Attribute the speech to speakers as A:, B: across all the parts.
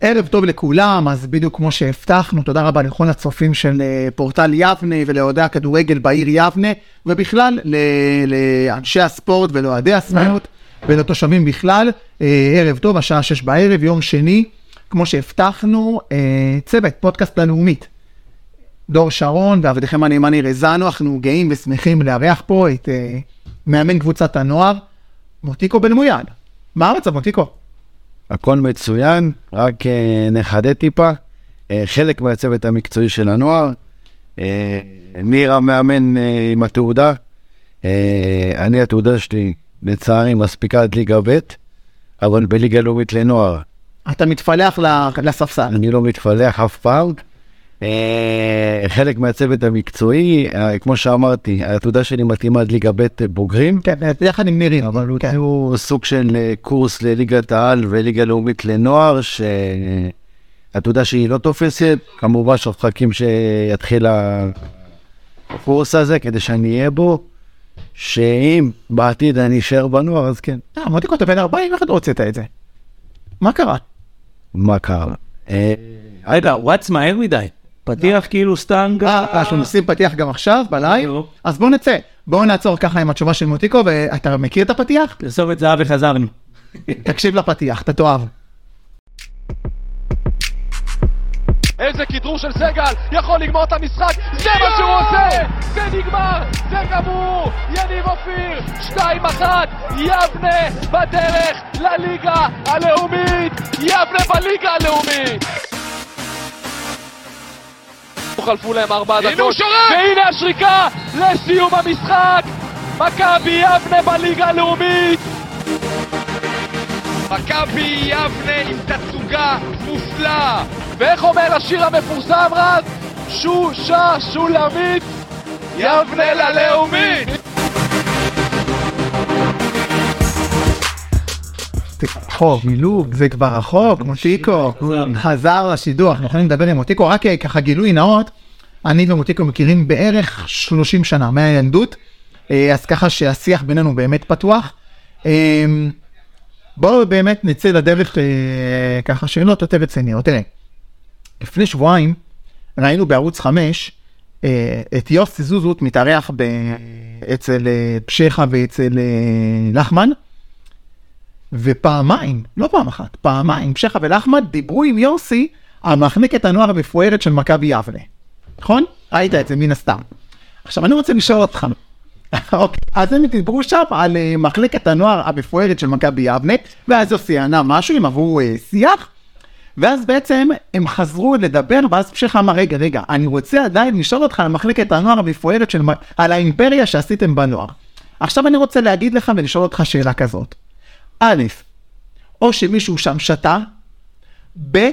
A: ערב טוב לכולם, אז בדיוק כמו שהבטחנו, תודה רבה לכל הצופים של אה, פורטל יבנה ולאוהדי הכדורגל בעיר יבנה, ובכלל ל- לאנשי הספורט ולאוהדי הספורט ולתושבים בכלל. אה, ערב טוב, השעה שש בערב, יום שני, כמו שהבטחנו, אה, צוות פודקאסט הלאומית. דור שרון ועבדכם הנאמן יראה זנו, אנחנו גאים ושמחים לארח פה את אה, מאמן קבוצת הנוער, מוטיקו בן מויאן. מה המצב, מוטיקו?
B: הכל מצוין, רק אה, נחדד טיפה. אה, חלק מהצוות המקצועי של הנוער, אה, ניר המאמן אה, עם התעודה, אה, אני התעודה שלי לצערי מספיקה עד ליגה ב', אבל בליגה לאומית לנוער
A: אתה מתפלח ל- לספסל.
B: אני לא מתפלח אף פעם. אה, חלק מהצוות המקצועי, אה, כמו שאמרתי, התעודה שלי מתאימה עד ליגה ב' בוגרים.
A: כן, יחד עם נירים, אבל הוא... כן.
B: הוא סוג של אה, קורס לליגת העל וליגה לאומית לנוער, שהתעודה שהיא לא תופסת, כמובן שאנחנו מחכים שיתחיל הקורס הזה כדי שאני אהיה בו, שאם בעתיד אני אשאר בנוער, אז כן,
A: אה, מוטיקו, אתה בן 40, איך אתה הוצאת את זה? מה קרה?
B: מה קרה? אה,
C: רגע, וואטס מהר מדי. פתיח כאילו סתם גם.
A: אה, אנחנו עושים פתיח גם עכשיו, בלייב?
C: בדיוק.
A: אז בואו נצא. בואו נעצור ככה עם התשובה של מוטיקו, ואתה מכיר את הפתיח?
C: פרסומת זהב וחזרנו.
A: תקשיב לפתיח, אתה תאהב.
D: איזה כדרור של סגל, יכול לגמור את המשחק, זה מה שהוא עושה! זה נגמר, זה גמור! יניב אופיר, 2-1, יבנה בדרך לליגה הלאומית! יבנה בליגה הלאומית! לא חלפו להם ארבע דקות, והנה השריקה לסיום המשחק! מכבי יבנה בליגה הלאומית! מכבי יבנה עם תצוגה מופלאה! ואיך אומר השיר המפורסם רז? שושה שולמית יבנה ללאומית!
A: זה רחוק, מילוג, זה כבר רחוק, מוטיקו.
C: חזר.
A: חזר לשידור, אנחנו יכולים לדבר עם מוטיקו, רק אה, ככה גילוי נאות, אני ומוטיקו מכירים בערך 30 שנה מהילדות, אה, אז ככה שהשיח בינינו באמת פתוח. אה, בואו באמת נצא לדרך אה, ככה שאלות יותר רציניות. תראה, לפני שבועיים ראינו בערוץ 5 אה, את יוסי זוזות מתארח ב... אצל אה, פשיחה ואצל אה, לחמן. ופעמיים, לא פעם אחת, פעמיים, שחה ולחמד דיברו עם יוסי על מחלקת הנוער המפוארת של מכבי יבנה. נכון? ראית את זה מן הסתם. עכשיו אני רוצה לשאול אותך. אוקיי, אז הם דיברו שם על אה, מחלקת הנוער המפוארת של מכבי יבנה, ואז יוסי ענה משהו, הם עברו אה, שיח, ואז בעצם הם חזרו לדבר, ואז פשיחה אמר, רגע, רגע, אני רוצה עדיין לשאול אותך על מחלקת הנוער המפוארת של, מ- על האימפריה שעשיתם בנוער. עכשיו אני רוצה להגיד לך ולשאול אותך שאלה כזאת. א', או שמישהו שם שתה, ב',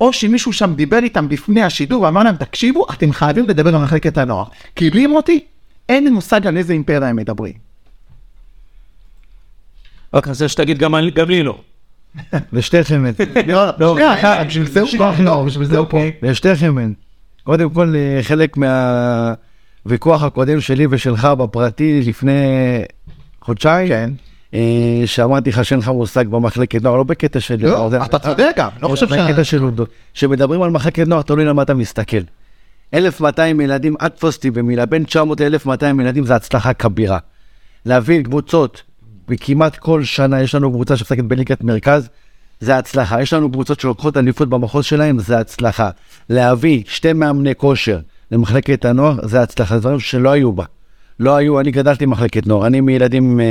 A: או שמישהו שם דיבר איתם לפני השידור ואמר להם, תקשיבו, אתם חייבים לדבר על מחלקת הנוער. כי בלי מוטי, אין לי מושג על איזה אימפריה הם מדברים.
C: רק חסר אוקיי, שתגיד גם אני- גם לי לא.
B: לשתיכם אין.
A: לא, לא, שנייה, בשביל זה הוא פה. לא, בשביל זה הוא פה.
B: לשתיכם אין. קודם כל, אה, חלק מהוויכוח הקודם שלי ושלך בפרטי לפני חודשיים,
A: כן.
B: אה, שאמרתי לך שאין לך מושג במחלקת נוער, לא בקטע של...
A: לא,
B: זה-
A: אתה צודק גם, לא חושב ש...
B: בקטע של עובדות. כשמדברים על מחלקת נוער, תלוי למה אתה מסתכל. 1,200 ילדים, אל תפוס אותי במילה, בין 900 ל-1,200 ילדים זה הצלחה כבירה. להבין קבוצות, וכמעט כל שנה יש לנו קבוצה שמשחקת בליגת מרכז, זה הצלחה. יש לנו קבוצות שלוקחות אליפות במחוז שלהם, זה הצלחה. להביא שתי מאמני כושר למחלקת הנוער, זה הצלחה. זה דברים שלא היו בה. לא היו, אני גדלתי במחלקת נוער. אני מילדים אה,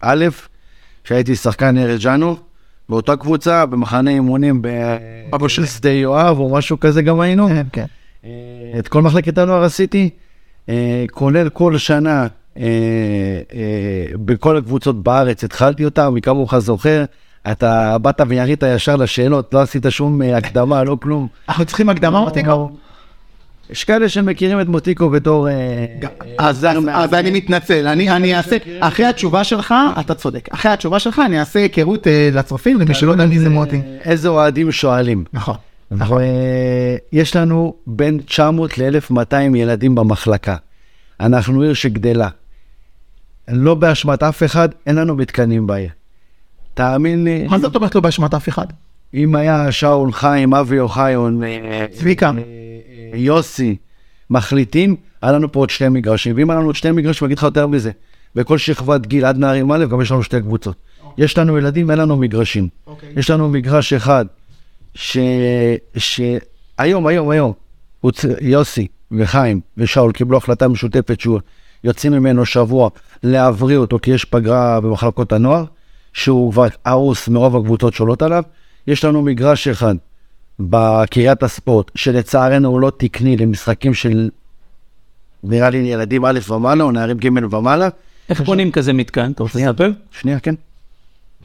B: א', שהייתי שחקן ארז ג'אנו, באותה קבוצה, במחנה אימונים ב... בשדה יואב או משהו כזה גם היינו.
A: כן, כן.
B: אה, את כל מחלקת הנוער עשיתי, אה, כולל כל שנה אה, אה, בכל הקבוצות בארץ, התחלתי אותה, מי כמוך זוכר, אתה באת וירית ישר לשאלות, לא עשית שום אה, הקדמה, לא כלום.
A: אנחנו צריכים הקדמה מוטיקו.
B: יש כאלה שמכירים את מוטיקו בתור... אה,
A: אז אז- אז אני מתנצל, אני אני אעשה, אחרי התשובה שלך, אתה צודק, אחרי התשובה שלך אני אעשה היכרות אה, לצופים, למי שלא יודע מי זה מוטי.
B: איזה אוהדים שואלים.
A: נכון.
B: נכון. יש לנו בין 900 ל-1200 ילדים במחלקה. אנחנו עיר שגדלה. לא באשמת אף אחד, אין לנו מתקנים בעיר. תאמין לי,
A: מה זאת אומרת לא באשמת אף אחד?
B: אם היה שאול חיים, אבי אוחיון, אה,
A: צביקה.
B: אה, אה, יוסי, מחליטים, היה לנו פה עוד שני מגרשים. ואם היה לנו עוד שני מגרשים, אני אגיד לך יותר מזה. בכל שכבת גיל, עד נערים א', גם יש לנו שתי קבוצות. יש לנו ילדים, אין לנו מגרשים.
A: אוקיי.
B: יש לנו מגרש אחד, ש... ש... היום, היום, היום, הוא צ... יוסי וחיים ושאול קיבלו החלטה משותפת שהוא יוצאים ממנו שבוע להבריא אותו, כי יש פגרה במחלקות הנוער, שהוא כבר הרוס מרוב הקבוצות שעולות עליו. יש לנו מגרש אחד בקריית הספורט, שלצערנו הוא לא תקני למשחקים של, נראה לי, ילדים א' ומעלה, או נערים ג' ומעלה.
C: איך קונים כזה מתקן? אתה רוצה לספר?
B: שנייה, כן.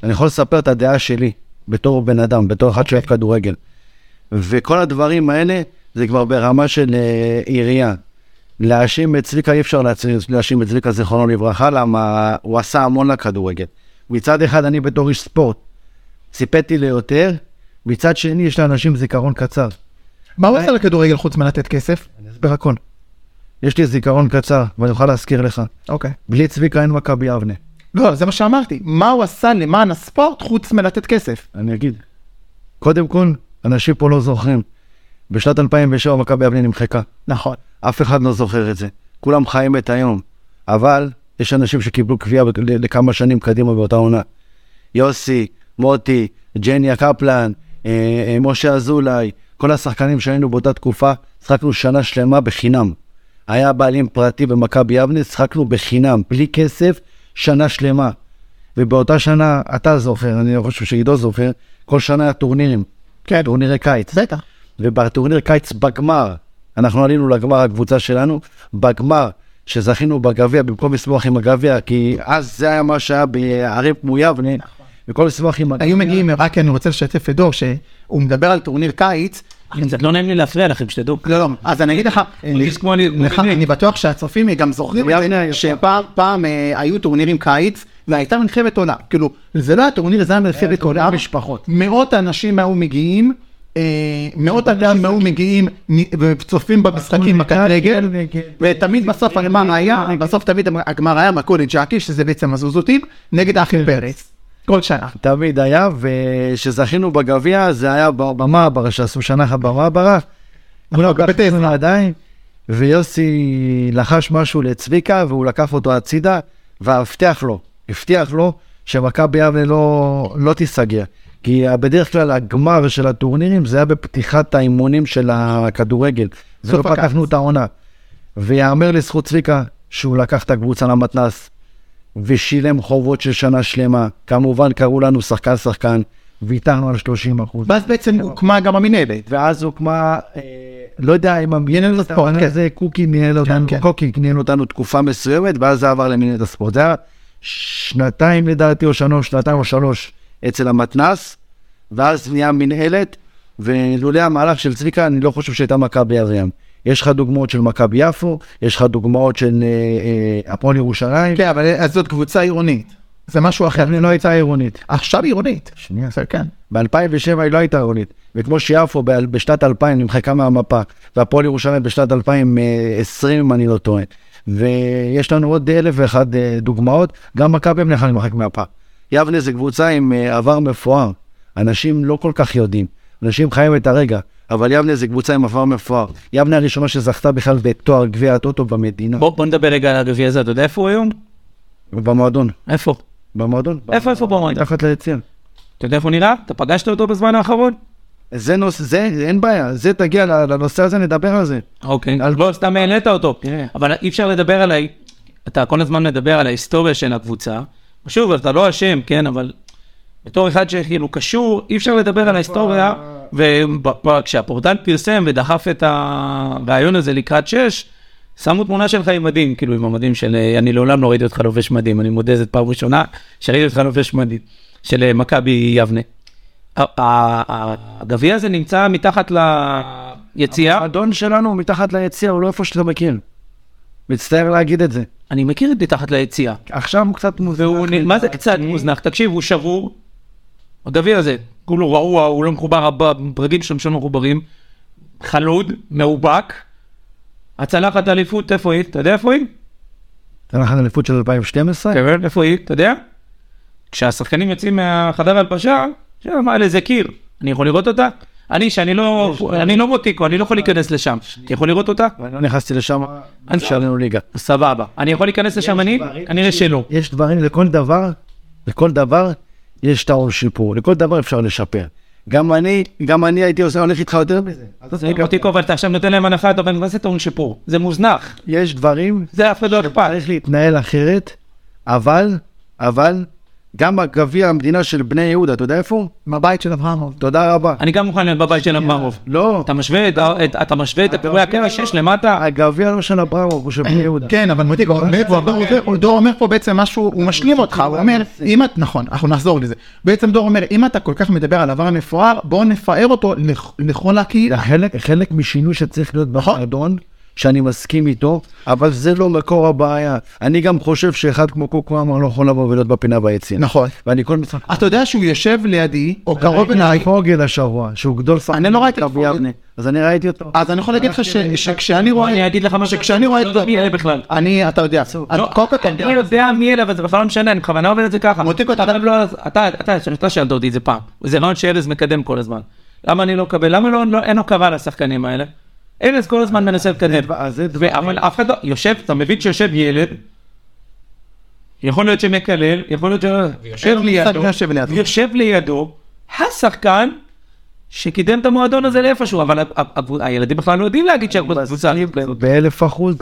B: אני יכול לספר את הדעה שלי, בתור בן אדם, בתור אחד שאוהב כדורגל. וכל הדברים האלה, זה כבר ברמה של אה, עירייה. להאשים את צביקה, אי אפשר להצ- להאשים את צביקה, זיכרונו לברכה, למה הוא עשה המון לכדורגל. מצד אחד, אני בתור איש ספורט, ציפיתי ליותר, מצד שני, יש לאנשים זיכרון קצר.
A: מה הוא עושה לכדורגל חוץ מלתת כסף?
B: הסבר הכל. יש לי זיכרון קצר, ואני אוכל להזכיר לך.
A: אוקיי.
B: בלי צביקה אין מכבי יבנה.
A: לא, זה מה שאמרתי. מה הוא עשה למען הספורט חוץ מלתת כסף?
B: אני אגיד. קודם כל, אנשים פה לא זוכרים. בשנת 2007 מכבי יבנה נמחקה.
A: נכון.
B: אף אחד לא זוכר את זה. כולם חיים את היום. אבל יש אנשים שקיבלו קביעה בק- ל- לכמה שנים קדימה באותה עונה. יוסי, מוטי, ג'ניה קפלן, אה, אה, משה אזולאי, כל השחקנים שהיינו באותה תקופה, שחקנו שנה שלמה בחינם. היה בעלים פרטי במכבי יבנה, שחקנו בחינם, בלי כסף, שנה שלמה. ובאותה שנה, אתה זוכר, אני חושב שעידו זוכר, כל שנה היה טורנירים,
A: כן,
B: טורנירי קיץ.
A: בטח.
B: ובטורניר קיץ בגמר, אנחנו עלינו לגמר הקבוצה שלנו, בגמר, שזכינו בגביע במקום לשמוח עם הגביע, כי אז זה היה מה שהיה בערים כמו יבנה, במקום לשמוח עם הגביע.
A: היו מגיעים, רק אני רוצה לשתף את דור, שהוא מדבר על טורניר קיץ.
C: קצת לא נעים לי להפריע לכם, שתדעו.
A: לא, לא, אז אני אגיד לך,
C: מרגיש כמו אני-
A: לך,
C: כמו אני.
A: אני בטוח שהצופים גם זוכרים את
B: יבנה
A: זה,
B: היפה.
A: שפעם פעם, אה, היו טורנירים קיץ, והייתה מלחמת עולם. כאילו, זה לא היה טורניר, זה היה מלחמת עולם.
B: משפחות.
A: מאות אנשים היו מגיעים, אה, מאות אדם היו מגיעים נ- וצופים במשחקים בכדורגל,
B: כן,
A: ותמיד בסוף הגמר היה, בסוף תמיד הגמר היה מכולת ג'קי, שזה בעצם הזוזותים, נגד האחים פרץ. כל שנה.
B: תמיד היה, וכשזכינו בגביע זה היה במעברה, שעשו שנה אחת במעברה,
A: לא,
B: בטבע עדיין, ויוסי לחש משהו לצביקה, והוא לקח אותו הצידה, והבטיח לו, הבטיח לו, שמכבי יבנה לא, לא תיסגר. כי בדרך כלל הגמר של הטורנירים זה היה בפתיחת האימונים של הכדורגל. זה לא
A: סוף הקיץ.
B: פתחנו את העונה. ויאמר לזכות צביקה שהוא לקח את הקבוצה למתנ"ס, ושילם חובות של שנה שלמה. כמובן קראו לנו שחקן שחקן, ויתרנו על 30 אחוז.
A: ואז בעצם הוקמה גם המנהלת.
B: ואז הוקמה, אה, לא יודע אם המינהלת הספורט,
A: כן.
B: זה קוקי ניהל אותנו,
A: כן.
B: קוקי ניהל אותנו תקופה מסוימת, ואז זה עבר למינהלת הספורט. זה היה שנתיים לדעתי, או שלוש, שנתיים או שלוש אצל המתנ"ס, ואז נהיה מינהלת, ולולא המהלך של צביקה, אני לא חושב שהייתה מכבי יריאם. יש לך דוגמאות של מכבי יפו, יש לך דוגמאות של אה, אה, הפועל ירושלים,
A: כן, אבל אז זאת קבוצה עירונית. זה משהו אחר.
B: יבנה לא הייתה עירונית.
A: עכשיו עירונית.
B: שנייה.
A: בסדר, כן.
B: ב-2007 היא לא הייתה עירונית, וכמו שיפו ב- בשנת 2000 נמחקה מהמפה, והפועל ירושלים בשנת 2020 אם אני לא טועה, ויש לנו עוד אלף ואחד אה, דוגמאות, גם מכבי יבנה יכולה להימחק מהמפה. יבנה זה קבוצה עם אה, עבר מפואר, אנשים לא כל כך יודעים, אנשים חיים את הרגע, אבל יבנה זה קבוצה עם עבר מפואר. יבנה הראשונה שזכתה בכלל בתואר גביע הטוטו במדינה,
C: בוא בוא נדבר רגע על הגביע הזה, אתה יודע איפה הוא היום?
B: במועדון,
C: איפה?
B: במועדון,
C: איפה איפה בוא נדבר?
B: מתחת ליציאה.
C: אתה יודע איפה הוא נראה? אתה פגשת אותו בזמן האחרון?
B: זה נושא, זה, אין בעיה, זה תגיע לנושא הזה, נדבר על זה.
C: אוקיי,
B: על-
C: לא, סתם העלית אותו,
B: תראה.
C: אבל אי אפשר לדבר על ה... אתה כל הזמן מדבר על ההיסטוריה של הקבוצה, שוב, אתה לא אשם, כן, אבל בתור אחד שכאילו קשור, אי אפשר לדבר על ההיסטוריה, וכשהפורטל פרסם ודחף את הרעיון הזה לקראת שש, שמו תמונה שלך עם מדים, כאילו עם המדים של, אה, אני לעולם לא ראיתי אותך לובש מדים, אני מודה, זאת פעם ראשונה שראיתי אותך לובש מדים, של אה, מכבי יבנה. ה- ה- ה- הגביע הזה נמצא מתחת ליציאה.
B: האדון שלנו הוא מתחת ליציע, הוא לא איפה שאתה מכיר. מצטער להגיד את זה.
C: אני מכיר את מתחת ליציאה.
B: עכשיו הוא קצת מוזר.
C: והוא, נ- מה זה קצת מוזנח? תקשיב, הוא שבור. הגביע הזה, כולו רעוע, הוא לא מחובר, הב- הברגים שם שלא מחוברים. חלוד, מאובק. הצלחת אליפות, איפה היא? אתה יודע איפה היא?
B: נתן לך אליפות של 2012?
C: כן, איפה היא? אתה יודע? כשהשחקנים יוצאים מהחדר הלבשה, שם, מה, אלה, זה קיר. אני יכול לראות אותה? אני, שאני לא, אני לא מוטיקו, אני לא יכול להיכנס לשם. אתה יכול לראות אותה?
B: ואני לא נכנסתי לשם,
C: אני-
B: נשארנו ליגה.
C: סבבה. אני יכול להיכנס לשם אני? כנראה שלא.
B: יש דברים לכל דבר, לכל דבר יש טעון שיפור, לכל דבר אפשר לשפר. גם אני, גם אני הייתי עושה, הולך איתך יותר מזה. אוקיי,
C: זה מוטיקו, אבל אתה עכשיו נותן להם הנחה, אתה אומר, מה זה טעון שיפור? זה מוזנח.
B: יש דברים
C: זה אף אחד לא אכפת.
B: צריך להתנהל אחרת, אבל, אבל, גם הגביע המדינה של בני יהודה, אתה יודע איפה הוא?
A: מהבית של אברהמוב.
B: תודה רבה.
C: אני גם מוכן להיות בבית של אמרוב.
B: לא,
C: אתה משווה את ה- את- אתה משווה את הפורי הקרע שיש למטה?
B: הגביע לא של אברמוב, הוא של בני יהודה.
A: כן, אבל מוטי, דור אומר פה בעצם משהו, הוא משלים אותך, הוא אומר, אם את, נכון, אנחנו נחזור לזה. בעצם דור אומר, אם אתה כל כך מדבר על עבר מפואר, בוא נפאר אותו לכ- לכל הקהילה. נכון.
B: חלק, חלק משינוי שצריך להיות במועדון, שאני מסכים איתו, אבל זה לא מקור הבעיה. אני גם חושב שאחד כמו קוקו אמר לא יכול לבוא ולהיות בפינה ביציאה.
A: נכון.
B: ואני כל משחק...
A: אתה יודע שהוא יושב לידי, אה, או קרוב אליי,
B: פוגל השבוע, שהוא גדול שחקן.
A: אני לא ראיתי את פוגל.
B: אז אני ראיתי אותו.
A: אז אני יכול להגיד
C: אה,
A: לך ש- שכשאני רואה...
C: אני אגיד לך מה
A: שכשאני לא, רואה את
C: לא יודע מי אלה בכלל.
A: אני, אתה יודע,
C: אה, לא,
A: את- קודם כל אתה
C: אני לא יודע מי אלה, אבל זה בכלל לא משנה, אני בכוונה אומר את זה ככה.
A: מותיק אותה.
C: אתה לא- אתה, אתה, אתה שאלת אותי את זה פעם. זה רעיון שארז מקדם כל הזמן. למה אני לא מקבל? למה לא- לא- אין הוקרה לשחקנים האלה? ארז כל הזמן מנסה לקדם.
A: אה,
B: דבר- אז זה דבר-
C: ו- אבל אף אחד לא... יושב, אתה מבין שיושב ילד, יכול להיות שמקלל, יכול להיות ש... יושב לידו,
A: יושב לידו.
C: יושב לידו, השחקן שקידם את המועדון הזה לאיפשהו, אבל ה- ה- ה- הילדים בכלל לא יודעים להגיד שהקבוצה...
B: באלף אחוז,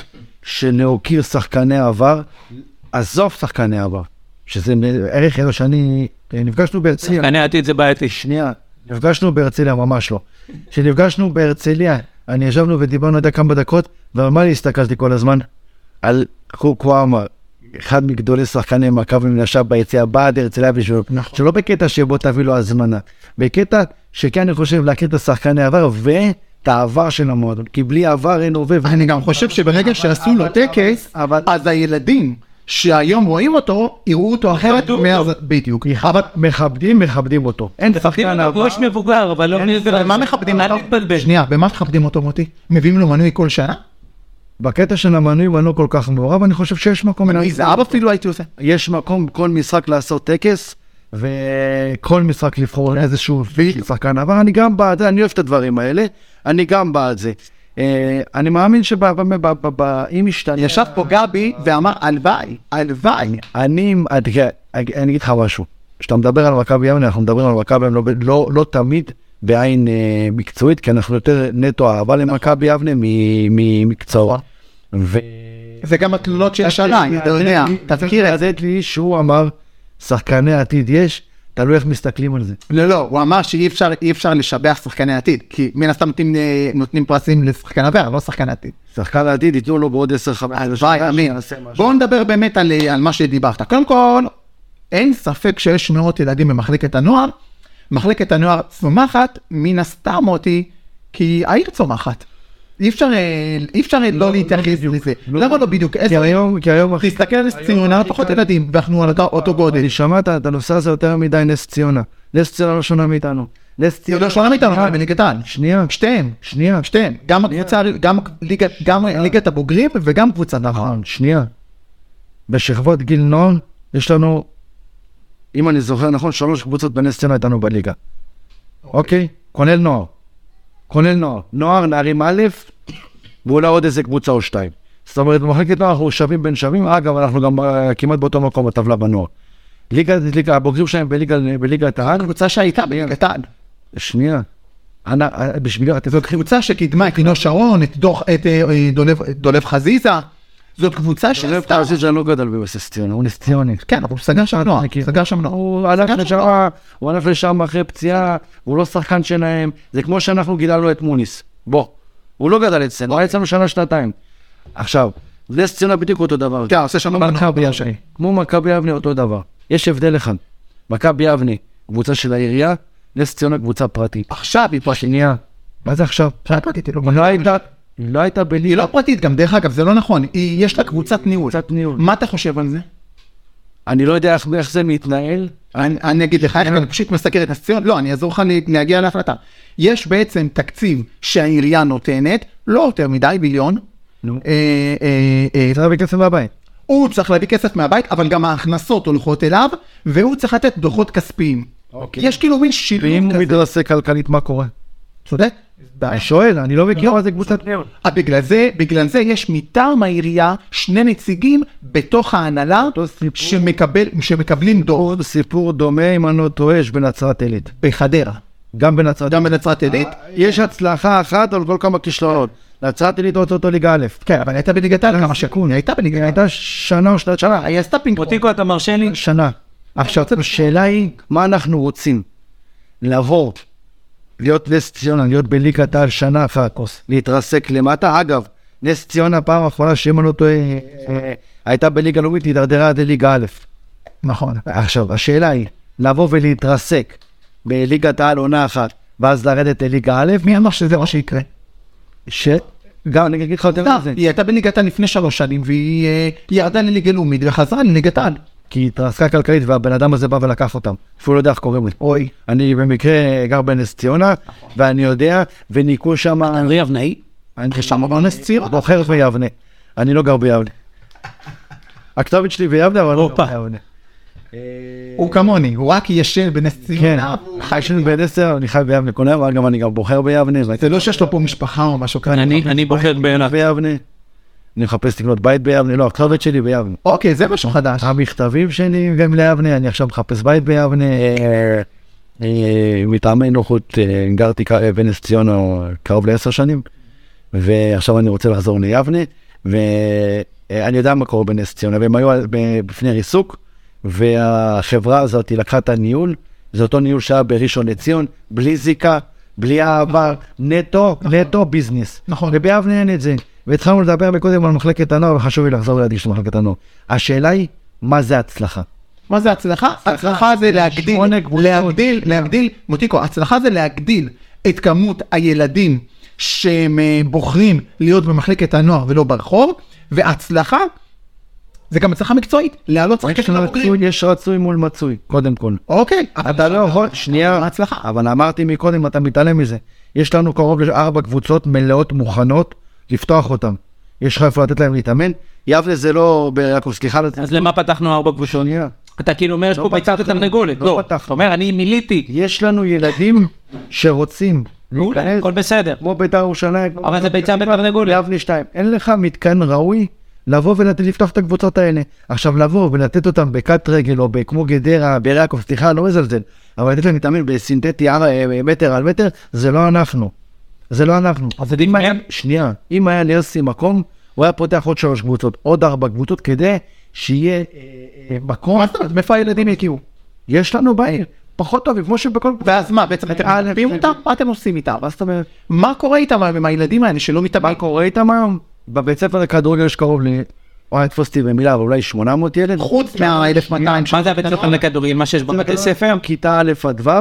B: שנהוקיר שחקני עבר, עזוב שחקני עבר, שזה ערך אלו שאני... אה, נפגשנו בהרצליה.
C: אני הייתי את זה בעייתי.
B: שנייה, נפגשנו בהרצליה, ממש לא. כשנפגשנו בהרצליה, אני ישבנו ודיברנו, לא יודע כמה דקות, ועל מה אני הסתכלתי כל הזמן? על קוקו אמר, אחד מגדולי שחקני מכבי מנשה ביציאה, בא עד הרצליה בשבילו. נכון. שלא בקטע שבו תביא לו הזמנה, בקטע שכן אני חושב להכיר את השחקני העבר ואת העבר של המועדון, כי בלי עבר אין הווה.
A: אני גם חושב שברגע שעשו לו טקס,
B: אבל-
A: אז הילדים שהיום רואים אותו, יראו אותו אחרת.
C: ידעו
A: מה- בדיוק. אבל
B: מכבדים, מכבדים אותו. אין שחקן
C: מכבדים
B: עבר.
C: אותו ראש מבוגר, אבל לא...
A: מה מכבדים
C: אל
A: אותו?
C: תתבלבל.
A: שנייה, במה מכבדים אותו מוטי? מביאים לו מנוי כל שנה?
B: בקטע של המנויים אני לא כל כך מעורב, אני חושב שיש מקום.
A: מנוי זהב אפילו הייתי עושה.
B: יש מקום כל משחק לעשות טקס, וכל משחק לבחור איזשהו פיל, שחקן עבר, אני גם בעד זה, אני אוהב את הדברים האלה, אני גם בעד זה. אה, אני מאמין שאם ישתנה...
A: ישב פה גבי ואמר, הלוואי, הלוואי.
B: אני, את- אני אגיד לך משהו, כשאתה מדבר על מכבי ימני, אנחנו מדברים על מכבי ימני, לא, ב- לא, לא תמיד בעין אה, מקצועית, כי אנחנו יותר נטו אהבה למכבי יבנה מ- ממקצוע. ו...
A: זה גם התלונות שיש עליי, אתה יודע, תזכיר את זה.
B: לתת לי שהוא אמר, שחקני עתיד יש, תלוי איך מסתכלים על זה.
A: לא, לא, הוא אמר שאי אפשר- אי אפשר לשבח שחקני עתיד, כי מן הסתם נותנים- אה, נותנים פרסים לשחקן עבר, לא שחקן עתיד.
B: שחקן העתיד ייתנו לו בעוד 10-15
A: הלוואי, אמין. בואו נדבר באמת על, אה, על מה שדיברת. קודם כל, אין ספק שיש מאות ילדים במחלקת הנוער. מחלקת הנוער צומחת, מן הסתם אותי, כי העיר צומחת. אי אפשר, אה, אי אפשר לא, לא להתייחס לזה. למה לא בדיוק?
B: כי
A: איזה...
B: היום, כי היום, אחי,
A: תסתכל על ציונה, פחות ילדים, ואנחנו על אותו- אותו גודל.
B: אני שמע את הנושא הזה יותר מדי נס ציונה. נס ציונה לא שונה מאיתנו. נס
A: היא
B: ציונה...
A: לא שונה מאיתנו, אבל בליגתן.
B: שנייה,
A: שתיהם,
B: שנייה,
A: שתיהם. גם הקבוצה, גם ליגת- גם ליגת הבוגרים וגם קבוצת הנוער.
B: נכון, שנייה. בשכבות גיל נוער, יש לנו, אם אני זוכר נכון, שלוש קבוצות בנס ציונה איתנו בליגה. אוקיי? כולל נוער. כולל נוער. נוער, נערים א', ואולי עוד איזה קבוצה או שתיים. זאת אומרת, במחלקת נוער אנחנו שווים בין שווים, אגב, אנחנו גם אה, כמעט באותו מקום בטבלה בנוער. ליגה, ליגה, הבוגרים שלהם בליגה, בליגת העל,
A: קבוצה שהייתה בליגת העל.
B: שנייה. אנא, אה, בשבילי, אתם
A: זאת קבוצה שקידמה את לינו שרון, את, דוח, את, אה, אה, דולב, את דולב חזיזה. זאת קבוצה
B: לב
A: שעשתה...
B: תעשי שאני לא גדל בבסיס ציון, הוא נס ציוני.
A: כן, אבל הוא סגר שם נוער,
B: מכיר.
A: סגר שם נוער.
B: כאילו- הוא הלך לשם, הוא הלך לשם אחרי פציעה, הוא לא שחקן שלהם, זה כמו שאנחנו גידלנו את מוניס. בוא, הוא לא גדל אצלנו, הוא היה אצלנו שנה, שנתיים. עכשיו, נס ציונה בדיוק אותו דבר.
A: כן, עושה שם נוער.
B: מכבי יבנה, כמו מכבי יבנה אותו דבר. יש הבדל אחד, מכבי יבנה, קבוצה של העירייה, נס ציונה קבוצה פרטית.
A: עכשיו היא פרטית.
B: שנייה, מה זה עכשיו?
A: שנייה פרטית, היא לא-
B: לא הייתה, לא הייתה בליגה.
A: היא לא פרטית גם, דרך אגב, זה לא נכון. היא- יש לה קבוצת ניהול.
B: קבוצת ניהול.
A: מה אתה חושב על זה?
B: אני לא יודע איך- איך זה מתנהל,
A: אני, אני אגיד לך, איך אני פשוט מסקר את נס ציונה, לא, אני אעזור לך לה- להגיע להחלטה. יש בעצם תקציב שהעירייה נותנת, לא יותר מדי, ביליון.
B: נו.
A: אה, אה, אה,
B: צריך להביא כסף מהבית.
A: הוא צריך להביא כסף מהבית, אבל גם ההכנסות הולכות אליו, והוא צריך לתת דוחות כספיים.
B: אוקיי.
A: יש כאילו מין שילוב
B: ואם הוא
A: כזה.
B: מתרסק כלכלית, מה קורה?
A: צודק?
B: אני שואל, אני לא מכיר מה זה קבוצת בני יהודה.
A: אה, בגלל זה, בגלל זה יש מטעם העירייה שני נציגים בתוך ההנהלה
B: אותו סיפור.
A: שמקבל, שמקבלים דור
B: עוד סיפור דומה, אם אני לא טועה, יש בנצרת עילית.
A: בחדרה,
B: גם בנצרת
A: גם בנצרת עילית.
B: יש הצלחה אחת על כל כמה כישלונות. נצרת עילית אוטוטו ליגה א'.
A: כן, אבל הייתה בליגת העל כמה שקול, היא הייתה בליגת העל.
B: הייתה שנה או שנת שנה.
A: היא עשתה פינג פונג.
C: פוטיקו אתה מרשה לי?
B: שנה. עכשיו, השאלה היא, מה אנחנו רוצים? לבוא, להיות נס ציונה, להיות בליגת העל שנה אחת, להתרסק למטה. אגב, נס ציונה, פעם האחרונה, שאם אני לא טועה, אה, הייתה בליגה לאומית, היא הידרדרה עד לליגה א'.
A: נכון.
B: עכשיו, השאלה היא, לבוא ולהתרסק בליגת העל עונה אחת, ואז לרדת לליגה א',
A: מי אמר שזה מה שיקרה?
B: ש... גם, אני אגיד לך יותר מזה.
A: היא הייתה בליגת העל לפני שלוש שנים והיא אה, ירדה לליגה לאומית וחזרה לליגת העל.
B: כי היא התרסקה כלכלית והבן אדם הזה בא ולקח אותם. אפילו לא יודע איך קוראים לי.
A: אוי.
B: אני במקרה גר בנס ציונה, ואני יודע, וניקו שם...
C: אנרי אבנאי?
B: אני
A: שם אמר נס ציונה.
B: בוחר ביבנה. אני לא גר ביבנה. הכתובת שלי ביבנה, אבל אני לא
C: הופה.
B: גר ביבנה.
A: הוא כמוני, הוא רק ישן בנס
B: כן,
A: ציונה.
B: חי שלי בן עשר, אני חי ביבנה כל היום, אגב, אני גם בוחר ביבנה. ואני לא
A: זה לא שיש לו פה משפחה או משהו כזה.
C: אני אני בוחר בעיניו.
B: ביבנה. אני מחפש לקנות בית ביבנה, לא, הכתובת שלי ביבנה.
A: אוקיי, זה משהו חדש.
B: המכתבים שלי גם ליבנה, אני עכשיו מחפש בית ביבנה. אה, אה, מטעמי נוחות, אה, גרתי ק- אה, בנס ציונה קרוב לעשר שנים, ועכשיו אני רוצה לחזור ליבנה, ואני יודע מה קורה בנס ציונה, והם היו על- ב- בפני ריסוק, והחברה הזאת לקחה את הניהול, זה אותו ניהול שהיה בראשון לציון, בלי זיקה, בלי אהבה, נטו, נטו ביזנס.
A: נכון.
B: וביבנה אין את זה. והתחלנו לדבר מקודם על מחלקת הנוער, וחשוב לי לחזור להדגיש את מחלקת הנוער. השאלה היא, מה זה הצלחה?
A: מה זה הצלחה? הצלחה זה להגדיל,
B: שמונה קבוצות.
A: להגדיל, להגדיל, מוטיקו, הצלחה זה להגדיל את כמות הילדים שהם אה, בוחרים להיות במחלקת הנוער ולא ברחוב, והצלחה זה גם הצלחה מקצועית, להעלות שחקנים
B: יש
A: לבוגרים.
B: רצוי, יש רצוי מול מצוי, קודם כל.
A: אוקיי, אבל
B: אתה לא יכול, שנייה,
A: הצלחה.
B: אבל אמרתי מקודם, אתה מתעלם מזה. יש לנו קרוב לארבע קבוצות מלאות מוכנות לפתוח אותן. יש לך איפה לתת להם להתאמן? יבנה זה לא באר יעקב, סליחה. לא-
C: אז למה פתחנו ארבע קבוצות?
B: שנייה.
C: אתה כאילו אומר יש פה ביצת תרנגולת.
B: לא
C: לא,
B: פתחנו.
C: אתה אומר אני מיליתי.
B: יש לנו ילדים שרוצים
C: מעולה,
B: להיכנס,
C: אוקיי, הכל בסדר.
B: כמו בית"ר ירושלים. כמו
C: אבל זה ביצה בתרנגולת.
B: יבנה 2. אין לך מתקן ראוי לבוא ולפתוח את הקבוצות האלה. עכשיו לבוא ולתת אותם בכת רגל או כמו גדרה, באר יעקב, סליחה, לא מזלזל, אבל לתת להם להתאמן בסינתטי אה, אה, מטר על מטר, זה לא אנחנו. זה לא אנחנו.
C: אז יודעים מה?
B: שנייה, אם היה ליוסי מקום, הוא היה פותח עוד שלוש קבוצות, עוד ארבע קבוצות, כדי שיהיה אה, אה, מקום.
A: מה זאת אומרת, מאיפה הילדים יגיעו?
B: יש לנו בעיר, פחות טוב, כמו שבכל קבוצה.
A: ואז מה, בעצם אתם
B: אה,
A: מנפים
B: אה,
A: אותם? מה אתם עושים איתם? מה זאת אומרת? מה קורה איתם עם הילדים האלה שלא
B: מה
A: מתאבקים?
B: קורה איתם היום? בבית ספר לכדורגל יש קרוב ל... אולי תפוס אותי במילה, אבל אולי 800 ילד.
A: חוץ מה-1200
C: מה זה הבית ספר
B: לא-
C: לכדורגל? מה שיש בבתי ספר?
B: כיתה א' עד ו',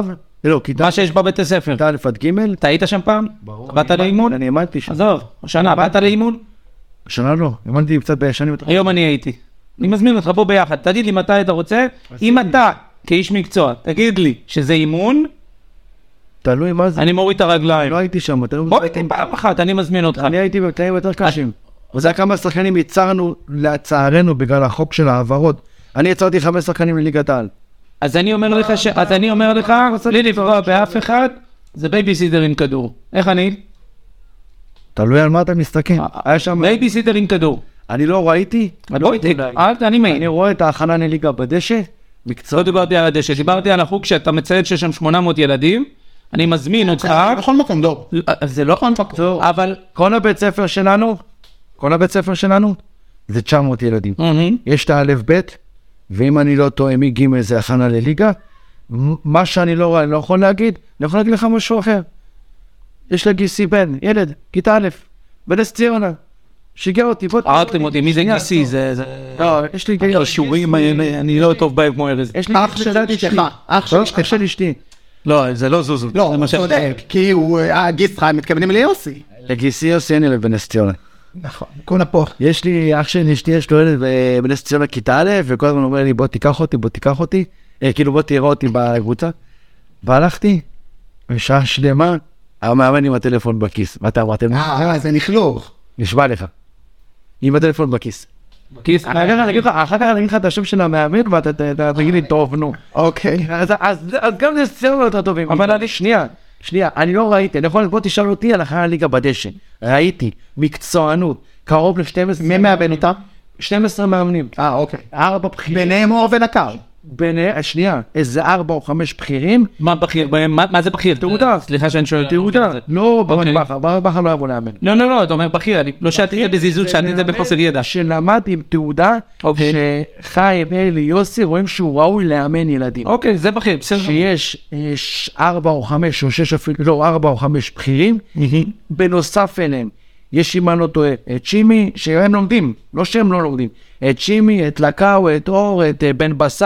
B: לא, כיתה
C: מה שיש בבתי ספר.
B: כיתה א' עד ג',
C: אתה היית שם פעם? באת לאימון?
B: אני האמנתי שם.
C: עזוב, השנה באת לאימון?
B: שנה לא, האמנתי קצת בשנים יותר.
C: היום אני הייתי. אני מזמין אותך, בוא ביחד, תגיד לי מתי אתה רוצה. אם אתה, כאיש מקצוע, תגיד לי שזה אימון,
B: תלוי מה זה.
C: אני מוריד את הרגליים.
B: לא הייתי שם, תלוי.
C: בוא איתי פעם אחת, אני מזמין אותך.
B: אני הייתי בתנאים יותר קשים. וזה היה כמה שחקנים ייצרנו, לצערנו, בגלל החוק של ההעברות. אני יצרתי חמש שחקנים לליגת העל.
C: אז אני אומר לך, ש- אז אני אומר לך, בלי לפגוע באף אחד, זה בייביסיטר עם כדור. איך אני?
B: תלוי על מה אתה מסתכל.
C: אה,
B: היה שם...
C: בייביסיטר עם כדור.
B: אני לא ראיתי, אה,
C: לא הייתי, אל תעני מעין.
B: אני רואה את ההכנה לליגה בדשא,
C: לא
B: מקצוע.
C: דיברתי על הדשא, דיברתי על החוג שאתה מציין שיש שם 800 ילדים, אוקיי, אני מזמין אותך.
A: בכל מקום, לא.
C: זה לא נכון, אבל...
B: כל הבית ספר שלנו, כל הבית ספר שלנו, זה 900 ילדים.
C: אוקיי.
B: יש את האלף בית, ואם אני לא טועה, מג' זה הכנה לליגה. מ- מה שאני לא רואה, אני לא יכול להגיד, אני יכול להגיד לך משהו אחר. יש לגיסי בן, ילד, כיתה א', בנס ציונה. שיגע אותי, בוא...
A: אה,
C: הרגתם אותי, מי זה גיסי? זה... זה-
B: לא, יש לי...
C: שיעורים, אני אני לא טוב בהם כמו ארז.
B: יש לי
A: אח של אשתך, אח של
B: לא,
A: אשתך.
B: אח של אשתי.
C: לא, זה לא זוזו.
A: לא,
C: זה מה ש-
A: צודק, כי הוא, אה, הגיס שלך, הם מתכוונים ליוסי.
B: לגיסי יוסי אין ילד בנס ציונה.
A: נכון, כולה פה.
B: יש לי אח של אשתי, יש לו ילד
E: אה,
B: ב- בנס ציונה כיתה א', וכל הזמן אומר לי בוא תיקח אותי, בוא תיקח אותי, אה, כאילו בוא תראה אותי בקבוצה. והלכתי, ושעה שלמה, המאמן עם הטלפון בכיס. ואתה אמרתם,
A: אה, אה, זה נכלוך.
B: נשבע לך, עם הטלפון בכיס.
C: בכיס.
E: אחר כך אני אגיד לך, אחר כך אני אגיד לך את השם של המאמן ואתה ת- ת- תגיד לי טוב נו.
A: אוקיי.
E: אז אז- אז גם זה סצנות יותר טובים.
C: אבל אני-
E: שנייה, שנייה, אני לא ראיתי, נכון? בוא תשאל אותי על אחרי הליגה בדשא. ראיתי, מקצוענות, קרוב ל-12.
A: מי מאבן אותם?
E: 12 מאמנים.
A: אה, אוקיי.
E: ארבע בכירים.
A: ביניהם אור ונקר.
E: ביניהם, שנייה, איזה ארבע או חמש בכירים.
C: מה בכיר בהם? מה מה זה בכיר?
E: תעודה.
C: סליחה שאני שואל.
E: תעודה. לא, ברק
C: אוקיי.
E: בכר, ברק בכר לא יבוא לאמן.
C: לא, לא, לא, אתה אומר בכיר, אני לא שאלתי את זה בזלזול, שאלתי את זה בחוסר ידע.
E: שלמד עם תעודה,
C: אוקיי.
E: שחיים, אלי, יוסי, רואים שהוא ראוי לאמן ילדים.
C: אוקיי, זה בכיר, בסדר.
E: שיש אה, ש- ארבע או חמש או שש אפילו, לא, ארבע או חמש בכירים, בנוסף אליהם, יש אם אני לא טועה, את צ'ימי, שהם לומדים, לא שהם לא לומדים, את צ'ימי, את לקאו, את אור, את אה, בן בסט,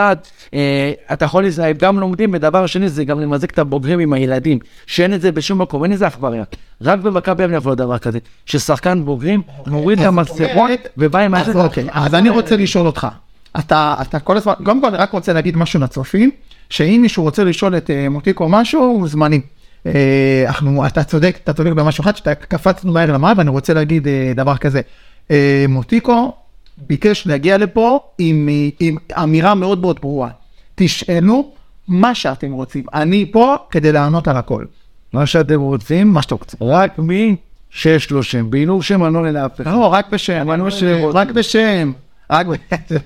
E: אה, אתה יכול לזה, הם גם לומדים, ודבר שני זה גם למזג את הבוגרים עם הילדים, שאין את זה בשום מקום, אין איזה עכבריה. רק במכבי יבנה יבוא דבר כזה, ששחקן בוגרים מוריד את המסכות
A: אומרת-
E: ובא עם
A: אוקיי, אז אוקיי, אז אני רוצה לשאול אותך. אתה, אתה כל הזמן, קודם כל אני רק רוצה להגיד משהו לצופים, שאם מישהו רוצה לשאול את אה, מותיקו משהו, הוא זמני. אה, אנחנו, אתה צודק, אתה צודק במשהו אחד, שאתה קפצנו מהר למים, ואני רוצה להגיד אה, דבר כזה. אה, מותיקו ביקש להגיע לפה עם, אה, עם אמירה מאוד מאוד ברורה. תשאלו מה שאתם רוצים, אני פה כדי לענות על הכל.
B: מה שאתם רוצים,
A: מה שאתם רוצים.
B: רק מי שיש לו שם. בעילום שם אני לא עונה לאף אחד.
A: לא, רק בשם, רק בשם, רק בשם,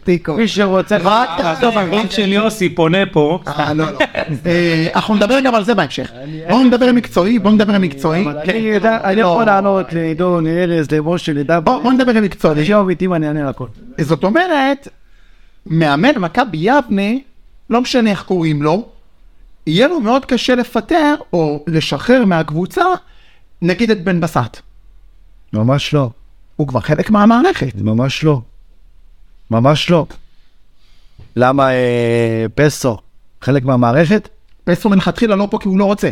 A: תיקו.
E: מי שרוצה,
A: רק לא תחזור
C: הרוב של יוסי פונה פה.
A: אה, לא, לא. אה, אנחנו נדבר גם על זה בהמשך. בואו נדבר מקצועי, בואו נדבר מקצועי. כן.
B: אני יודע, אני
A: לא.
B: יכול לענות לעידו, לארז, למשה, לדבר.
A: בואו בואו נדבר מקצועי.
B: תשאיר אמיתי ואני אענה על הכל.
A: זאת אומרת, מאמן מכבי יבנה, לא משנה איך קוראים לו, יהיה לו מאוד קשה לפטר או לשחרר מהקבוצה, נגיד את בן בסט.
B: ממש לא.
A: הוא כבר חלק מהמערכת.
B: ממש לא. ממש לא. למה אה, פסו חלק מהמערכת?
A: פסו מלכתחילה לא פה כי הוא לא רוצה.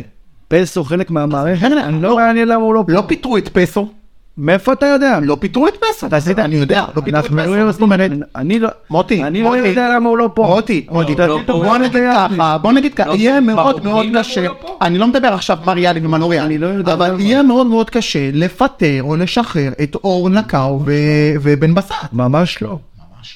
B: פסו חלק מהמערכת?
A: חבר'ה, אני
B: לא
A: לא...
B: מעניין למה הוא לא...
A: לא פיטרו את פסו,
B: מאיפה אתה יודע?
A: לא פיטרו את פסו, אתה עשית, אני יודע, לא פיטרו את
B: אנחנו-
A: פסו. זאת אומרת,
B: אני לא...
A: מוטי,
B: אני לא
A: מוטי,
B: יודע למה הוא לא פה.
A: מוטי, מוטי,
C: לא, לא,
A: בוא
C: לא.
A: נגיד ככה, בוא נגיד ככה,
C: לא,
A: יהיה מאוד
C: ברור,
A: מאוד
C: אם
A: קשה,
C: הוא לא פה.
A: אני לא מדבר עכשיו מריאלי ומנוריה,
B: אני לא יודע
A: אבל
B: למה.
A: יהיה מאוד מאוד קשה לפטר או לשחרר את אור נקאו ו- ובן בסט.
B: ממש לא.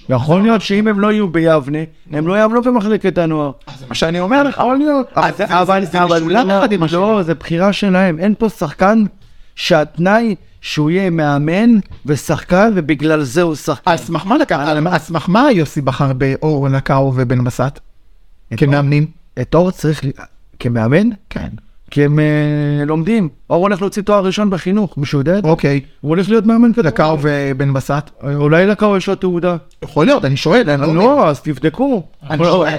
B: יכול להיות שאם הם לא יהיו ביבנה, הם לא יעמלו במחלקת הנוער.
A: זה מה שאני אומר לך, אבל
B: אבל
A: זה- אבל-
B: זה
A: אבל
B: משולב
A: לא,
B: אחד עם השני. לא, זה בחירה שלהם. אין פה שחקן שהתנאי שהוא יהיה מאמן ושחקן, ובגלל זה הוא שחקן.
A: על סמך מה לקח, על- על סמך מה יוסי בחר באור נקאו ובן בסט? כמאמנים?
B: את אור צריך, כמאמן?
A: כן.
B: כי הם אה, לומדים. אור הולך להוציא תואר ראשון בחינוך, מישהו יודע את זה?
A: אוקיי,
B: הוא הולך להיות מאמן כזה.
A: נקאו ובן בסט?
B: אולי לקאו יש לו תעודה.
A: יכול להיות, אני שואל, אני לא יודע.
B: לא, אז תבדקו.
A: אני שואל,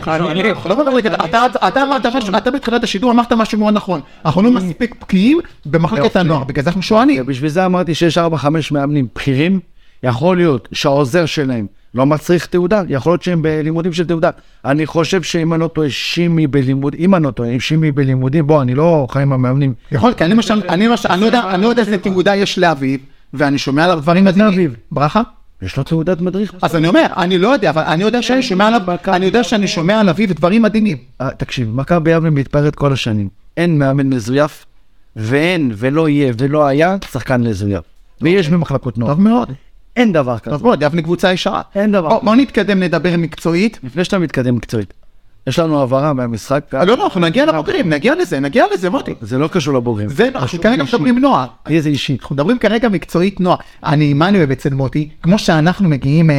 A: אנחנו לא מדברים כזה, אתה- אתה אמרת משהו- אתה בתחילת השידור אמרת משהו מאוד נכון, אנחנו לא מספיק בקיאים במחלקת הנוער, בגלל זה אנחנו שואלים.
B: בשביל זה אמרתי שיש 4-5 מאמנים בכירים, יכול להיות שהעוזר שלהם לא מצריך תעודה, יכול להיות שהם בלימודים של תעודה. אני חושב שאם אני לא טועה, שימי בלימוד, אם אני לא טועה, אם שימי בלימודים, בוא, אני לא חי עם המאמנים.
A: יכול, כי אוקיי, אני למשל, אני למשל- אני לא יודע- אני לא יודע איזה תעודה יש לאביב, ואני שומע עליו דברים מדהימים. ברכה?
B: יש לו תעודת מדריך.
A: אז אני אומר, אני לא יודע, אבל אני יודע שאני שומע עליו, אני יודע שאני שומע על אביב דברים מדהימים.
B: אה, תקשיב, מכבי יבנה מתפרעת כל השנים. אין מאמן מזויף, ואין, ולא יהיה, ולא היה, שחקן מזויף. ויש במחלקות נוער.
A: אוקיי. טוב מאוד,
B: אין דבר כזה.
A: טוב מאוד, יבנה קבוצה ישרה.
B: אין דבר
A: בוא
B: כזה.
A: בוא נתקדם, נדבר מקצועית.
B: לפני שאתה מתקדם מקצועית, יש לנו הבהרה מהמשחק.
A: לא, לא, אנחנו נגיע לבוגרים, נגיע לזה, נגיע לזה, מוטי.
B: זה לא קשור לבוגרים.
A: זה, אנחנו כרגע מדברים נוער.
B: לי זה אישי.
A: אנחנו מדברים כרגע מקצועית נועה. אני, מה אני אוהב אצל מוטי? כמו שאנחנו מגיעים, אה,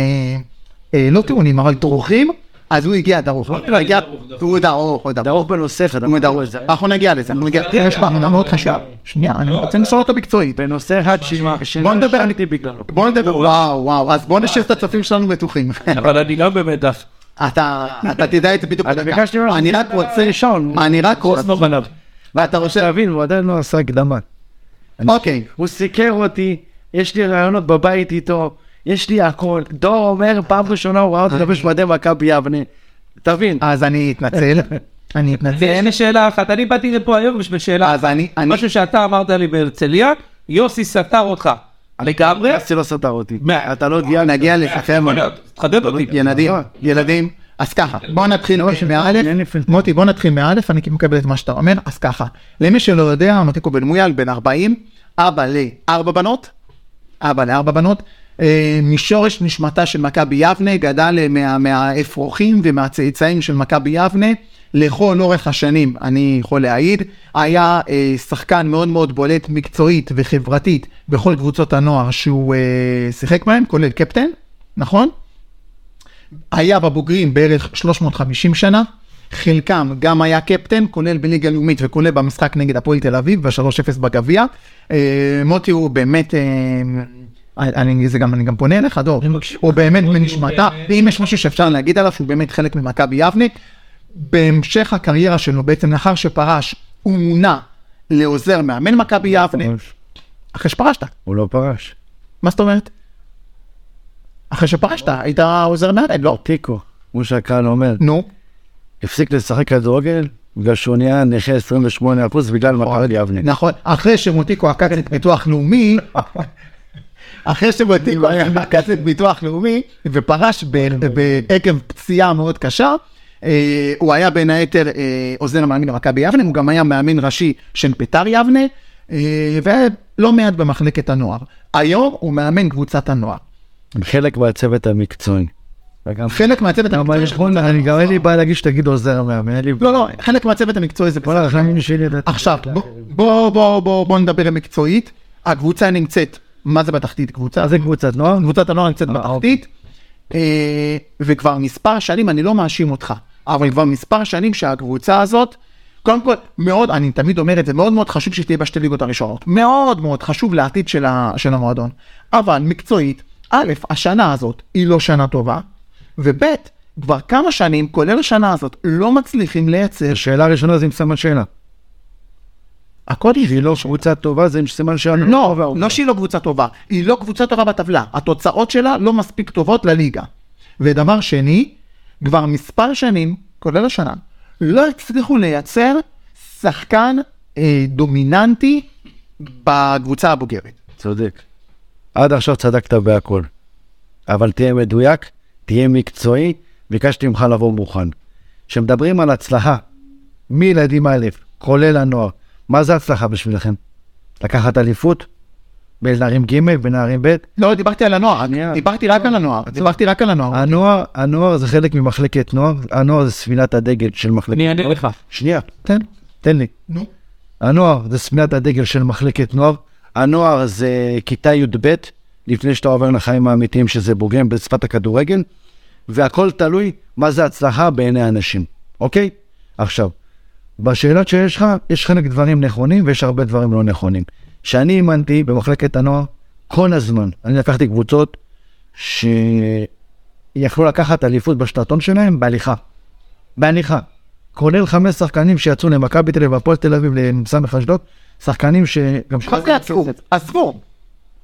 A: אה, לא טעונים, אבל דרוכים, אז הוא הגיע דרוך. לא הגיע, הוא דרוך, הוא דרוך.
B: דרוך בנושא אחד.
A: הוא דרוך. אנחנו נגיע לזה, אנחנו נגיע. תראה, יש פעם, מאוד חשוב. שנייה, אני רוצה לשאול אותו מקצועית.
B: בנושא אחד ש...
A: בוא נדבר על-
B: שנשארתי בגללו.
A: בוא נדבר, וואו, וואו, אז בוא נשאיר את הצופים שלנו מתוחים.
C: אבל אני לא גם במתח.
A: אתה, אתה תדע את זה בדיוק.
B: אני
A: בדקה.
B: ביקשתי ממנו-
A: אני רק רוצה
B: ראשון.
A: אני רק רוצה,
C: עצמו בניו.
A: ואתה רוצה,
B: תבין, הוא עדיין לא עשה הקדמה.
A: אוקיי.
B: הוא סיקר אותי, יש לי רעיונות בבית איתו, יש לי הכל. דור אומר, פעם ראשונה הוא ראה אותי לבש מדי מכבי יבנה. תבין.
A: אז אני אתנצל, אני אתנצל.
C: אין לי שאלה אחת, אני באתי לפה היום בשביל שאלה.
A: אז אני, אני,
C: משהו שאתה אמרת לי בהרצליה, יוסי סתר אותך. לגמרי?
B: יוסי לא סתר אותי.
C: מה?
B: אתה לא דיאנה.
A: נגיע לספר מאוד.
C: תחדד אותי.
A: ילדים, ילדים, אז ככה, בוא נתחיל מאלף,
B: נכון. אוקיי, אין לי פילטר.
A: מוטי בוא נתחיל מאלף, אני מקבל את מה שאתה אומר, אז ככה, למי שלא יודע, מוטיקו בן מויאל בן 40, אבא לארבע בנות, אבא לארבע בנות, אה, משורש נשמתה של מכבי יבנה, גדל אה, מה, מהאפרוחים ומהצאצאים של מכבי יבנה לכל אורך השנים, אני יכול להעיד. היה אה, שחקן מאוד מאוד בולט מקצועית וחברתית בכל קבוצות הנוער שהוא אה, שיחק בהם, כולל קפטן, נכון? היה בבוגרים בערך 350 שנה, חלקם גם היה קפטן, כולל בליגה לאומית וכולל במשחק נגד הפועל תל אביב, ב-3-0 בגביע. אה, מוטי הוא באמת, אה, אני, זה גם, אני גם פונה אליך, דור, הוא באמת בנשמתה, ואם יש משהו שאפשר להגיד עליו, שהוא באמת חלק ממכבי יבנה. בהמשך הקריירה שלו, בעצם לאחר שפרש, הוא מונה לעוזר מאמן מכבי יבנה, אחרי שפרשת,
B: הוא לא פרש.
A: מה זאת אומרת? אחרי שפרשת, היית עוזר מאמן, לא.
B: טיקו, כמו שהקהל אומר,
A: נו.
B: הפסיק לשחק כדורגל בגלל שהוא נהיה נכה 28% בגלל מכבי יבנה.
A: נכון, אחרי שמוטיקו עקץ את ביטוח לאומי, אחרי שמוטיקו עקץ את ביטוח לאומי ופרש ב- ב- עקב פציעה מאוד קשה, אה, הוא היה בין היתר אה, עוזר מאמן במכבי יבנה, הוא גם היה מאמן ראשי של ביתר יבנה, אה, ולא מעט במחלקת הנוער. היום הוא מאמן קבוצת הנוער.
B: הם חלק מהצוות המקצועי. וגם-
A: חלק מהצוות המקצועי... של קבוצת
B: אני גם
A: הנוער.
B: אין לי בעיה להגיד שתגיד עוזר מאמן, אין לי
A: לא, לא, חלק מהצוות המקצועי זה...
B: וואלה, החיים שלי ידעתי.
A: עכשיו, בוא, בוא, בוא, בוא, בוא נדבר מקצועית. הקבוצה נמצאת, מה זה בתחתית קבוצה?
B: אז זה קבוצת נוער?
A: קבוצת הנוער נמצאת
B: אה,
A: בתחתית, אה, וכבר מספר שנים, אני לא מאשים אותך, אבל כבר מספר שנים שהקבוצה הזאת, קודם כל, מאוד, אני תמיד אומר את זה, מאוד מאוד חשוב שתהיה בשתי ליגות הראשונות. מאוד מאוד חשוב לעתיד של, ה, של המועדון. אבל מקצועית, א', השנה הזאת היא לא שנה טובה, וב', כבר כמה שנים, כולל השנה הזאת, לא מצליחים לייצר
B: השאלה הראשונה זה עם סימן שאלה.
A: הכל
B: היא לא קבוצה טובה, זה עם סימן שאלה.
A: לא, לא שהיא לא קבוצה טובה, היא לא קבוצה טובה בטבלה, התוצאות שלה לא מספיק טובות לליגה. ודבר שני, כבר מספר שנים, כולל השנה, לא הצליחו לייצר שחקן אה, דומיננטי בקבוצה הבוגרת.
B: צודק. עד עכשיו צדקת בהכל. אבל תהיה מדויק, תהיה מקצועי, ביקשתי ממך לבוא מוכן. כשמדברים על הצלחה, מילדים א', כולל הנוער, מה זה הצלחה בשבילכם? לקחת אליפות? בנערים ג', בנערים ב'?
A: לא, דיברתי על הנוער,
B: שנייה.
A: דיברתי רק על הנוער, דיברתי רק על הנוער.
B: הנוער, הנוער זה חלק ממחלקת נוער, הנוער זה ספינת הדגל של מחלקת...
C: אני אענה לך.
B: שנייה, תן, תן לי.
A: נו.
B: הנוער זה ספינת הדגל של מחלקת נוער. הנוער זה כיתה י"ב, לפני שאתה עובר לחיים האמיתיים שזה בוגם בשפת הכדורגל, והכל תלוי מה זה הצלחה בעיני האנשים, אוקיי? עכשיו, בשאלות שיש לך, יש חלק דברים נכונים ויש הרבה דברים לא נכונים. שאני אימנתי במחלקת הנוער כל הזמן, אני לקחתי קבוצות שיכלו לקחת אליפות בשנתון שלהם בהליכה. בהליכה. כולל חמש שחקנים שיצאו למכבי תל אביב, הפועל תל אביב, לסמך אשדוד, שחקנים שגם...
A: מה זה יצאו? עזבו.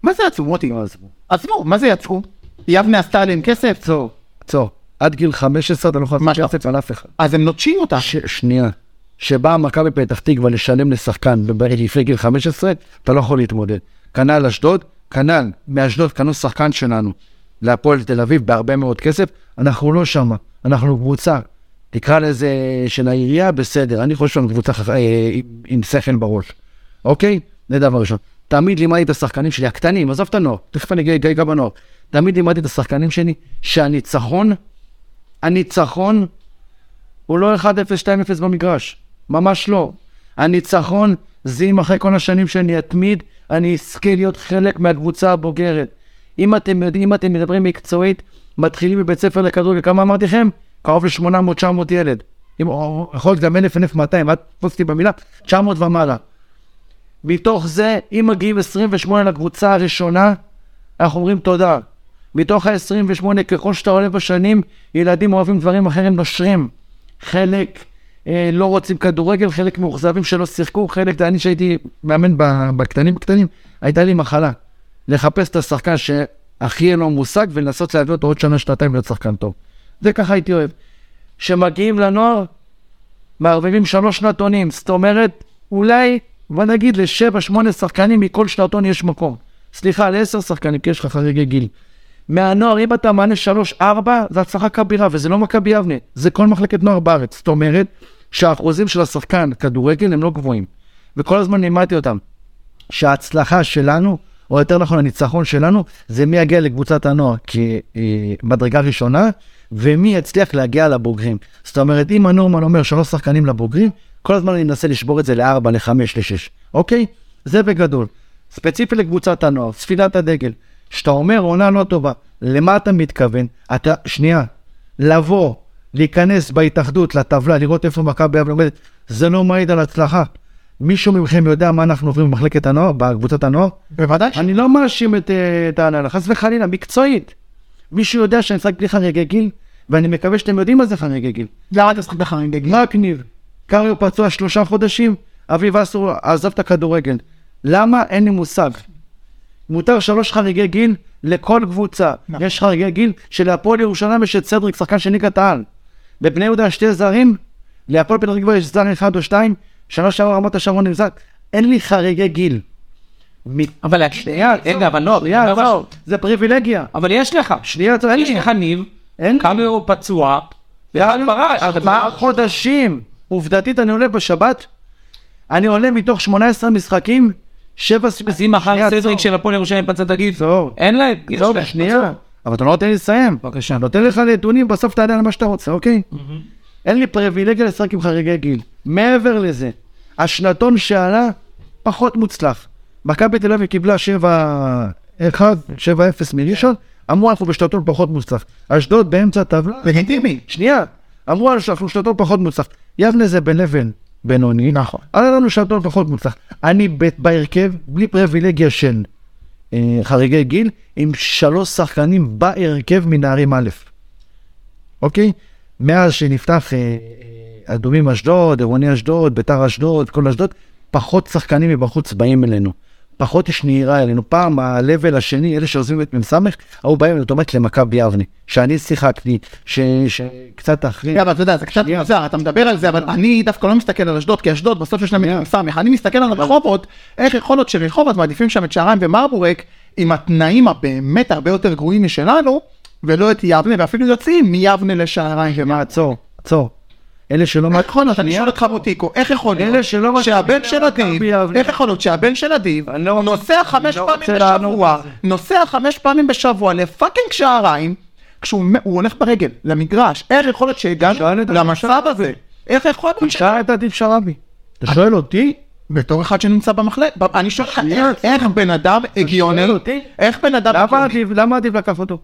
A: מה זה יצאו, מוטי? לא עזבו, מה זה יצאו? יבנה עשתה עליהם כסף,
B: עצור, עצור. עד גיל 15 אתה לא יכול
A: מה
B: לעשות
A: שאתה-
B: כסף על אף אחד.
A: אז הם נוטשים אותה.
B: ש... שנייה. שבאה מכבי פתח תקווה לשלם לשחקן בב- לפני גיל 15, אתה לא יכול להתמודד. כנ"ל אשדוד, כנ"ל מאשדוד קנו שחקן שלנו להפועל תל אביב בהרבה מאוד כסף, אנחנו לא שמה, אנחנו קבוצה. תקרא לזה של העירייה, בסדר, אני חושב שאנחנו קבוצה חכ- אה, עם, עם שכל בראש, אוקיי? זה דבר ראשון. תמיד לימדתי את השחקנים שלי, הקטנים, עזוב את הנוער, תכף אני אגיע- אגע בנוער. תמיד לימדתי את השחקנים שלי שהניצחון, הניצחון הוא לא 1-0, 2-0 במגרש, ממש לא. הניצחון זה אם אחרי כל השנים שאני אתמיד, אני אזכה להיות חלק מהקבוצה הבוגרת. אם אתם יודעים, אם אתם מדברים מקצועית, מתחילים בבית ספר לכדורגל, כמה אמרתי לכם? קרוב ל-800-900 ילד. אם, או, יכול להיות גם 1,000-1,200, את תפסתי במילה, 900 ומעלה. מתוך זה, אם מגיעים 28 לקבוצה הראשונה, אנחנו אומרים תודה. מתוך ה-28, ככל שאתה עולה בשנים, ילדים אוהבים דברים אחרים, נושרים. חלק אה, לא רוצים כדורגל, חלק מאוכזבים שלא שיחקו, חלק, אני שהייתי מאמן ב- בקטנים קטנים, הייתה לי מחלה. לחפש את השחקן שהכי אין לו מושג ולנסות להביא אותו עוד שנה, שנתיים להיות שחקן טוב. זה ככה הייתי אוהב. כשמגיעים לנוער, מערבבים שלוש שנתונים, זאת אומרת, אולי, בוא נגיד לשבע, שמונה שחקנים מכל שנתון יש מקום. סליחה, לעשר שחקנים, כי יש לך חריגי גיל. מהנוער, אם אתה מענה 3-4, זה הצלחה כבירה, וזה לא מכבי יבנה, זה כל מחלקת נוער בארץ. זאת אומרת, שהאחוזים של השחקן כדורגל הם לא גבוהים. וכל הזמן לימדתי אותם, שההצלחה שלנו או יותר נכון הניצחון שלנו, זה מי יגיע לקבוצת הנוער כמדרגה ראשונה, ומי יצליח להגיע לבוגרים. זאת אומרת, אם הנורמן אומר שלוש שחקנים לבוגרים, כל הזמן אני מנסה לשבור את זה לארבע, לחמש, לשש, אוקיי? זה בגדול. ספציפי לקבוצת הנוער, ספינת הדגל. כשאתה אומר עונה לא טובה, למה אתה מתכוון? אתה, שנייה, לבוא, להיכנס בהתאחדות לטבלה, לראות איפה מכבי יבנה עומדת, זה לא מעיד על הצלחה. מישהו מכם יודע מה אנחנו עוברים במחלקת הנוער, בקבוצת הנוער?
A: בוודאי ש...
B: אני לא מאשים את, אה, את ההנהלה, חס וחלילה, מקצועית. מישהו יודע שאני משחק בלי חריגי גיל, ואני מקווה שאתם יודעים מה זה חריגי גיל.
A: למה אתה משחק בחריגי גיל?
B: רק ניר, קריו פצוע שלושה חודשים, אביב אסור עזב את הכדורגל. למה? אין לי מושג. מותר שלוש חריגי גיל לכל קבוצה.
A: נכון.
B: יש חריגי גיל שלהפועל ירושלים יש את סדריק, שחקן של ליגת העל. בבני יהודה שתי זרים, להפועל פתח תקווה יש זר אחד או שתיים, שנה שעברה רמת השרון עם זר. אין לי חריגי גיל.
C: אבל להגיד, רגע, אבל לא,
B: שנייה,
C: אני אומר
B: עצור.
C: משהו.
B: זה פריבילגיה.
C: אבל יש לך,
B: שנייה, עצור, אין
C: יש
B: לי.
C: לך ניב,
B: אין לי.
C: כמה הוא פצוע, ואחד פרש.
B: ארבעה חודשים. עובדתית אני עולה בשבת, אני עולה מתוך 18 משחקים, שבע
C: אז אם מחר
B: שנייה,
C: סדריק
B: עצור.
C: של הפועל ירושלים פצע תגיד,
B: עצור.
C: אין להם, יש
B: לא,
C: להם.
B: שנייה, אבל אתה לא נותן לי לסיים.
C: בבקשה.
B: נותן לך נתונים, בסוף תענה על מה שאתה רוצה, אוקיי? אין לי פריבילגיה לשחק עם חריגי גיל. מעבר לזה, השנתון שעלה, פחות מוצלח. מכבי תל אביב קיבלה 7-1, 7-0 מראשון, אמרו אנחנו בשנתון פחות מוצלח. אשדוד באמצע הטבלה,
A: לגיטימי.
B: שנייה, אמרו לנו שאנחנו שנתון פחות מוצלח. יבנה זה בין לבין בינוני. נכון. היה לנו שנתון פחות מוצלח. אני ב- בהרכב, בלי פריבילגיה של אה, חריגי גיל, עם שלוש שחקנים בהרכב מנערים א'. אוקיי? מאז שנפתח אה, אה, אדומים אשדוד, עירוני אשדוד, ביתר אשדוד, כל אשדוד, פחות שחקנים מבחוץ באים אלינו. פחות יש נהירה אלינו. פעם ה-level השני, אלה שעוזבים את מ"ס, ההוא באים אוטומט למכבי יבנה. שאני שיחקתי, ש- שקצת אחרי...
A: כן, אבל אתה יודע, זה קצת מוזר, אתה מדבר על זה, אבל אני דווקא לא מסתכל על אשדוד, כי אשדוד בסוף יש להם את סמך, אני מסתכל על רחובות, איך יכול להיות שרחובות מעדיפים שם את שעריים ומרבורק, עם התנאים הבאמת הרבה יותר גרועים משלנו, ולא את יבנה, ואפילו יוצאים מיבנה לשעריים
B: מה,
A: ומרבורק.
B: עצור, עצור. אלה שלא...
A: איך יכול להיות, אני שואל אותך מוטיקו, איך יכול
B: אלה
A: להיות
B: שלא מצליחים
A: שהבן של אדיב,
B: מכבי יבנה.
A: איך יכול להיות שהבן של אדיב,
B: אני לא-
A: נוסע חמש
B: לא
A: פעמים
B: רוצה לענות
A: בשבוע,
B: על זה.
A: נוסע חמש פעמים בשבוע לפאקינג שעריים, כשהוא מ- הוא הולך ברגל, למגרש, איך יכול להיות
B: תשאל
A: שהגענו
B: את
A: למצב הזה? איך יכול להיות ש...
B: שאל את עדיף שרבי. אתה שואל אותי?
A: בתור אחד שנמצא במחלק, ב- אני שואל אותך, איך- איך בן אדם הגיוני,
B: שואל אותי?
A: איך בן אדם הגיוני,
B: למה עדיף- למה עדיף לקף אותו?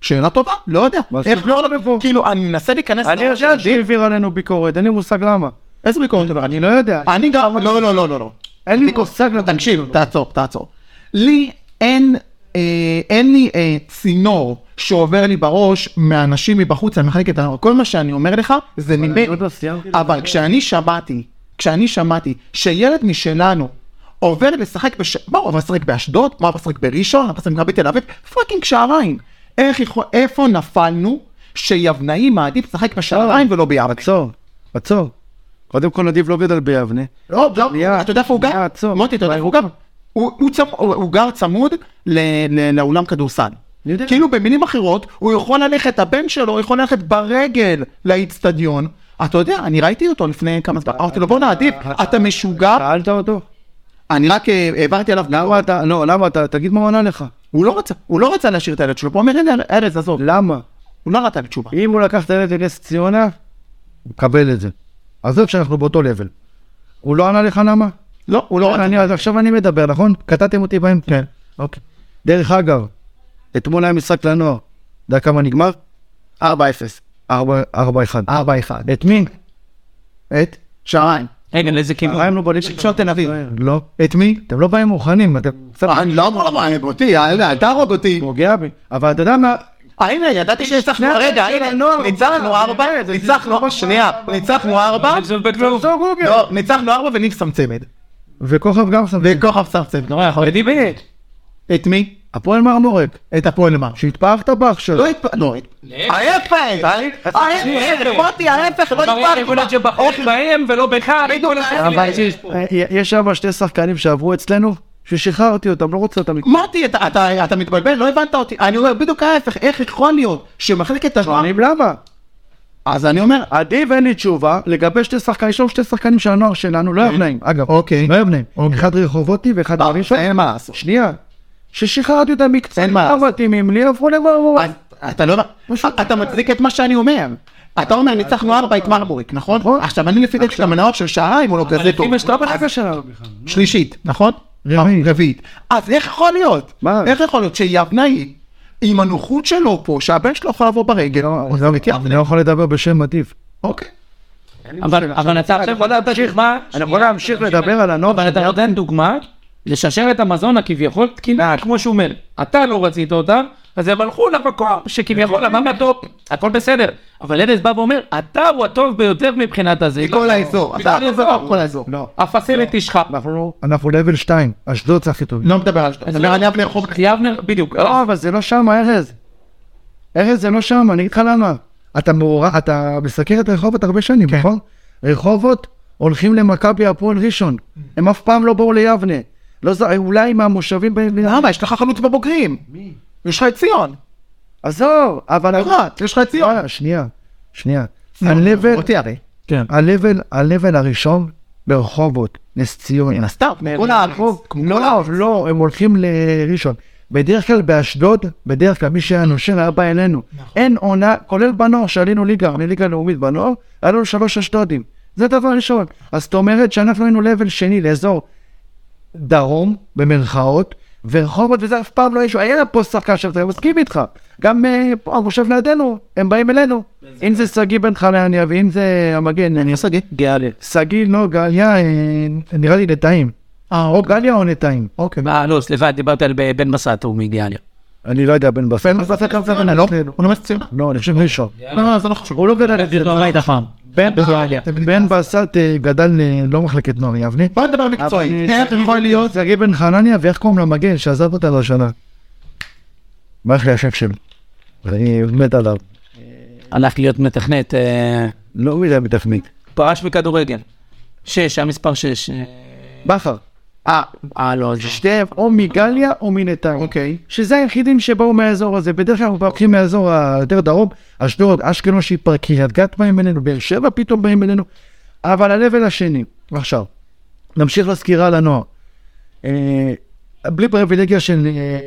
A: שאלה טובה, לא יודע,
B: מה
A: איך
B: זאת
A: לא,
B: אומרת פה?
A: כאילו, אני מנסה להיכנס,
B: אני
A: לראש של
B: יודע
A: אדיב.
B: שהעביר עלינו ביקורת, אין לי מושג למה.
A: איזה ביקורת אבל אני
B: לא יודע.
A: אני גם, לא, לא, לא, לא, לא.
B: אין לי מושג למה.
A: תקשיב, תעצור, תעצור. לי אין, אה, אין לי אה, צינור שעובר לי בראש מאנשים מבחוץ על מחלקת הנוער. כל מה שאני אומר לך זה
B: אני
A: ממני.
B: עוד לא סיימתי
A: אבל כשאני שמעתי, כשאני שמעתי שילד משלנו עובר לשחק, בש... מה הוא עבר לשחק באשדוד? מה הוא עבר לשחק בראשון? מה הוא עבר לשחק בתל אביב? פאקינג שעריים. איך יכול, איפה נפלנו שיבנאי מעדיף לשחק בשעריים
B: לא,
A: ולא ביבנה?
B: עצור, עצור. קודם כל נדיב לא גדל ביבנה.
A: לא, לא,
B: שנייה,
A: אתה יודע איפה הוא גר?
B: שנייה, עצור.
A: מוטי, אתה יודע איפה הוא גר? הוא- הוא צמ- הוא- הוא גר צמוד ל- ל- לאולם כדורסל.
B: אני יודע.
A: כאילו במילים אחרות, הוא יכול ללכת, הבן שלו יכול ללכת ברגל לאיצטדיון. אתה יודע, אני ראיתי אותו לפני כמה זמן, אמרתי לו בוא נעדיף, אתה משוגע,
B: שאלת אותו?
A: אני רק אה, העברתי עליו,
B: למה אתה, לא, למה אתה, תגיד מה הוא ענה לך.
A: הוא לא רצה, הוא לא רצה להשאיר את הילד שלו, פה הוא אומר, הנה ארז, עזוב,
B: למה?
A: הוא לא נתן לי תשובה.
B: אם הוא לקח את הילד לנס ציונה, הוא מקבל את זה. עזוב שאנחנו באותו לבל. הוא לא ענה לך למה?
A: לא, הוא לא רצה.
B: אני, אז עכשיו אני מדבר, נכון? קטעתם אותי באמצע. כן, אוקיי. דרך אגב, אתמול היה משחק לנוער. אתה יודע כמה נגמר?
A: 4-0.
B: 4-1.
A: 4-1.
B: את מי?
A: את? שעריים.
C: רגע, לאיזה כיוון?
B: ראינו בליגה
A: שון תל אביב.
B: לא.
A: את מי?
B: אתם לא באים מוכנים, אתם קצת
A: אני לא אמור לבוא, אותי, אל תהרוג אותי.
B: פוגע בי. אבל אתה יודע מה?
A: אה, הנה, ידעתי שהצלחנו,
B: שני
A: רגע,
B: השחקנים
A: הנה,
B: הנוער.
A: ניצחנו ארבע,
B: זה
A: ניצחנו,
B: זלזול
A: שנייה, ניצחנו ארבע,
B: אה,
C: זה בכלום.
B: עזוב גוגל.
A: לא, ניצחנו ארבע וניב שם צמד.
B: וכוכב גם שם.
A: וכוכב שם צמד, נורא יכול.
C: ודיבי,
A: את מי?
B: הפועל מרמורק,
A: את הפועל למר.
B: שהתפארת באח שלו.
A: לא התפ... לא, את- ההפך, אה, ההפך, ההפך, מוטי, אה, ההפך, לא
C: אמר אין
A: התפרנו.
C: יכולת שבחור בהם ולא בך, בדיוק
A: אבל-
B: אה, יש שם שתי שחקנים שעברו אצלנו, ששחררתי אותם, לא רוצה אותם.
A: מוטי, אתה- אתה- אתה מתבלבל, לא הבנת אותי. אני אומר, בדיוק ההפך, איך יכול להיות שמחלקת השוער...
B: שואלים למה?
A: לא, אז אני אומר,
B: עדיף אין לי תשובה לגבי שתי שחקנים, יש לנו שתי שחקנים של הנוער שלנו, לא יבנאים, אגב.
A: אוקיי.
B: לא יבנאים. אחד רחובוטי ואחד
A: אה,
B: ראשון.
A: אין מה לעשות.
B: שנייה. ששחררתי אותם מקצת,
A: אין מה לעשות.
B: לא מתאימים לי, עברו לברבור.
A: אז- אתה לא... אתה מצדיק את מה שאני אומר. אתה אומר, ניצחנו ארבע את מרבוריק, נכון? עכשיו, אני לפי דעתי את המנהות של שעריים, הוא לא כזה טוב.
C: לפי מה שאתה אומר,
A: אז- שלישית, נכון? רביעית. רביעית. אז איך יכול להיות?
B: מה?
A: איך יכול להיות שיבנאי, עם הנוחות שלו פה, שהבן שלו יכול לבוא ברגל, הוא לא
B: כן.
A: מתייבנה.
F: אני לא יכול לדבר בשם מטיף.
A: אוקיי.
C: אבל אבל אתה עכשיו יכול לתת דוגמה,
B: אני יכול להמשיך לדבר על הנוער.
C: לא, אבל אתה נותן דוגמה לשרשרת המזון הכביכול תקינה, כמו שהוא אומר, אתה לא רצית אותה, אז הם הלכו למקום שכביכול אמר מהטופ, הכל בסדר, אבל ארז בא ואומר, אתה הוא הטוב ביותר מבחינת הזה.
A: מכל האזור, אתה לא,
C: מכל האזור.
A: כל האזור.
C: הפסיליטי שלך.
F: אנחנו לבל 2, אשדוד זה הכי טוב.
A: לא מדבר על אשדוד, מדבר על יבנה רחוב.
C: יבנר, בדיוק.
A: אה.
B: לא, אבל זה לא שם, ארז. ארז, זה לא שם, אני אגיד לך למה.
F: אתה מעורב, אתה מסקר את רחובות הרבה שנים,
A: כן.
F: נכון? רחובות הולכים למכבי הפועל ראשון.
A: Mm.
B: הם אף פעם לא באו ליבנה. לא ז... אולי מהמושבים ב...
A: למה? יש לך חלוץ בבוגרים. מי? יש לך את ציון.
B: עזוב, אבל...
A: פרט, יש לך את אה, ציון.
F: אה, שנייה, שנייה. ה-level-
A: אותי כן. הרי.
F: ה-level- ה-level הראשון ברחובות, נס ציון.
A: מן הסתם. כל הרחוב.
F: לא, לא, לא, הם הולכים לראשון. בדרך כלל באשדוד, בדרך כלל מי שהיה נושר היה בא אלינו. אין עונה, כולל בנוער, שעלינו ליגה, מליגה לאומית בנוער, היה לנו שלוש אשדודים. זה דבר ראשון. אז זאת אומרת שאנחנו היינו לבל שני לאזור דרום, במרכאות, ורחובות וזה אף פעם לא אישו. היה פה שחקן שם, אני מסכים איתך. גם אה, פה, המושב לידינו, הם באים אלינו. אם זה שגיא בן חנניה ואם זה המגן, אני עושה
C: גאלה.
F: שגיא, לא, גליה, אה, נראה לי נטעים. אה, או גליה או נטעים. אוקיי.
C: אה, לא, סליחה, דיברת על ב- בן מסעת, הוא מגאלה.
F: אני לא יודע, בן בסט.
A: בן בסט זה כוונה, לא? הוא נומס ציון.
F: לא, אני חושב ראשון.
A: לא, לא, זה לא חשוב. הוא לא גדל.
F: בן בסט אה, גדל אה, לא מחלקת נוער יבנה.
A: בוא נדבר מקצועית. כן, איך יכול להיות?
F: שגיא בן חנניה, ואיך קוראים למגן שעזב אותנו השנה? מה איך לי השם שלו? אני מת עליו.
C: הלך להיות מתכנת, אה,
F: לא מילה מתפנית.
C: פרש מכדורגל. שש, היה מספר שש. אה,
B: בכר.
C: אה, לא, זה
B: שתיהם או מגליה או מנתניה.
A: אוקיי.
B: שזה היחידים שבאו מהאזור הזה. בדרך כלל אנחנו הולכים מהאזור היותר דרום, אשדוד, אשקלון, שיפר, קריית גת באים אלינו, באר שבע פתאום באים אלינו. אבל ה-level השני, עכשיו, נמשיך לסקירה על הנוער. אה, בלי פריבילגיה של אה,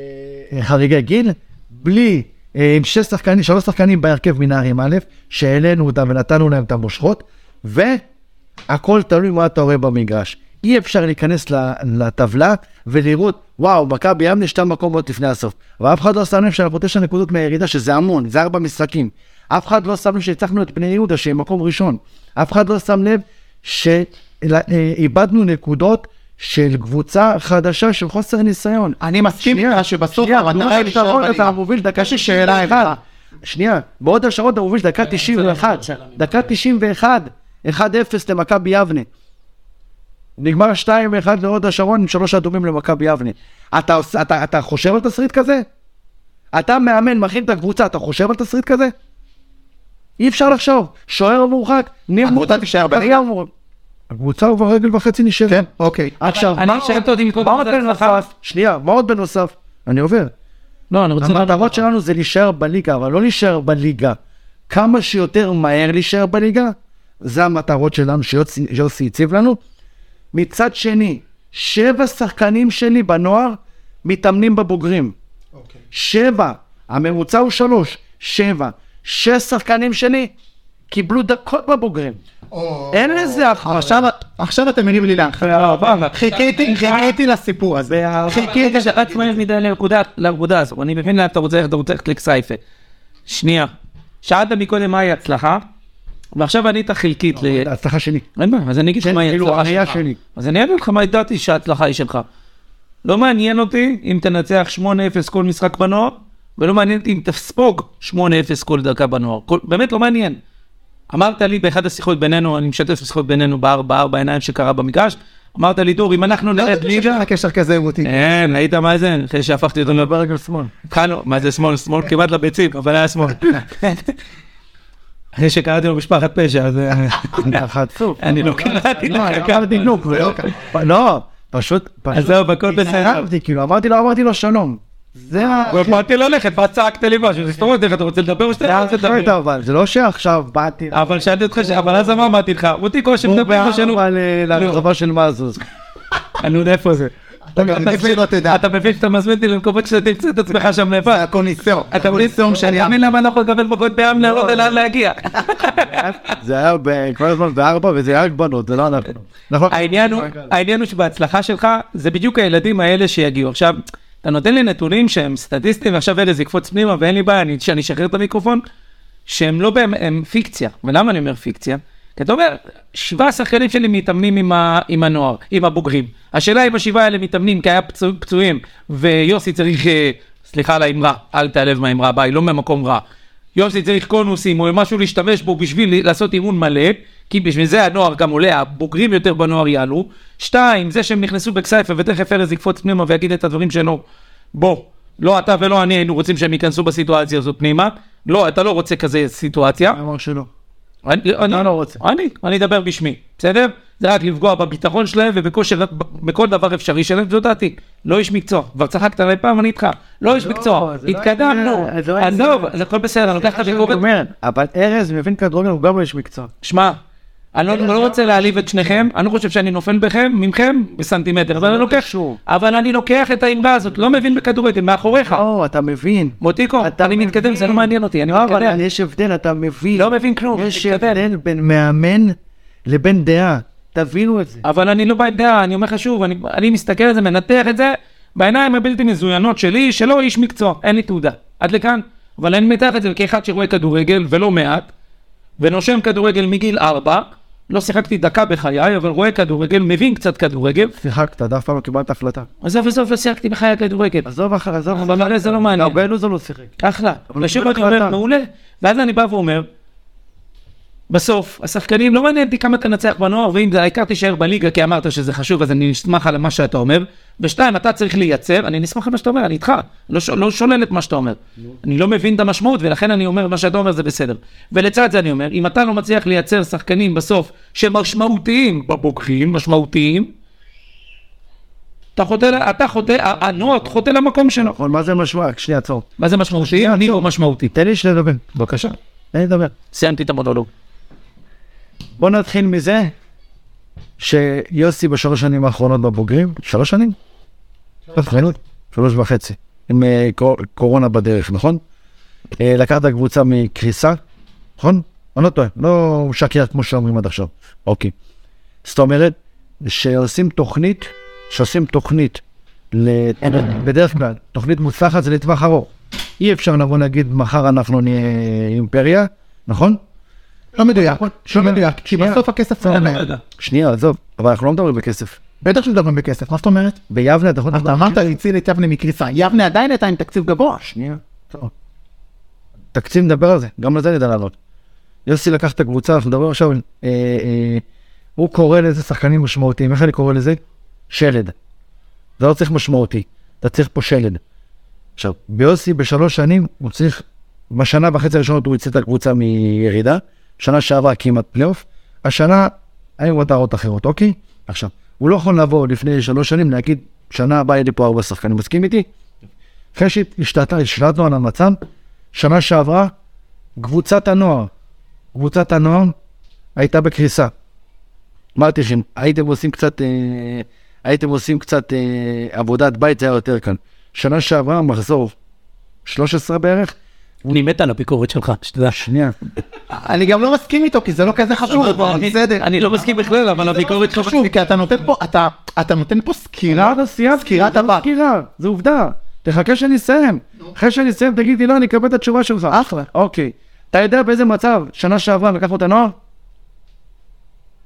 B: אה, חריגי גיל, בלי, אה, עם שש שחקנים, שלוש שחקנים בהרכב מנערים א', שהעלינו אותם ונתנו להם את המושכות, והכל תלוי מה אתה רואה במגרש. אי אפשר להיכנס ל- לטבלה ולראות, וואו, מכבי יבנה שתי מקומות לפני הסוף. אבל אף אחד לא שם לב שאנחנו תשע נקודות מהירידה, שזה המון, זה ארבע משחקים. אף אחד לא שם לב שהצלחנו את בני יהודה, שהם מקום ראשון. אף אחד לא שם לב שאיבדנו נקודות של קבוצה חדשה של חוסר ניסיון.
A: אני מסכים איתך שבסוף המטרה היא להישאר
B: שרון
A: בליגה.
B: אתה מוביל דקה
A: יש לי שאלה אחת.
B: שנייה, בהוד השרון אתה מוביל דקה 91, דקה 91, 1-0 למכבי יבנה. נגמר 2-1 להוד השרון עם שלוש אדומים למכבי יבנה. אתה, עושה- אתה, אתה חושב על תסריט כזה? אתה מאמן, מכין את הקבוצה, אתה חושב על תסריט כזה? אי אפשר לחשוב, שוער מורחק, ניר
A: הקבוצה תישאר בליגה?
F: הקבוצה הוא רגל וחצי נשארת.
A: כן, אוקיי.
B: עכשיו,
C: אני
B: מה
C: שאלת אותי מקודם,
B: מה עוד
C: זה
B: בנוסף? שנייה, מה עוד בנוסף? אני עובר.
C: לא, אני רוצה...
B: המטרות שלנו זה נכון. להישאר בליגה, אבל לא להישאר בליגה. כמה שיותר מהר להישאר בליגה, זה המטרות שלנו שיוסי שיוסי הציב לנו. מצד שני, שבע שחקנים שלי בנוער מתאמנים בבוגרים. שבע, הממוצע הוא שלוש, שבע. שש שחקנים שלי קיבלו דקות בבוגרים. אין לזה אחר.
A: עכשיו- עכשיו אתם מבינים לי לאן. חיכיתי, חיכיתי לסיפור הזה. חיכיתי ש...
C: כן, רק מהר מדי לנקודה, לנקודה הזו, אני מבין לאן אתה רוצה, אתה רוצה ללכת לכסייפה. שנייה, שאלת מקודם מהי הצלחה, ועכשיו ענית
B: לא,
C: חלקית. ל-
B: הצלחה שלי.
C: אין בעיה, אז אני אגיד לך מהי
B: כאילו,
C: הצלחה
B: הראייה
C: שלך.
B: שלי.
C: אז אני אגיד לך מה ידעתי שההצלחה היא שלך. לא מעניין אותי אם תנצח 8-0 כל משחק בנוער, ולא מעניין אותי אם תספוג 8-0 כל דקה בנוער. כל, באמת לא מעניין. אמרת לי באחד השיחות בינינו, אני משתף שיחות בינינו בארבע, ארבע עיניים שקרה במגרש, אמרת לי, דור, אם אנחנו
B: לא,
C: נרד ליגה...
A: הקשר כזה עם אותי.
C: אין, היית מה זה? אחרי שהפכתי אותו לברגל שמאל. קנו, מה זה שמאל? שמאל כמעט לביצים, אבל היה שמאל. אחרי שקראתי לו משפחת פשע, אז... אה, אני לא קראתי לך.
B: קראתי נוק, לא, פשוט,
C: אז
B: פשוט,
C: זהו, הכל בסדר.
B: התערבתי, כאילו, אמרתי לו, אמרתי לו שלום. זה ה...
C: באתי ללכת, ואז צעקת לי משהו, אז תסתובב לך, אתה רוצה לדבר או שאתה לא רוצה
B: אחרת,
C: לדבר?
B: אבל זה לא שעכשיו באתי
C: אבל שאלתי אותך, ש- אבל אז אמר, אמרתי לך, אותי כל שמדבר איתך שלנו,
B: לרחבה אה, של מזוז.
C: אני לא יודע איפה זה.
A: אתה גם לפני לא תדע.
C: אתה מבין שאתה מזמין אותי למקומות שאתה תמצא את עצמך שם לבד.
A: הקוניסון.
C: אתה מבין
A: הקוניסון
C: אתה
A: שאני
C: מבין למה לא אנחנו נקבל מכות בים להראות לאן להגיע.
G: זה היה ב- כל הזמן בארבע וזה היה רק בנות, זה לא אנחנו.
A: נכון.
C: העניין הוא, העניין הוא שבהצלחה שלך, זה בדיוק הילדים האלה שיגיעו. עכשיו, אתה נותן לי נתונים שהם סטטיסטיים, ועכשיו אלה זה יקפוץ פנימה, ואין לי בעיה, אני- שאני אשחרר את המיקרופון, שהם לא באמת, הם פיקציה. ולמה אני אומר פיקציה? כי אתה אומר, שבעה שחקנים שלי מתאמנים עם, ה, עם הנוער, עם הבוגרים. השאלה אם השבעה האלה מתאמנים, כי היה פצוע, פצועים, ויוסי צריך, אה, סליחה על האמרה, אל תיעלב מהאמרה, ביי, לא ממקום רע. יוסי צריך קונוסים או משהו להשתמש בו בשביל לעשות אימון מלא, כי בשביל זה הנוער גם עולה, הבוגרים יותר בנוער יעלו. שתיים, זה שהם נכנסו בכסייפה ותכף ארז יקפוץ פנימה ויגיד את הדברים שלו. בוא, לא אתה ולא אני היינו רוצים שהם ייכנסו בסיטואציה הזאת פנימה. לא, אתה לא רוצה כזה סיטואציה.
B: אמר שלא.
C: אני, אני
B: לא רוצה.
C: אני, אני אדבר בשמי, בסדר? זה רק לפגוע בביטחון שלהם ובכושר, בכל דבר אפשרי שלהם, זו דעתי. לא איש מקצוע, כבר צחקת עליי פעם, אני איתך. לא איש מקצוע,
B: זה לא
C: התקדמנו,
B: העניין, זה לא העניין.
C: עזוב, זה הכל בסדר, אני לוקח את אה. הביקורת.
B: אבל ארז מבין כדורגל הוא גם לא איש מקצוע.
C: שמע, אני
B: כן,
C: לא- לא רוצה להעליב את שניכם, אני חושב שאני נופל בכם, ממכם, בסנטימטר, אבל אני לוקח,
B: קשור.
C: אבל אני לוקח את האמרה הזאת, לא מבין בכדורגל, מאחוריך.
B: או, אתה מבין.
C: מוטיקו,
B: לא. אתה
C: אני מתקדם,
B: מבין.
C: זה לא מעניין אותי, אני
B: לא, אבל
C: מתקדם.
B: יש הבדל, אתה מבין.
C: לא מבין כלום,
B: יש
C: מתקדם.
B: הבדל בין מאמן לבין דעה. תבינו את זה.
C: אבל אני לא בעדה, אני אומר לך שוב, אני, אני מסתכל על זה, מנתח את זה, בעיניים הבלתי מזוינות שלי, שלא איש מקצוע, אין לי תעודה. עד לכאן. אבל אני מתח את זה כאחד שרואה כדורגל, ולא מעט, ונושם כדורגל מגיל ארבע, לא שיחקתי דקה בחיי, אבל רואה כדורגל, מבין קצת כדורגל,
B: שיחקת, אתה אף פעם לא קיבלת החלטה.
C: עזוב עזוב, לא שיחקתי בחיי כדורגל.
B: עזוב אחר, עזוב.
C: אבל הרי זה לא מעניין.
B: הרבה אלו זה לא שיחק.
C: אחלה.
B: אבל
C: ושוב
B: הוא
C: אני אומר,
B: החלטה.
C: מעולה. ואז אני בא ואומר, בסוף, השחקנים, לא מעניין אותי כמה תנצח בנוער, ואם זה העיקר תישאר בליגה, כי אמרת שזה חשוב, אז אני נסמך על מה שאתה אומר. ושתיים, אתה צריך לייצר, אני נסמך על מה שאתה אומר, אני איתך. לא, ש- לא שולל את מה שאתה אומר. אני לא מבין את המשמעות, ולכן אני אומר, מה שאתה אומר זה בסדר. ולצד זה אני אומר, אם אתה לא מצליח לייצר שחקנים בסוף, שמשמעותיים בבוגרים, משמעותיים, אתה חוטא, ל- אתה חוטא, ה- הנוער חוטא למקום שלו.
B: נכון, מה זה משמעות? שנייה, עצור.
C: מה זה משמעותי? אני לא משמעותי.
B: תן לי שנייה לדבר.
C: בבקשה.
B: תן לי לדבר.
C: סיימתי את המונולוג.
B: בוא נתחיל מזה שיוסי בשלוש שנים האחרונות בבוגרים, שלוש שנים? אחריות. שלוש וחצי. עם אה, קור- קורונה בדרך, נכון? אה, לקח את הקבוצה מקריסה, נכון? אני לא טועה, לא משקר כמו שאומרים עד עכשיו. אוקיי. זאת אומרת, שעושים תוכנית, שעושים תוכנית, לת- בדרך כלל, תוכנית מוצלחת זה לטווח ארוך. אי אפשר לבוא להגיד מחר אנחנו נהיה אימפריה, נכון?
A: לא מדויק, לא מדויק, כי בסוף הכסף לא אומר.
B: שנייה, עזוב, אבל אנחנו לא מדברים בכסף.
A: בטח שמדברים בכסף, מה זאת אומרת?
B: ביבנה אתה יכול...
A: אתה אמרת להציל את יבנה מקריסה, יבנה עדיין הייתה עם תקציב גבוה.
B: שנייה. טוב. תקציב נדבר על זה, גם לזה נדע לענות. יוסי לקח את הקבוצה, אנחנו מדברים עכשיו, אה, אה, הוא קורא לזה שחקנים משמעותיים, איך אני קורא לזה? שלד. זה לא צריך משמעותי, אתה צריך פה שלד. עכשיו, ביוסי בשלוש שנים הוא צריך, בשנה וחצי הראשונות הוא הציל את הקבוצה מירידה, שנה שעברה כמעט פלייאוף, השנה היו מטרות אחרות, אוקיי? עכשיו, הוא לא יכול לבוא לפני שלוש שנים להגיד, שנה הבאה יהיה לי פה ארבע שחקנים, מסכים איתי? אחרי שהשתלטנו על המצב, שנה שעברה, קבוצת הנוער, קבוצת הנוער הייתה בקריסה. אמרתי לכם, הייתם עושים קצת, אה, הייתם עושים קצת אה, עבודת בית, זה היה יותר קל. שנה שעברה, מחזור 13 בערך,
C: אני מת על הביקורת שלך, שתדע.
B: שנייה,
A: אני גם לא מסכים איתו, כי זה לא כזה חשוב, אבל לא בסדר.
C: אני לא מסכים בכלל, אבל הביקורת שלך...
A: חשוב, כי אתה נותן פה, אתה- אתה נותן פה
B: לא,
A: סקירה, סקירת הבא.
B: סקירה, זה עובדה. תחכה שאני אסיים. אחרי שאני אסיים, תגיד לי לא, אני אקבל את התשובה שלך. אחלה. אוקיי. אתה יודע באיזה מצב שנה שעברה לקחנו את הנוער?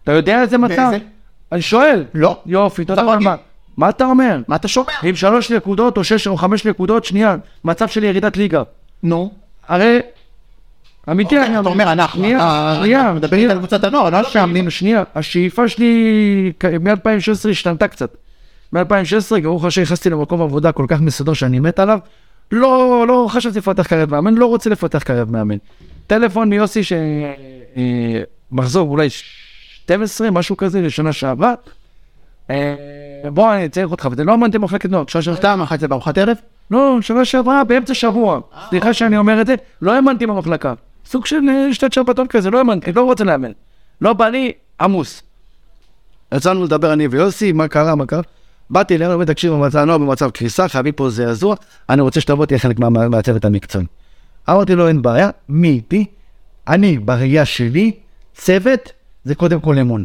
B: אתה יודע איזה מצב?
A: באיזה?
B: אני שואל.
A: לא.
B: יופי, תודה
A: אתה
B: רבה.
A: רגיל.
B: מה אתה אומר?
A: מה אתה שומע?
B: עם שלוש נקודות או שש או חמש נקודות, שנייה, מצב של ירידת ליגה.
A: נו.
B: הרי... אמיתי,
A: אוקיי,
B: אני
A: אתה אומר אנחנו,
B: שנייה,
A: אתה-
B: שנייה.
A: אתה מדבר איתי על קבוצת הנוער, לא על המאמנים.
B: שנייה, השאיפה שלי מ-2016 השתנתה קצת. מ-2016, ברוך השם, נכנסתי למקום עבודה כל כך מסודר שאני מת עליו. לא, לא חשבתי לפתח קריית מאמן, לא רוצה לפתח קריית מאמן. טלפון מיוסי שמחזור אולי 12, משהו כזה, לשנה שעברה. אה, בוא, אני צריך אותך, ואתם לא אמנתם מחלקת נוער, שנה שעברה.
A: אתה אכלת בארוחת ערב?
B: לא, שנה שעברה, באמצע שבוע. סליחה שאני אומר את זה, לא האמנתי במחלקה. סוג של אה, שתי שבתון כזה, לא האמנתי, לא רוצה לאמן. לא בא לי, עמוס.
G: יצאנו לדבר אני ויוסי, מה קרה, מה קרה?
B: באתי אליהם, אומר, תקשיב, המצב- הנוער במצב קריסה, חייבים פה זעזוע, אני רוצה שתבוא, תהיה חלק מה- מהצוות המקצועי. אמרתי לו, אין בעיה, מי איתי? אני, בראייה שלי, צוות, זה קודם כל אמון.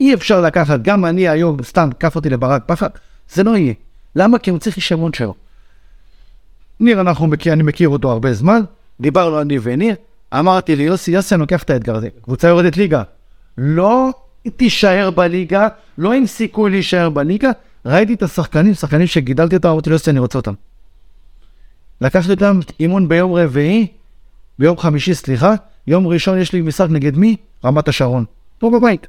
B: אי אפשר לקחת, גם אני היום, סתם, קף אותי לברק בכר, זה לא יהיה. למה? כי הוא צריך איש אמון שלו. ניר, אנחנו מכיר, אני מכיר אותו הרבה זמן, דיברנו אני וניר, אמרתי ליוסי, יוסי, אני לוקח את האתגר הזה, קבוצה יורדת ליגה. לא תישאר בליגה, לא עם סיכוי להישאר בליגה, ראיתי את השחקנים, שחקנים שגידלתי אותם, אמרתי ליוסי, אני רוצה אותם. לקחתי אותם אימון ביום רביעי, ביום חמישי, סליחה, יום ראשון יש לי משחק נגד מי? רמת השרון. פה בבית.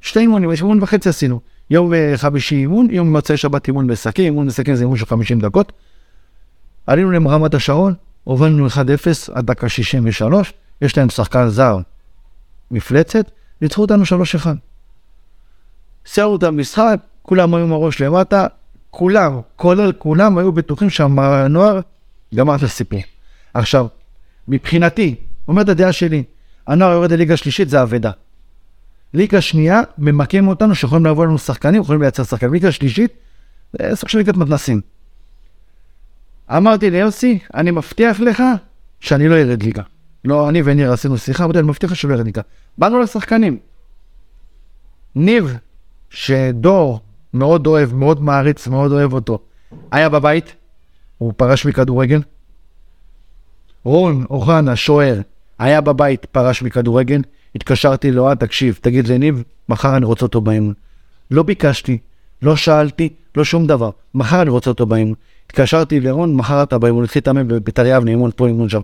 B: שתי אימונים, אימון וחצי עשינו. יום אה, חמישי אימון, יום מוצאי שבת אימון משחקים, אימון משחקים זה אימון של 50 דקות. עלינו למרמת השרון, הובלנו 1-0 עד דקה 63, יש להם שחקן זר מפלצת, ניצחו אותנו 3-1. סיימנו את המשחק, כולם היו עם הראש למטה, כולם, כולל כולם, היו בטוחים שהנוער גמר את הסיפור. עכשיו, מבחינתי, אומר את הדעה שלי, הנוער יורד לליגה שלישית זה אבדה. ליגה שנייה, ממקם אותנו שיכולים לבוא לנו שחקנים, יכולים לייצר שחקנים. ליגה שלישית, זה סוג של ליגת מתנסים. אמרתי ליוסי, אני מבטיח לך שאני לא ארד ליגה. לא, אני וניר עשינו שיחה, אמרתי, אני מבטיח לך שלא ארד ליגה. באנו לשחקנים. ניב, שדור מאוד אוהב, מאוד מעריץ, מאוד אוהב אותו, היה בבית, הוא פרש מכדורגל. רון אוחנה, שוער, היה בבית, פרש מכדורגל. התקשרתי לו, אה, תקשיב, תגיד לניב, מחר אני רוצה אותו באימון. לא ביקשתי, לא שאלתי, לא שום דבר. מחר אני רוצה אותו באימון. התקשרתי לרון, מחר אתה באימון, התחיל להתאמן בביתר יבנה, אימון פה, אימון שם.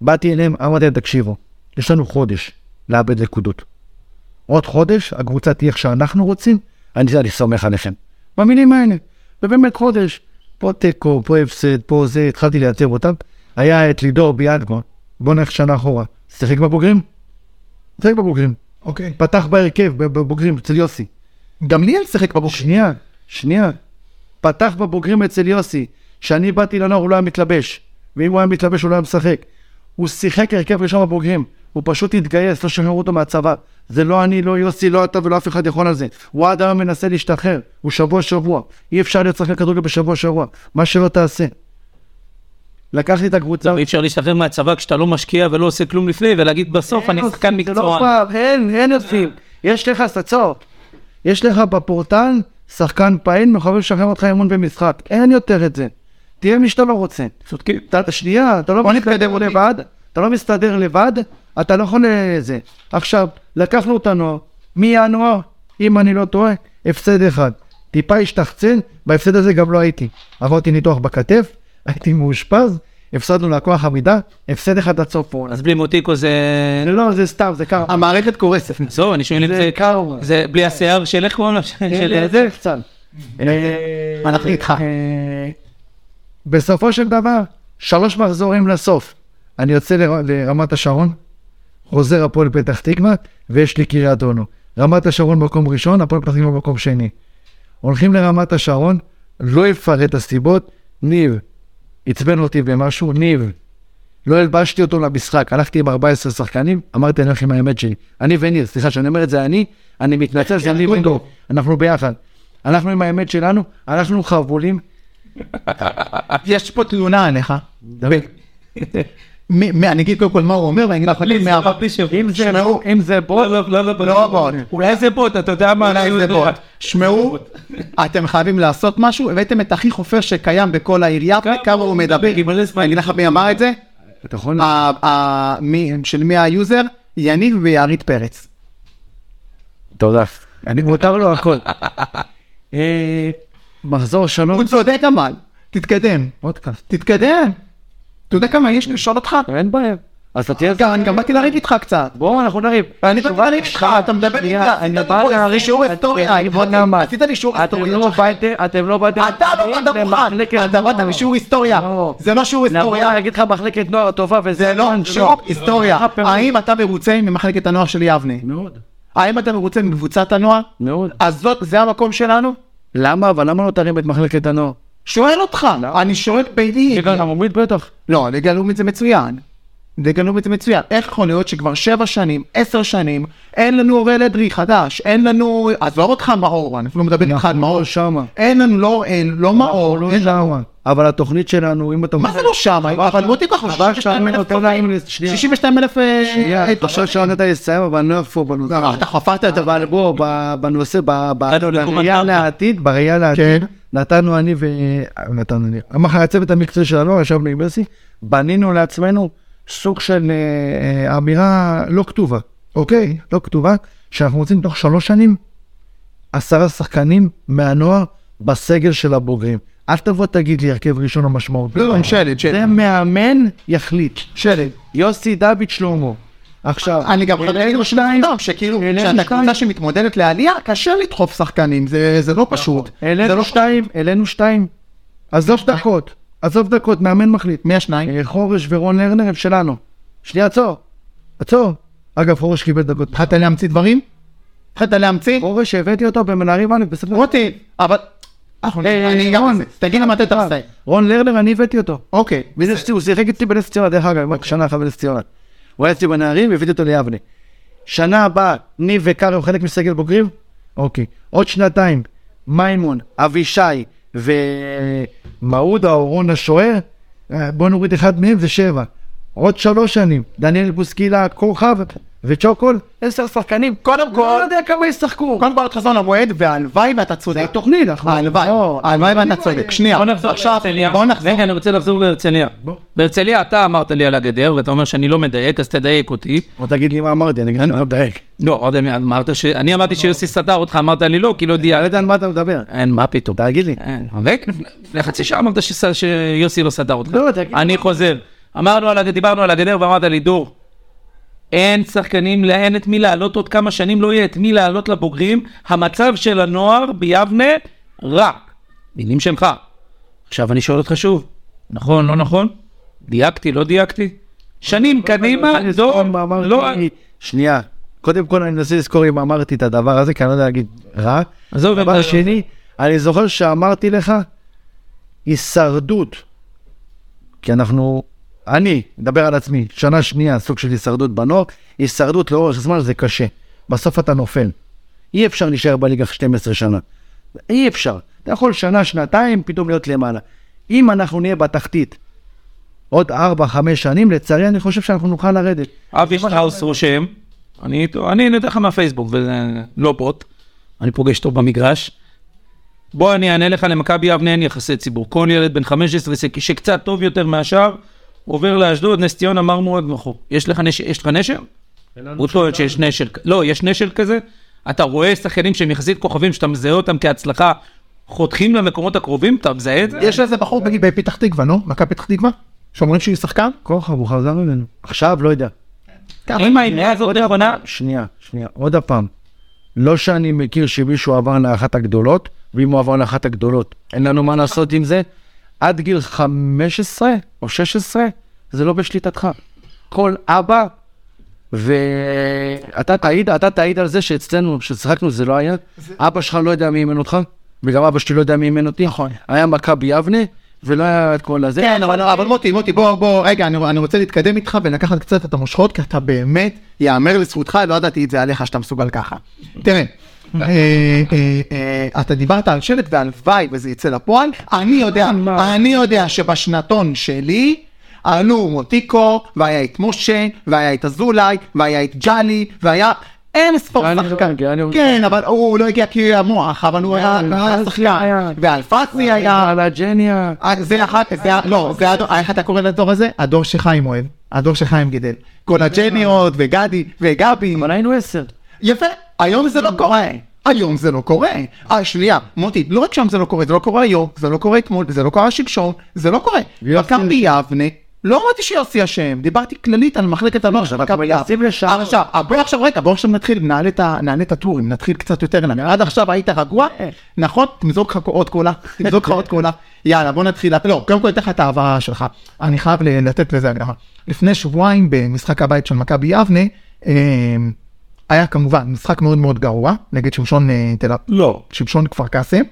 B: באתי אליהם, אמרתי להם, תקשיבו, יש לנו חודש לאבד נקודות. עוד חודש, הקבוצה תהיה איך שאנחנו רוצים, אני, אני סומך עליכם. במילים האלה, ובאמת חודש, פה תיקו, פה הפסד, פה זה, התחלתי לייצב אותם. היה את לידור ביאדגו, בוא נלך שנה אחורה. שיחק בבוגרים? שיחק בבוגרים.
A: אוקיי.
B: פתח בהרכב, בבוגרים, אצל יוסי.
A: גם ליאל שיחק בבוקר.
B: שנייה, שנייה. פתח בבוגרים אצל יוסי. כשאני באתי לנוער הוא לא היה מתלבש. ואם הוא היה מתלבש הוא לא היה משחק. הוא שיחק הרכב ראשון בבוגרים. הוא פשוט התגייס, לא שחררו אותו מהצבא. זה לא אני, לא יוסי, לא אתה ולא אף אחד יכול על זה. הוא עד היום מנסה להשתחרר. הוא שבוע שבוע. אי אפשר להיות שחקן כדורגל בשבוע שבוע. מה שלא תעשה. לקחתי את הקבוצה.
C: אי אפשר להשתחרר מהצבא כשאתה לא משקיע ולא עושה כלום לפני, ולהגיד בסוף אני שחקן
B: זה לא
C: מקצוען.
B: פעם, אין, אין יוצאים. יש לך סצור. יש לך בפורטל שחקן פעיל, מחויב לשחרר אותך אמון במשחק. אין יותר את זה. תהיה מי שאתה לא רוצה.
C: צודקים.
B: אתה, שנייה, אתה לא
A: בוא
B: מסתדר
A: נתקדם.
B: לבד, אתה לא מסתדר לבד, אתה לא יכול לזה. עכשיו, לקחנו את הנוער, מינואר, אם אני לא טועה, הפסד אחד. טיפה השתחצן, בהפסד הזה גם לא הייתי. עברתי ניתוח בכתף, הייתי מאושפז, הפסדנו לכוח עמידה, הפסד אחד עד סוף העונה.
C: אז בלי מוטיקו זה...
B: לא, זה סתם, זה ככה.
A: המערכת קורסת.
C: עזוב, אני שואל אם
B: זה
C: זה...
B: קרמה. כן,
C: זה בלי השיער של איך קוראים לו? של
B: זה אה, יחצן.
A: אנחנו איתך.
B: בסופו של דבר, שלוש מחזורים לסוף. אני יוצא לר- לרמת השרון, חוזר הפועל פתח תקווה, ויש לי קריית אונו. רמת השרון מקום ראשון, הפועל פתח תקווה מקום שני. הולכים לרמת השרון, לא אפרט הסיבות, ניב עצבן אותי במשהו, ניב. לא הלבשתי אותו למשחק, הלכתי עם 14 שחקנים, אמרתי אני הולך עם האמת שלי. אני וניר, סליחה שאני אומר את זה אני, אני מתנצל, זה אני וניר, אנחנו ביחד. אנחנו עם האמת שלנו, אנחנו חבולים,
A: יש פה תלונה עליך. מ- מ- אני אגיד קודם כל מה הוא אומר ואני אגיד לך מה-
C: אם לא- זה...
A: שמעו,
B: אם זה בוא,
C: לא, לא, לא,
A: לא בוט.
C: אולי זה בוט, אתה יודע מה?
A: אולי זה בוט. שמעו, אתם חייבים לעשות משהו, הבאתם את הכי חופר שקיים בכל העירייה, וכמה הוא מדבר.
C: עם מלא זמן.
A: אני אגיד לך מי אמר את זה?
B: אתה יכול...
A: ה- ה- מי- של מי היוזר? יניב ויערית פרץ.
B: תודה. אני מותר לו הכל. אה, מחזור שלום,
A: הוא צודק אבל, תתקדם,
B: פודקאסט,
A: תתקדם. אתה יודע כמה יש לי לשאול אותך?
C: אה.
B: אין בעיה. אז אתה תהיה...
A: גם- אני גם באתי לריב איתך קצת.
B: בוא, אנחנו נריב.
A: אני באתי לריב איתך, אתה מדבר איתך.
B: שנייה, אני בא להריב.
A: שיעור היסטוריה,
B: אני בוא נעמד.
A: עשית לי שיעור
B: אתם
A: היסטוריה.
B: לא באתם, אתם לא באתם.
A: אתה לא באת מוכן, אתה לא באת משיעור היסטוריה.
B: לא.
A: זה לא שיעור
B: לבוא
A: היסטוריה.
B: להגיד לך מחלקת נוער טובה וזה... נכון,
A: זה לא שיעור היסטוריה.
B: אה, פירוט.
A: האם אתה מרוצה ממחלקת הנוער של יבנה?
B: מאוד.
A: האם אתה מרוצה מקבוצת הנוער?
B: מאוד.
A: אז זאת, זה המקום שלנו?
B: למה? אבל למה לא תרים את מחלקת הנוער?
A: לא. שואל אותך, אני שואל ביני.
B: ליגה לאומית בטח.
A: לא, ליגה לאומית זה מצוין. גנוב את זה מצוין. איך יכול להיות שכבר שבע שנים, עשר שנים, אין לנו אוראל אדרי חדש, אין לנו, עזוב אותך מאור, אני אפילו מדבר איתך על מאור.
B: לא, שמה.
A: אין לנו לא אוראל, נכון. לא מאור, אין-
B: אבל התוכנית שלנו, אם אתה...
A: מה זה לא שמה? אבל מוטי כחלון,
B: אבל שם נותן להם...
A: 62 אלף... אה,
B: עכשיו שנתת לי לסיים, אבל אני לא איפה בנושא.
A: אתה חפרת את
B: אבל בוא, ב- בנושא, ב- ב-
C: באנו
B: בראייה
C: לקומנדרטה.
B: לעתיד, בראייה לעתיד, נתנו אני ו... כן. נתנו אני. המחר הצוות המקצועי שלנו, ישבנו עם יוסי, בנינו לעצמנו סוג של אה, אה, אמירה לא כתובה, אוקיי? לא כתובה, שאנחנו רוצים תוך שלוש שנים עשרה שחקנים מהנוער בסגל של הבוגרים. אל תבוא תגיד לי הרכב ראשון המשמעותי.
A: לא, עם שלד, שלד.
B: זה מאמן יחליט.
A: שלד.
B: יוסי דוד שלמה. עכשיו,
A: אני גם חייב להגיד לו שניים, טוב, שכאילו, כשאתה קבוצה שמתמודדת לעלייה, קשה לדחוף שחקנים, זה זה לא פשוט. זה לא
B: העלינו שתיים, העלינו שתיים. עזוב דקות, עזוב דקות, מאמן מחליט.
A: מי השניים?
B: אה, חורש ורון לרנר הם שלנו. שנייה, עצור. עצור. אגב, חורש קיבל דקות.
A: התחלת להמציא דברים? התחלת להמציא?
B: חורש, הבאתי אותו במנערים א' אה, בספר.
A: רותי, אבל... אנחנו- נכון. אה, אני גם... אה, תגיד למה אתה תעשה.
B: רון לרנר, אני הבאתי אותו.
A: אוקיי.
B: בנס ציונה, הוא שיחק איתי בנס ציונה, דרך אגב, שנה אחת בנס ציונה. הוא היה אצלי בנערים, הבאתי אותו ליבנה. שנה הבאה, ניב וקארי הוא חלק מסגל בוגרים? אוקיי. עוד שנתיים, מימון, אבישי ומעודה או רון השוער, אה, בוא נוריד אחד מהם, זה שבע. עוד שלוש שנים, דניאל בוסקילה, כוכב וצ'וקול, עשר שחקנים.
A: קודם כל-
B: לא יודע כמה ישחקו.
A: קודם כל את חזון המועד, והלוואי ואתה צודק. זה תוכנית. הלוואי, הלוואי ואתה צודק. שנייה,
C: בוא נחזור
A: עכשיו,
C: להרצליה.
A: בוא נחזור.
C: רגע, אני רוצה לחזור להרצליה. בהרצליה אתה אמרת לי על הגדר, ואתה אומר שאני לא מדייק, אז תדייק אותי.
B: בוא תגיד לי מה אמרתי, אני גם לא מדייק.
C: לא, עוד אמרת ש... אני אמרתי
A: לא.
C: שיוסי סתר אותך, אמרת לי לא, כי לא דייקת.
B: לא יודע על מה אתה מדבר.
C: אין, מה פתאום.
B: תגיד לי.
C: אין, רגע, לפני- לפני חצי שעה אמרת שס- שיוסי לא סדר אותך.
B: לא, תגיד.
C: אני חוזר. אמרנו על הגדר, דיברנו על הגדר ואמרת לי, דור, אין שחקנים, לא- אין את מי לעלות עוד כמה שנים, לא יהיה את מי לעלות לבוגרים. המצב של הנוער ביבנה, רע. מילים שלך. עכשיו אני שואל אותך שוב, נכון, לא נכון? דייקתי, לא דייקתי? שנים קדימה, דור, לא...
B: שנייה, קודם כל אני מנסה לזכור אם אמרתי את הדבר הזה, כי אני לא יודע להגיד רע.
C: עזוב,
B: דבר
C: אתה-
B: שני, אני זוכר שאמרתי לך, הישרדות. כי אנחנו, אני, מדבר על עצמי, שנה שנייה, סוג של הישרדות בנוער, הישרדות לאורך זמן זה קשה. בסוף אתה נופל. אי אפשר להישאר בליגה 12 שנה. אי אפשר. אתה יכול שנה, שנתיים, פתאום להיות למעלה. אם אנחנו נהיה בתחתית עוד 4-5 שנים, לצערי אני חושב שאנחנו נוכל לרדת.
C: אבי שטראוס רושם, אני איתו, אני נותן לך מהפייסבוק, וזה לא בוט, אני פוגש אותו במגרש. בוא אני אענה לך, למכבי יבנה אין יחסי ציבור. כל ילד בן 15 ש- שקצת טוב יותר מהשאר, עובר לאשדוד, נס ציונה, מרמורג מכור. יש לך נשר? יש לך נשר? הוא טוען שיש נשר, כ- לא, יש נשר כזה. אתה רואה שחקנים שהם יחסית כוכבים, שאתה מזהה אותם כהצלחה, חותכים למקומות הקרובים, אתה מזהה את זה?
A: יש איזה בחור בגיל- בפתח תקווה, נו? מכבי פתח תקווה? שאומרים שהוא שחקן?
B: כוכב, הוא חזר אלינו. עכשיו, לא יודע.
C: אם העניין הזאת נכונה,
B: שנייה, שנייה, עוד פעם. לא שאני מכיר שמישהו עבר לאחת הגדולות, ואם הוא עבר לאחת הגדולות, אין לנו מה לעשות עם זה. עד גיל 15 או 16, זה לא בשליטתך. כל אבא, ואתה תעיד, אתה תעיד על זה שאצלנו, ששיחקנו, זה לא היה. אבא שלך לא יודע מי אימן אותך, וגם אבא שלי לא יודע מי אימן אותי. נכון. היה מכבי יבנה, ולא היה את כל הזה.
A: כן, אבל אבל מוטי, מוטי, בוא, בוא, רגע, אני אני רוצה להתקדם איתך ולקחת קצת את המושכות, כי אתה באמת, יאמר לזכותך, לא ידעתי את זה עליך שאתה מסוגל ככה. תראה, אה, אה, אה, אתה דיברת על שלט והלוואי וזה יצא לפועל, אני יודע, אני יודע שבשנתון שלי, עלו מוטיקו, והיה את משה, והיה את אזולאי, והיה את ג'אלי, והיה... אין ספור
B: ג'אלי לא
A: שחקן,
B: הגיע, אני-
A: כן, אבל הוא לא הגיע כי הוא היה מוח, אבל הוא היה היה שחקן,
B: היה.
A: ואלפסי היה,
B: על הג'ניה.
A: אה, זה אחת, זה ה- לא, זה הדור, איך אתה קורא לדור הזה? הדור שחיים אוהב, הדור שחיים גידל. כל הג'ניות וגדי וגבי.
B: אבל היינו עשר.
A: יפה, היום זה לא קורה. היום זה לא קורה. אה, שנייה, מוטי, לא רק שם זה לא קורה, זה לא קורה היום, זה לא קורה אתמול, זה לא קרה שלשום, זה לא קורה.
B: ויוסי-
A: מכבי יבנה, לא אמרתי שיוסי אשם, דיברתי כללית על מחלקת הנוער של מכבי
B: מנסים
A: יבנה.
B: לשנות.
A: עכשיו, אה, בוא עכשיו, רגע, בוא עכשיו נתחיל, נעלה את ה- נעלה את הטורים, נתחיל קצת יותר, נעלה. עד עכשיו היית רגוע, נכון? תמזוג לך עוד קולה, תמזוג לך עוד קולה. יאללה, בוא נתחיל, לא, קודם כל אתן לך את ההעברה שלך. אני חייב ל- לתת לזה הגדרה. לפני שבועיים במשחק הבית של מכבי יבנה, אה, היה כמובן משחק מאוד מאוד גרוע נגד שמשון אה, תל אביב,
C: לא.
A: שמשון כפר קאסם.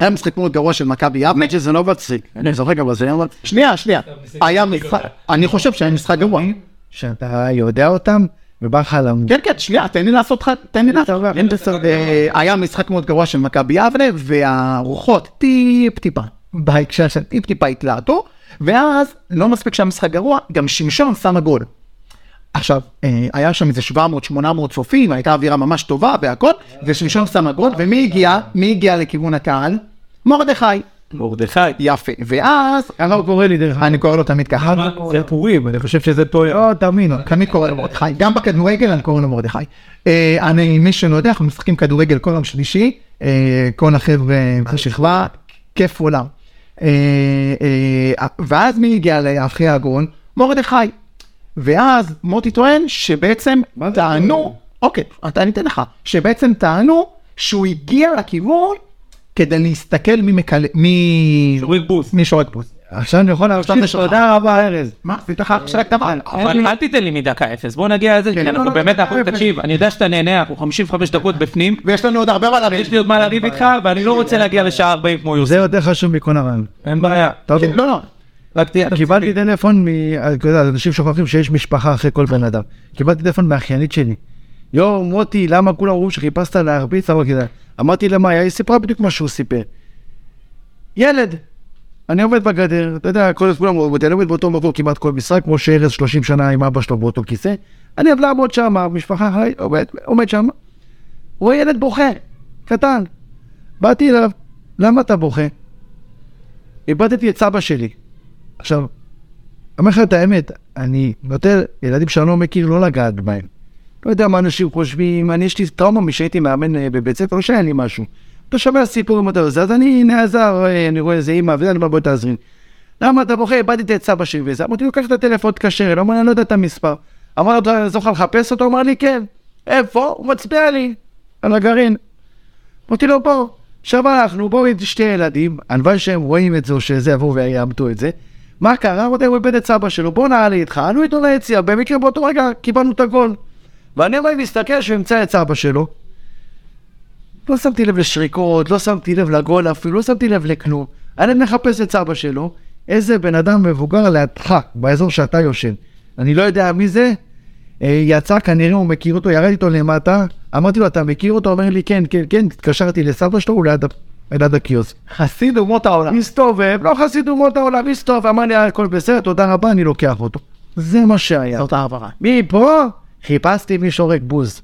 A: היה משחק מאוד גרוע של מכבי יבנה.
H: האמת שזה לא מצחיק, אני זוכר אבל זה היה לא- מצחיק.
A: שנייה, שנייה. היה משחק, אני חושב שהיה משחק גרוע.
B: שאתה יודע אותם, ובא לך למות.
A: כן, כן, שנייה, תן לי לעשות לך, תן לי לעשות. אין בסדר. אה, היה משחק מאוד גרוע של מכבי יבנה, והרוחות טיפ-טיפה, בהקשר של טיפ-טיפה התלהטו, ואז לא מספיק שהיה משחק גרוע, גם שמשון שם הגול. עכשיו, אה, היה שם איזה 700-800 צופים, הייתה אווירה ממש טובה והכל, ושמשון שם הגול, ומי הגיע? מי הגיע לכיוון הקהל? מרדכי.
C: מרדכי.
A: יפה. ואז,
B: ככה הוא לא קורא לי דרך אגב.
A: אני קורא לו תמיד ככה.
B: זה פורים, אני חושב שזה פה...
A: לא, תאמין, תמיד קורא לו מרדכי, גם בכדורגל אני קורא לו מרדכי. אה, אני, מי שלא יודע, אנחנו משחקים כדורגל כל יום שלישי, אה, כל החבר'ה בשכבה, כיף עולם. אה, אה, ואז מי הגיע לאחרי הגון? מרדכי. ואז מוטי טוען שבעצם טענו, אוקיי, אתה- אני אתן לך, שבעצם טענו שהוא הגיע לכיוון כדי להסתכל מי מקל... מי...
C: שורק בוס.
A: מי שורק בוס.
B: עכשיו אני יכול
A: זה
B: להמשיך,
A: שלך.
B: תודה רבה ארז.
A: מה, עשית לך
C: אה,
A: עכשיו הקדמה?
C: אבל אל תיתן לי מדקה אפס, בוא נגיע לזה, כי אנחנו באמת, אנחנו- תקשיב, אני יודע שאתה נהנה, אנחנו 55 דקות בפנים,
A: ויש לנו עוד הרבה מה לריב.
C: אה, יש לי עוד מה לריב איתך, ואני לא רוצה להגיע לשעה 40 כמו
B: זה
C: יוסי.
B: יותר חשוב מכל הרעיון.
C: אין בעיה.
B: טוב.
A: לא, לא.
C: רק תהיה...
B: קיבלתי טלפון מ... אה, אתה יודע, אנשים שוכחים שיש משפחה אחרי כל בן אדם. קיבלתי טלפון מהאחיינית שלי. יואו, מוטי, למה כולם אמרו שחיפשת להרביץ? אבל כדאי. אמרתי לה, מה, היא סיפרה בדיוק מה שהוא סיפר. ילד, אני עובד בגדר, אתה יודע, כל כולם, אני עובד באותו מבוא כמעט כל משחק, כמו שארז 30 שנה עם אבא שלו באותו כיסא. אני אוהב לעמוד שם, המשפחה אחריי, עומד, עומד שם. רואה ילד בוכה, קטן. באתי אליו, למה אתה בוכה? איבדתי את סבא שלי. עכשיו, אני אומר לך את האמת, אני נוטה ילדים שאני לא מכיר לא לגעת בהם. לא יודע מה אנשים חושבים, אני יש לי טראומה משהייתי מאמן אה, בבית ספר, לא שהיה לי משהו. אתה שומע סיפורים אתה עושה, אז אני נעזר, אה, אני רואה איזה אימא, וזה, אני אומר בוא תעזרי. למה אתה בוכה? איבדתי את סבא שלי וזה. אמרתי לו, קח את הטלפון, תקשר, אליו." הוא אמר, אני לא יודע את המספר. אמר לו, "אתה זוכר לחפש אותו? הוא אמר לי, כן. איפה? הוא מצביע לי, על הגרעין. אמרתי לו, בוא, עכשיו הלכנו, בואו עם שתי ילדים, הלוואי שהם רואים את זה או שזה יבואו ויעמתו את זה. מה קרה? אמרתי, הוא איבד את סבא שלו, בוא נעלה איתך, עלו איתו ליציאה, במקרה באותו רגע קיבלנו את הגול. ואני רואה, מסתכל שהוא ימצא את סבא שלו. לא שמתי לב לשריקות, לא שמתי לב לגול אפילו, לא שמתי לב לכלום. הילד מחפש את סבא שלו, איזה בן אדם מבוגר לידך, באזור שאתה יושן. אני לא יודע מי זה, אה, יצא, כנראה הוא מכיר אותו, ירד איתו למטה, אמרתי לו, אתה מכיר אותו? אומר לי, כן, כן, כן, התקשרתי לסבא שלו, הוא ליד, ה- ליד הקיוסק.
A: חסיד אומות העולם.
B: מסתובב, לא חסיד אומות העולם, מסתובב, אמר לי, "אה, הכל בסדר, תודה רבה, אני לוקח אותו. זה מה שהיה.
A: זאת העברה.
B: מפה חיפשתי מי שורק בוז.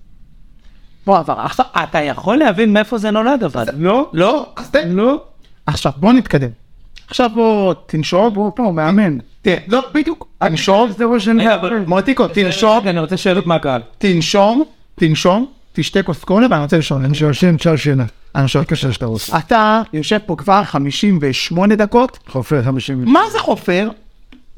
A: בוא העברה. עכשיו,
C: אתה יכול להבין מאיפה זה נולד אבל.
A: לא, לא, אז תן, לא. עכשיו בוא נתקדם. עכשיו בוא תנשום, בוא פה, מאמן. תראה, לא, בדיוק. תנשום, זה ראש
C: רגע, כן, אבל-
A: מוטיקו, תנשום,
C: רגע, אני רוצה שאלות מהקהל.
A: תנשום, תנשום, תשתה כוס קולה ואני רוצה לשאול.
B: אני שיושן צ'ר שינה. אני שואל קשה שאתה עושה.
A: אתה יושב פה כבר 58 דקות,
B: חופר 50 מיליון.
A: מה זה חופר?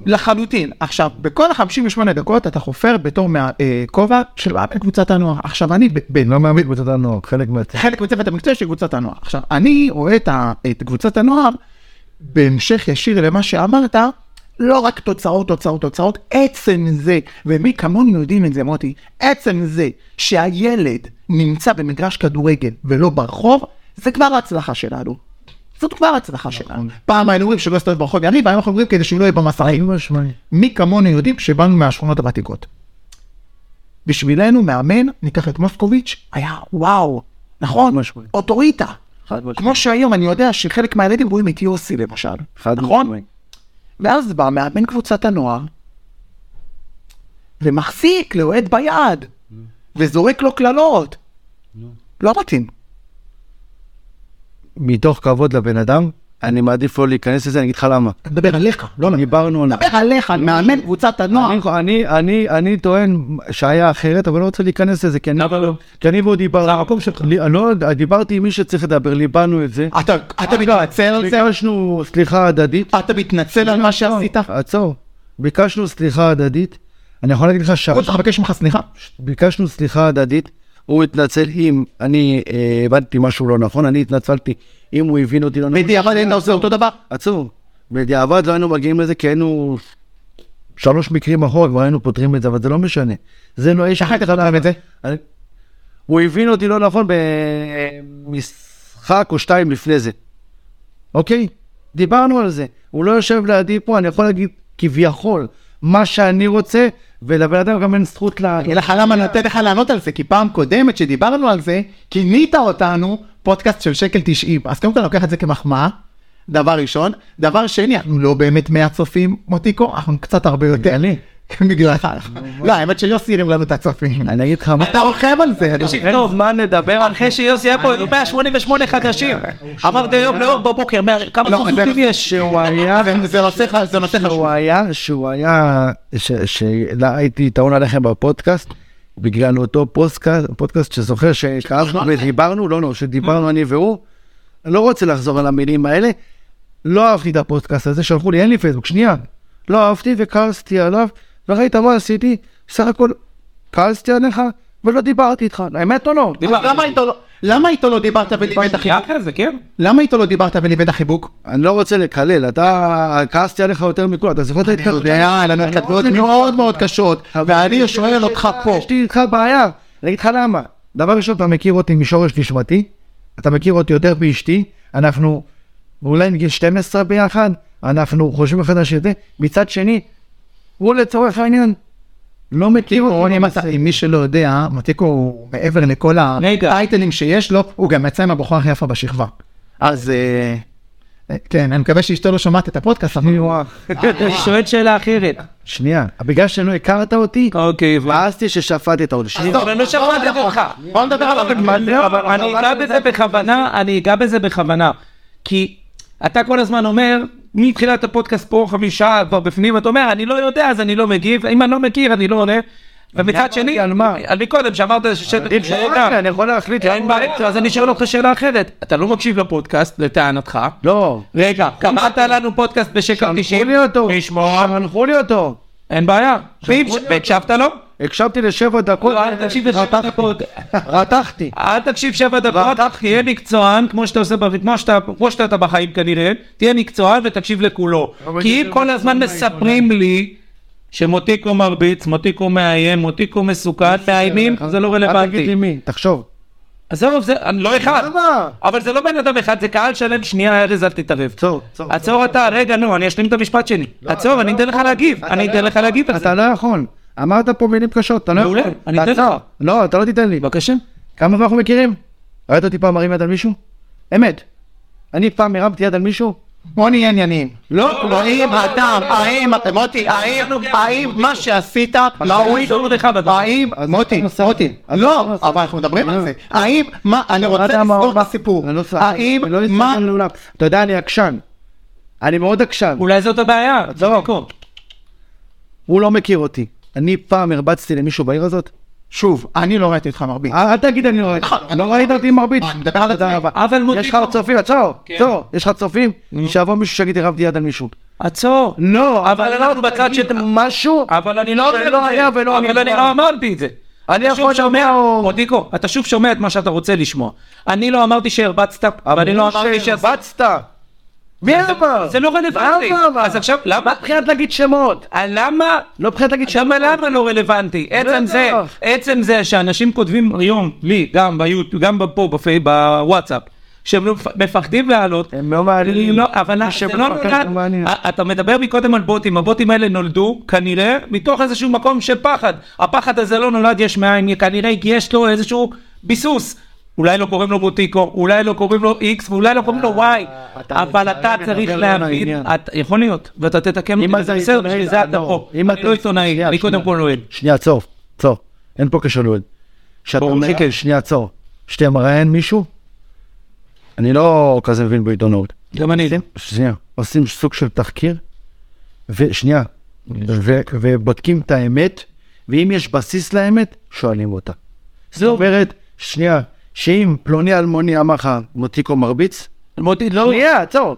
A: לחלוטין. עכשיו, בכל ה-58 דקות אתה חופר בתור מהכובע של מאמן קבוצת הנוער. עכשיו אני, ב- ב-
B: לא מאמין בצד הנוער, חלק מה...
A: חלק מצוות המקצוע של קבוצת הנוער. עכשיו, אני רואה את, ה, את קבוצת הנוער בהמשך ישיר למה שאמרת, לא רק תוצאות, תוצאות, תוצאות, עצם זה, ומי כמונו יודעים את זה, מוטי, עצם זה שהילד נמצא במגרש כדורגל ולא ברחוב, זה כבר ההצלחה שלנו. זאת כבר ההצלחה שלנו. פעם היינו אומרים שלא יסתובב ברחוב יריב, והיום אנחנו אומרים כדי שהוא לא יהיה במסעים.
B: משמעי.
A: מי כמונו יודעים שבאנו מהשכונות הוותיקות. בשבילנו מאמן, ניקח את מוסקוביץ', היה וואו, נכון?
B: משמעית.
A: אוטוריטה.
B: חד משמעית.
A: כמו שהיום אני יודע שחלק מהילדים רואים את יוסי למשל,
B: חד
A: נכון?
B: משמעי.
A: ואז בא מאמן קבוצת הנוער, ומחזיק לאוהד ביד, וזורק לו קללות. לא מתאים.
B: מתוך כבוד לבן אדם, אני מעדיף לא להיכנס לזה, אני אגיד לך למה.
A: אני מדבר עליך, לא על... אני
B: דיברנו על...
A: מדבר עליך, על מאמן קבוצת הנוער.
B: אני- אני, אני, אני טוען שהיה אחרת, אבל לא רוצה להיכנס לזה, כי אני...
C: למה לא?
B: כי אני והוא דיברנו...
C: זה המקום שלך.
B: לי- אני לא יודע, דיברתי עם מי שצריך לדבר, ליבנו את זה.
A: אתה אתה מתנצל על זה?
B: ביקשנו סליחה הדדית.
A: אתה מתנצל על מה שעשית?
B: עצור. ביקשנו סליחה הדדית. אני יכול להגיד לך ש...
A: הוא צריך לבקש ממך סליחה.
B: ביקשנו סליחה הדדית. הוא התנצל אם אני אה, הבנתי משהו לא נכון, אני התנצלתי אם הוא הבין אותי לא נכון.
A: בדיעבד אין עושה אותו דבר.
B: עצור. בדיעבד לא היינו מגיעים לזה כי היינו שלוש מקרים אחורה, כבר היינו פותרים את זה, אבל זה לא משנה. זה לא, יש...
A: איך היית חושב את זה?
B: אני- הוא הבין אותי לא נכון במשחק או שתיים לפני זה. אוקיי? דיברנו על זה. הוא לא יושב לידי פה, אני יכול להגיד כביכול מה שאני רוצה, ולבן אדם גם אין זכות ל...
A: אני אגיד לך למה אני נותן לך לענות על זה, כי פעם קודמת שדיברנו על זה, כינית אותנו פודקאסט של שקל 90. אז קודם כל אני לוקח את זה כמחמאה, דבר ראשון. דבר שני, אנחנו לא באמת 100 צופים, מוטיקו, אנחנו קצת הרבה יותר. בגללי. בגללך. לא, האמת שיוסי הרים לנו את הצופים.
B: אני אגיד לך מה...
A: אתה רוכב על
B: לא,
A: זה. אני-
C: תקשיב, טוב, מה נדבר על אחרי שיוסי היה פה, היו 188 חדשים. אמרת היום לאור בבוקר, מאה- כמה
A: לא,
C: סוסים
A: זה-
C: יש?
B: שהוא היה...
A: זה- זה נושא ח- זה נושא
B: שהוא
A: חשוב.
B: היה, שהוא היה, שלה הייתי יתרון עליכם בפודקאסט, בגלל אותו פוסטקאסט, פודקאסט שזוכר שכאבנו ודיברנו, לא, לא, שדיברנו אני והוא, אני לא רוצה לחזור על המילים האלה, לא אהבתי את הפודקאסט הזה, שלחו לי, אין לי פייסבוק, שנייה, לא אהבתי וכעסתי עליו, וראית מה עשיתי, סך הכל כעסתי עליך ולא דיברתי איתך, האמת או לא?
A: אז למה איתו לא- למה איתו לא דיברת וליווית
C: היה
A: החיבוק?
C: כזה, כן.
A: למה איתו לא דיברת וליווית החיבוק?
B: אני לא רוצה לקלל, אתה, כעסתי עליך יותר מכולם, אתה זוכר את
A: אתה
B: ההתקרבות?
A: יודע, לנו התכתבויות מאוד מאוד קשות, ואני שואל אותך פה.
B: יש לי איתך בעיה, אני אגיד לך למה. דבר ראשון, אתה מכיר אותי משורש נשמתי, אתה מכיר אותי יותר מאשתי, אנחנו אולי מגיל 12 ביחד, אנחנו חושבים אחד על השני, מצד שני, הוא לצורך העניין, לא מכיר
A: תראו,
B: אותי.
A: רוני מטה, אם מי שלא יודע, מתיקו הוא מעבר לכל
C: רגע.
A: הטייטלים שיש לו, הוא גם יצא עם הבחורה הכי יפה בשכבה. אז אה, אה, כן, אני מקווה שאשתו לא שומעת את הפודקאסט. אבל-
C: אני שואל שאלה אחרת.
B: שנייה, בגלל שלא הכרת אותי, אה,
C: אוקיי,
B: כעסתי ששפטת אותי. שנייה.
C: אבל לא שמעתי
B: נכון.
C: אותך.
A: בוא נדבר על
C: אבל לא, אני אגע בזה בכוונה, אני אגע בזה בכוונה. כי אתה כל הזמן אומר, מתחילת הפודקאסט פה חמישה כבר בפנים, אתה אומר, אני לא יודע אז אני לא מגיב, אם אני לא מכיר אני לא עונה. ומצד שני,
B: על מה?
C: אני קודם שאמרת ששטח שאלה,
B: אני לא- יכול להחליט.
C: אין בעיה, אז אני שואל אותך שאלה אחרת. אתה לא מקשיב לפודקאסט, לטענתך.
B: לא.
C: רגע, קראת לנו פודקאסט בשקל 90.
B: שלחו לי אותו.
C: תשמע.
B: שלחו לי אותו.
C: אין בעיה. והקשבת לו?
B: הקשבתי לשבע דקות.
C: לא, אל תקשיב לשבע דקות.
B: רתחתי.
C: אל תקשיב שבע דקות, תהיה מקצוען, כמו שאתה עושה, ב- כמו שאתה, כמו שאתה בחיים כנראה, תהיה מקצוען ותקשיב לכולו. כי אם כל הזמן מספרים לי שמותיקו מרביץ, מותיקו מאיים, מותיקו מסוכן, מאיימים, זה לא
B: אל תגיד לי
C: רלוונטי.
B: מי, תחשוב.
C: עזוב, זה אני לא אחד. אבל זה לא בן אדם אחד, זה קהל שלם. שנייה, ארז, אל תתערב.
B: עצור, עצור.
C: עצור אתה, רגע, נו, אני אשלים את המשפט שלי.
B: לא,
C: עצור, אני אתן לך להגיב. אני אתן לך להגיב על זה.
B: אתה לא יכול. אמרת פה מילים קשות, אתה לא יכול.
C: מעולה, אני אתן לך.
B: תעצור. לא, אתה לא תיתן לי.
C: בבקשה.
B: כמה זמן אנחנו מכירים? ראית אותי פעם מרים יד על מישהו? אמת. אני פעם הרמתי יד על מישהו?
A: בוא נהיה ענייניים.
B: לא.
A: האם אדם, האם, מוטי, האם, האם מה שעשית, ראוי,
C: אסור לא, לך בדבר.
A: האם, מוטי, מוטי, לא, אבל אנחנו מדברים על זה, האם, מה, אני רוצה
B: אתה אמר-
A: לסגור את הסיפור,
B: אני לא צוחק.
A: האם,
B: אני לא
A: מה,
B: אסתכל לעולם. אתה יודע, אני עקשן. אני מאוד עקשן.
C: אולי זאת הבעיה. תבדקו.
B: הוא לא מכיר אותי. אני פעם הרבצתי למישהו בעיר הזאת?
A: שוב, אני לא ראיתי אותך מרביץ.
B: אה, אל תגיד אני לא ראיתי.
C: נכון,
B: לא ראית אותי מרביץ.
A: אני מדבר על
B: תודה
A: זה.
B: רבה.
C: אבל כן.
B: יש לך
C: מותיקו.
B: עוד צופים? עצור. עצור. יש לך עוד צופים? שיבוא מישהו שיגיד הרמתי יד על מישהו.
C: עצור.
B: לא,
C: אבל אנחנו בצד
B: תגיד
C: של-
B: משהו,
C: אבל אני לא אומר את
B: שלא
C: זה.
B: היה ולא
C: אבל
B: נברא.
C: אני לא אמרתי את זה.
B: אני
C: אתה שוב
B: יכול
C: שומע,
B: לומר-
C: מודיקו, אתה שוב שומע את מה שאתה רוצה לשמוע. אני לא אמרתי שהרבצת, ואני לא אמרתי שעשית.
B: שהרבצת. מי אמר?
C: זה לא רלוונטי.
B: למה אבל?
C: אז עכשיו, למה?
B: מבחינת לא להגיד שמות.
C: אה, למה?
B: לא מבחינת להגיד שמות.
C: למה למה לא רלוונטי? עצם
B: בטח.
C: זה, עצם זה שאנשים כותבים היום, לי, גם ביוטיוב, גם פה, בפי- בוואטסאפ, שהם לא- מפחדים לעלות,
B: הם לא מעניינים.
C: לא, אבל זה
B: שמפחד
C: לא
B: לא מעניין.
C: נולד, א- אתה מדבר מקודם על בוטים, הבוטים האלה נולדו כנראה מתוך איזשהו מקום של פחד, הפחד הזה לא נולד יש מאין, כנראה כי יש לו איזשהו ביסוס, אולי לא קוראים לו בוטיקו, אולי לא קוראים לו איקס, ואולי לא קוראים לו
B: אה,
C: וואי, אבל אתה צריך
B: מדבר לא
C: להבין,
B: לעניין.
C: אתה- יכול להיות, ואתה תתקן
B: אם אתה
C: אותי, זה בסדר,
B: עיתונאי,
C: בשביל זה אתה
B: לא.
C: פה,
B: אם
C: אני
B: אתה-
C: לא עיתונאי,
B: שנייה,
C: אני קודם
B: שנייה.
C: כל אוהד.
B: שנייה, עצור. עצור. אין פה קשר לאוהד. כשאתה
C: ברור
B: אומר,
C: שכן.
B: שנייה, עצור. כשאתה מראיין מישהו, אני לא כזה מבין בעיתונאות.
C: גם אני.
B: שנייה, עושים סוג של תחקיר, ושנייה, ו- ובודקים את האמת, ואם יש בסיס לאמת, שואלים אותה. זאת אומרת, שנייה, שאם פלוני אלמוני אמר לך, מותיקו מרביץ,
C: מוטי, לא,
B: שנייה, עצור.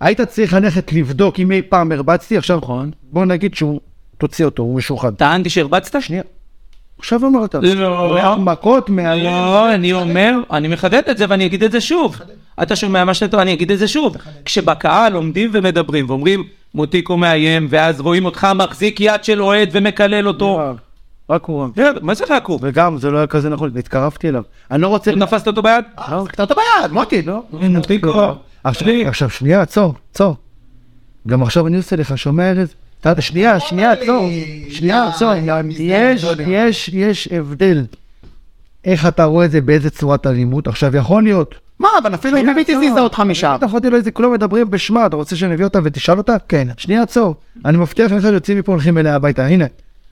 B: היית צריך ללכת לבדוק אם אי פעם הרבצתי, עכשיו נכון, בוא נגיד שהוא, תוציא אותו, הוא משוחד.
C: טענתי שהרבצת?
B: שנייה. עכשיו אמרת.
C: לא.
B: היה מכות מה...
C: לא, אני אומר, אני מחדד את זה ואני אגיד את זה שוב. אתה שומע מה שאתה טועה, אני אגיד את זה שוב. כשבקהל עומדים ומדברים ואומרים, מותיקו מאיים, ואז רואים אותך מחזיק יד של אוהד ומקלל אותו.
B: אה. רק הוא רב.
C: כן, מה זה לעקוב?
B: וגם, זה לא היה כזה נכון, התקרבתי אליו. אני לא רוצה...
C: נפסת אותו ביד? אה,
A: אז קטעת ביד, מוטי, לא?
C: מותיקו.
B: אה, עכשיו,
C: לי.
B: עכשיו שנייה, עצור, עצור. גם עכשיו אני עושה לך, שומע ארז? אתה- שנייה, שנייה, עצור. שנייה, עצור. יש, יש, יש הבדל. איך אתה רואה את זה, באיזה צורת אלימות? עכשיו, יכול להיות.
A: מה, אבל אפילו אם ביבי תזיזה אותך משם.
B: אתה יכולתי לו איזה, כולם מדברים בשמה, אתה רוצה שנביא אותה ותשאל אותה? כן. שנייה, עצור. אני מבטיח לך שיוצאים מפה, הולכים אליה הביתה, הנה.